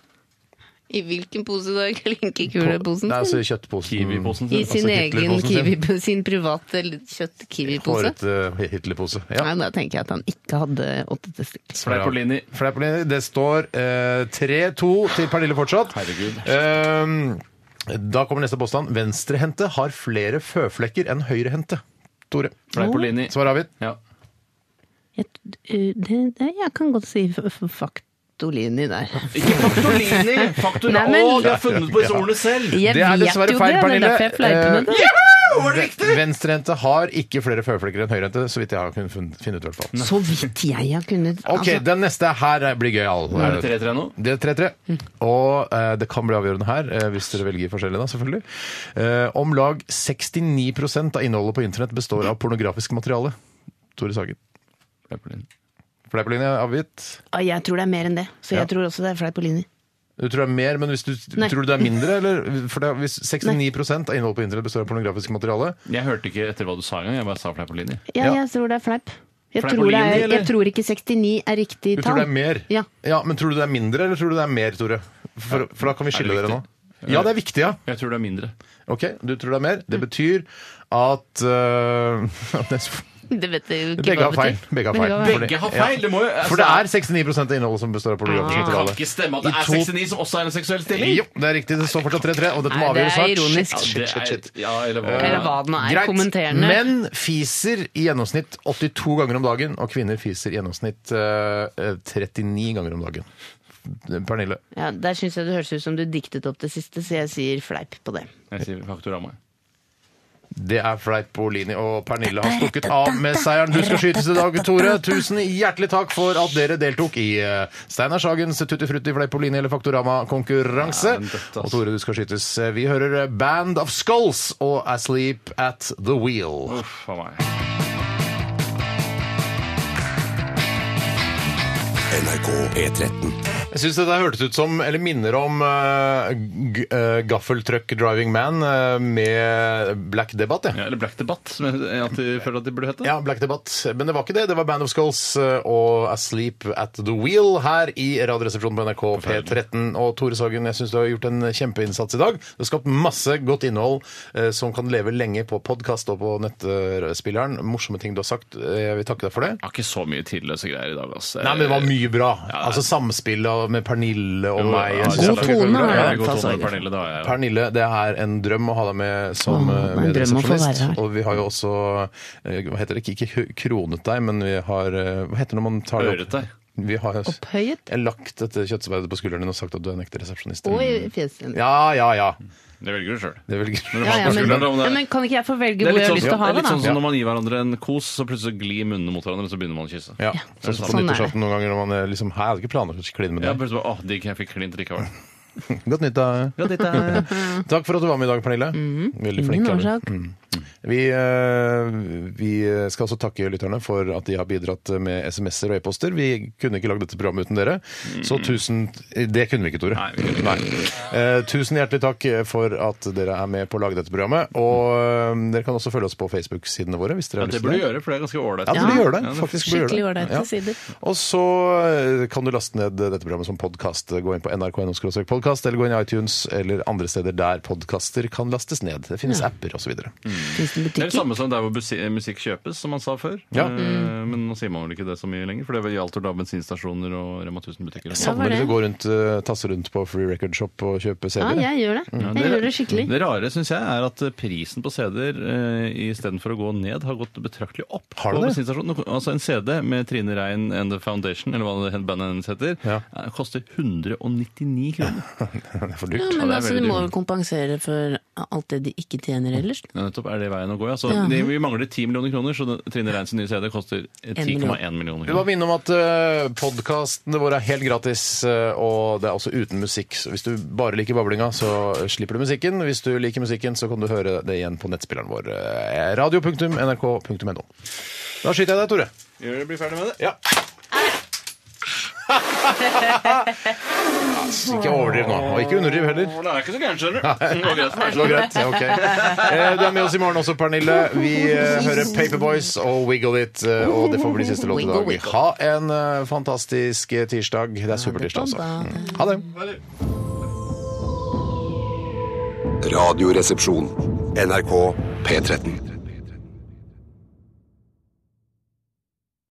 Speaker 3: [laughs] I hvilken pose da?
Speaker 7: Det
Speaker 3: Klinkekuleposen?
Speaker 7: er altså kjøttposen.
Speaker 9: Kiwi-posen
Speaker 3: I
Speaker 9: sin.
Speaker 3: sin egen
Speaker 7: Hitlerposen sin.
Speaker 3: kiwi, [laughs] sin private kjøtt-kiwi-pose?
Speaker 7: Hårete eh, Hitlerpose.
Speaker 3: Nei,
Speaker 7: Ja.
Speaker 3: Da tenker jeg at han ikke hadde åtte testikler.
Speaker 9: Fleipolini.
Speaker 7: Fleipolini. Det står eh, 3-2 til Pernille fortsatt.
Speaker 9: Herregud.
Speaker 7: Eh, da kommer neste påstand. Venstrehendte har flere føflekker enn høyrehendte. Tore.
Speaker 9: Fleipolini.
Speaker 7: Svar avgitt.
Speaker 9: Ja.
Speaker 3: Jeg, øh, det, det, jeg kan godt si f- f- Faktolini der.
Speaker 9: Ikke Faktorlini! Faktor
Speaker 3: Nei, men-
Speaker 9: Å, de har funnet på disse ordene selv!
Speaker 3: Jeg
Speaker 7: Det er
Speaker 3: vet
Speaker 7: dessverre
Speaker 3: jo
Speaker 7: feil,
Speaker 3: det,
Speaker 7: Pernille.
Speaker 3: Det er derfor jeg fleiper med det.
Speaker 7: Venstrehendte har ikke flere føflekker enn høyrehendte, så vidt jeg har kunnet fin- finne ut. i hvert fall.
Speaker 3: Så vidt jeg har kunnet
Speaker 7: Ok,
Speaker 3: altså,
Speaker 7: Den neste her blir gøyal.
Speaker 9: Er det 3-3 nå?
Speaker 7: Det er 3-3. Og eh, det kan bli avgjørende her, eh, hvis dere velger forskjellig, da, selvfølgelig. Eh, om lag 69 av innholdet på internett består av pornografisk materiale. Tore Sagen.
Speaker 9: Fleipolini.
Speaker 7: Fleipolini er avgitt.
Speaker 3: ah, Jeg tror det er mer enn det, så
Speaker 7: Ja.
Speaker 3: jeg tror også det er fleipolini.
Speaker 7: Du tror det er mer, men hvis du,
Speaker 3: Nei.
Speaker 7: tror du det er mindre? Eller? For det, er- hvis 69 av innholdet på internett består av pornografisk materiale
Speaker 9: Jeg hørte ikke etter hva du sa engang. Jeg bare sa fleip på linje.
Speaker 3: Ja, jeg tror det er fleip. Jeg,
Speaker 9: Fleip
Speaker 3: tror,
Speaker 9: og
Speaker 3: det
Speaker 9: linje,
Speaker 3: er,
Speaker 9: eller?
Speaker 3: jeg tror ikke 69 er riktig
Speaker 7: Du
Speaker 3: tall.
Speaker 7: tror det er mer?
Speaker 3: Ja.
Speaker 7: Men tror du det er mindre, eller tror du det er mer, Tore? For, for da kan vi
Speaker 9: Er det
Speaker 7: skille dere nå.
Speaker 9: viktig?
Speaker 7: Ja, det er viktig, ja.
Speaker 9: Jeg tror det er mindre.
Speaker 7: Ok, du tror det er mer.
Speaker 3: Mm.
Speaker 7: Det betyr at [laughs] øh,
Speaker 3: Det vet jeg jo ikke hva
Speaker 7: Begge har
Speaker 3: det
Speaker 7: feil.
Speaker 3: betyr.
Speaker 7: Begge har feil. Fordi-
Speaker 9: Begge har feil,
Speaker 7: Ja.
Speaker 9: det må jo- altså-
Speaker 7: For det er 69 av innholdet som består av pornografisk
Speaker 9: Det kan
Speaker 7: materiale.
Speaker 9: ikke stemme at det
Speaker 7: I
Speaker 9: er
Speaker 7: to-
Speaker 9: 69 som også er en seksuell stilling!
Speaker 7: Jo, det er riktig. Det står fortsatt 3-3, og dette må
Speaker 3: Nei, det
Speaker 7: avgjøres
Speaker 3: er
Speaker 7: snart.
Speaker 3: ironisk.
Speaker 7: Shit, shit, shit, shit.
Speaker 9: Ja, eller hva?
Speaker 3: Eller hva den er. Kommenterende.
Speaker 7: Menn fiser i gjennomsnitt 82 ganger om dagen, og kvinner fiser i gjennomsnitt eh, eh, 39 ganger om dagen. Pernille.
Speaker 3: Ja, der syns jeg det høres ut som du diktet opp det siste, så jeg sier fleip på det.
Speaker 9: Jeg sier Faktorama.
Speaker 7: Det er Fleipolini og Pernille har stukket av med seieren. Du skal skytes i dag, Tore. Tusen hjertelig takk for at dere deltok i eh, Steinar Sagens Tutti Frutti Fleipolini eller Faktorama-konkurranse.
Speaker 9: Ja, men dette, altså.
Speaker 7: Og Tore, du skal skytes. Eh, Vi hører Band of Skulls og Asleep at the Wheel.
Speaker 9: Uff a meg.
Speaker 13: NRK P13.
Speaker 7: Jeg syns dette hørtes ut som, eller minner om, eh, g- eh, Gaffel Truck Driving Man eh, med Black Debate.
Speaker 9: Ja, eller Black Debatt, som jeg
Speaker 7: [laughs]
Speaker 9: at de føler at de burde hete.
Speaker 7: Ja, Black Debatt. Men det var ikke det. Det var Band of Skulls eh, og Asleep at the Wheel her i Radioresepsjonen på NRK P13. Og Tore Sagen, jeg syns du har gjort en kjempeinnsats i dag. Du har skapt masse godt innhold eh, som kan leve lenge på podkast og på nettspilleren. Morsomme ting du har sagt. Eh, Jeg vil takke deg for det.
Speaker 9: Jeg har ikke så mye tidløse greier i dag, altså.
Speaker 7: Nei, men det var mye bra.
Speaker 9: Ja.
Speaker 7: Altså samspillet av- med Pernille og
Speaker 9: Jo,
Speaker 7: meg.
Speaker 9: ja,
Speaker 7: Jeg synes
Speaker 9: god
Speaker 7: det var
Speaker 9: tone,
Speaker 7: bra.
Speaker 9: har
Speaker 7: Ja,
Speaker 9: jeg
Speaker 7: god
Speaker 9: fått
Speaker 7: tone,
Speaker 9: med Pernille, det har jeg, ja.
Speaker 7: Pernille, det er en drøm å ha deg med som
Speaker 3: Åh, det er en
Speaker 7: eh,
Speaker 3: drøm å få
Speaker 7: medresepsjonist.
Speaker 3: være her.
Speaker 7: Og vi har jo også eh, Hva heter det? Ikke- Ikke hø- kronet deg, men vi har eh, Hva heter det når man tar det
Speaker 9: Øret deg.
Speaker 7: Vi har
Speaker 3: Opphøyet?
Speaker 7: lagt dette kjøttspeidet på skulderen din og sagt at du er en ekte resepsjonist.
Speaker 3: Og i fjeset.
Speaker 7: Ja, ja, ja.
Speaker 9: Det velger du sjøl.
Speaker 7: Det er vel
Speaker 9: Ja, ja, men-
Speaker 3: Ja, men kan ikke jeg få velge
Speaker 9: Det er
Speaker 3: hvor jeg
Speaker 9: litt
Speaker 3: har
Speaker 9: sånn,
Speaker 3: lyst til å
Speaker 9: som-
Speaker 3: ha
Speaker 9: det er
Speaker 3: det,
Speaker 9: litt sånn som
Speaker 3: da?
Speaker 9: når man gir hverandre en kos, så plutselig glir munnene mot hverandre, og så begynner man å kysse.
Speaker 7: Ja, Sånn som
Speaker 3: Sånn er
Speaker 7: på
Speaker 3: det.
Speaker 7: nyttårsaften noen ganger når man er liksom Hei, jeg hadde ikke planer om å kline med
Speaker 9: Jeg
Speaker 7: deg.
Speaker 9: bare, så bare, åh, digg, jeg fikk klint likevel.
Speaker 7: Godt nytt, da. [laughs] Takk for at du var med i dag, Pernille.
Speaker 9: Mhm.
Speaker 7: Veldig flink.
Speaker 3: Ingen
Speaker 7: er du.
Speaker 3: årsak.
Speaker 7: Mm. Vi, eh, vi skal også takke lytterne for at de har bidratt med SMS-er og e-poster. Vi kunne ikke lagd dette programmet uten dere. Så tusen Det kunne vi ikke, Tore.
Speaker 9: Mhm. Nei, vi kunne ikke.
Speaker 7: Eh, tusen hjertelig takk for at dere er med på å lage dette programmet. Og eh, dere kan også følge oss på Facebook-sidene våre hvis dere
Speaker 9: Ja,
Speaker 7: har
Speaker 9: det
Speaker 7: lyst
Speaker 9: burde
Speaker 7: til
Speaker 9: du gjøre, for det er ganske ålreit.
Speaker 7: Ja, det burde gjøre det.
Speaker 9: Ja,
Speaker 7: Faktisk burde
Speaker 3: Skikkelig
Speaker 7: gjøre det.
Speaker 3: ålreite sider.
Speaker 7: Og så eh, kan du laste ned dette programmet som podkast. Gå inn på nrk.no-podkast, eller gå inn i iTunes eller andre steder der podkaster kan lastes ned. Det finnes apper osv.
Speaker 3: Mm. Tusen
Speaker 9: Det er det
Speaker 3: butikker.
Speaker 9: samme som der hvor busi- musikk kjøpes, som man sa før.
Speaker 7: Ja. Mm.
Speaker 9: Eh, Men nå sier man vel ikke det så mye lenger, for det gjaldt vel da bensinstasjoner og Rema 1000-butikker. og sånt.
Speaker 3: var
Speaker 7: Savner
Speaker 3: det.
Speaker 7: du å gå rundt, eh, tasse rundt på Free Record Shop og
Speaker 3: Ja,
Speaker 7: kjøpe CD-er?
Speaker 3: jeg gjør det. Jeg gjør det skikkelig.
Speaker 9: Det rare syns jeg er at eh, prisen på CD-er eh, istedenfor å gå ned, har gått betraktelig opp.
Speaker 7: Har det
Speaker 9: på
Speaker 7: det?
Speaker 9: bensinstasjonen. Nå- Altså En CD med Trine Rein and The Foundation, eller hva det bandet hennes heter,
Speaker 7: Ja.
Speaker 9: eh, koster 199
Speaker 7: [laughs]
Speaker 9: kroner.
Speaker 7: [laughs] Det er for
Speaker 3: Ja,
Speaker 7: dyrt.
Speaker 9: Ja, det
Speaker 3: men
Speaker 9: er
Speaker 3: altså,
Speaker 9: veldig
Speaker 3: de må jo
Speaker 9: dyrt.
Speaker 3: kompensere for alt det de ikke tjener ellers.
Speaker 9: Ja, Nettopp er det veien å gå, ja. Så
Speaker 3: Ja.
Speaker 9: det, vi mangler 10 millioner kroner, så den- Trine Reins nye CD koster eh,
Speaker 3: En million.
Speaker 9: 10,1 millioner
Speaker 7: Vi må
Speaker 9: kroner.
Speaker 7: minne om at uh, podkastene våre er helt gratis, eh, og det er også uten musikk. Så hvis du bare liker bablinga, så slipper du musikken. Hvis du liker musikken, så kan du høre det igjen på nettspilleren vår. eh, Radio.nrk.no. Da skyter jeg deg, Tore.
Speaker 9: Gjør det, bli ferdig med det.
Speaker 7: Ja. Ass, [laughs] ikke overdriv nå, og ikke underdriv heller.
Speaker 9: Å, Det er ikke så gærent,
Speaker 7: [laughs]
Speaker 9: skjønner du. Det var greit for meg.
Speaker 7: Det går greit. Ja, ok. Eh, Du er med oss i morgen også, Pernille. Vi eh, hører Paperboys og Wiggle It. eh, Og det får bli siste låt i dag. Ha en eh, fantastisk eh, tirsdag. Det er supertirsdag, altså. Mm. Ha det.
Speaker 13: Radioresepsjon. NRK P13.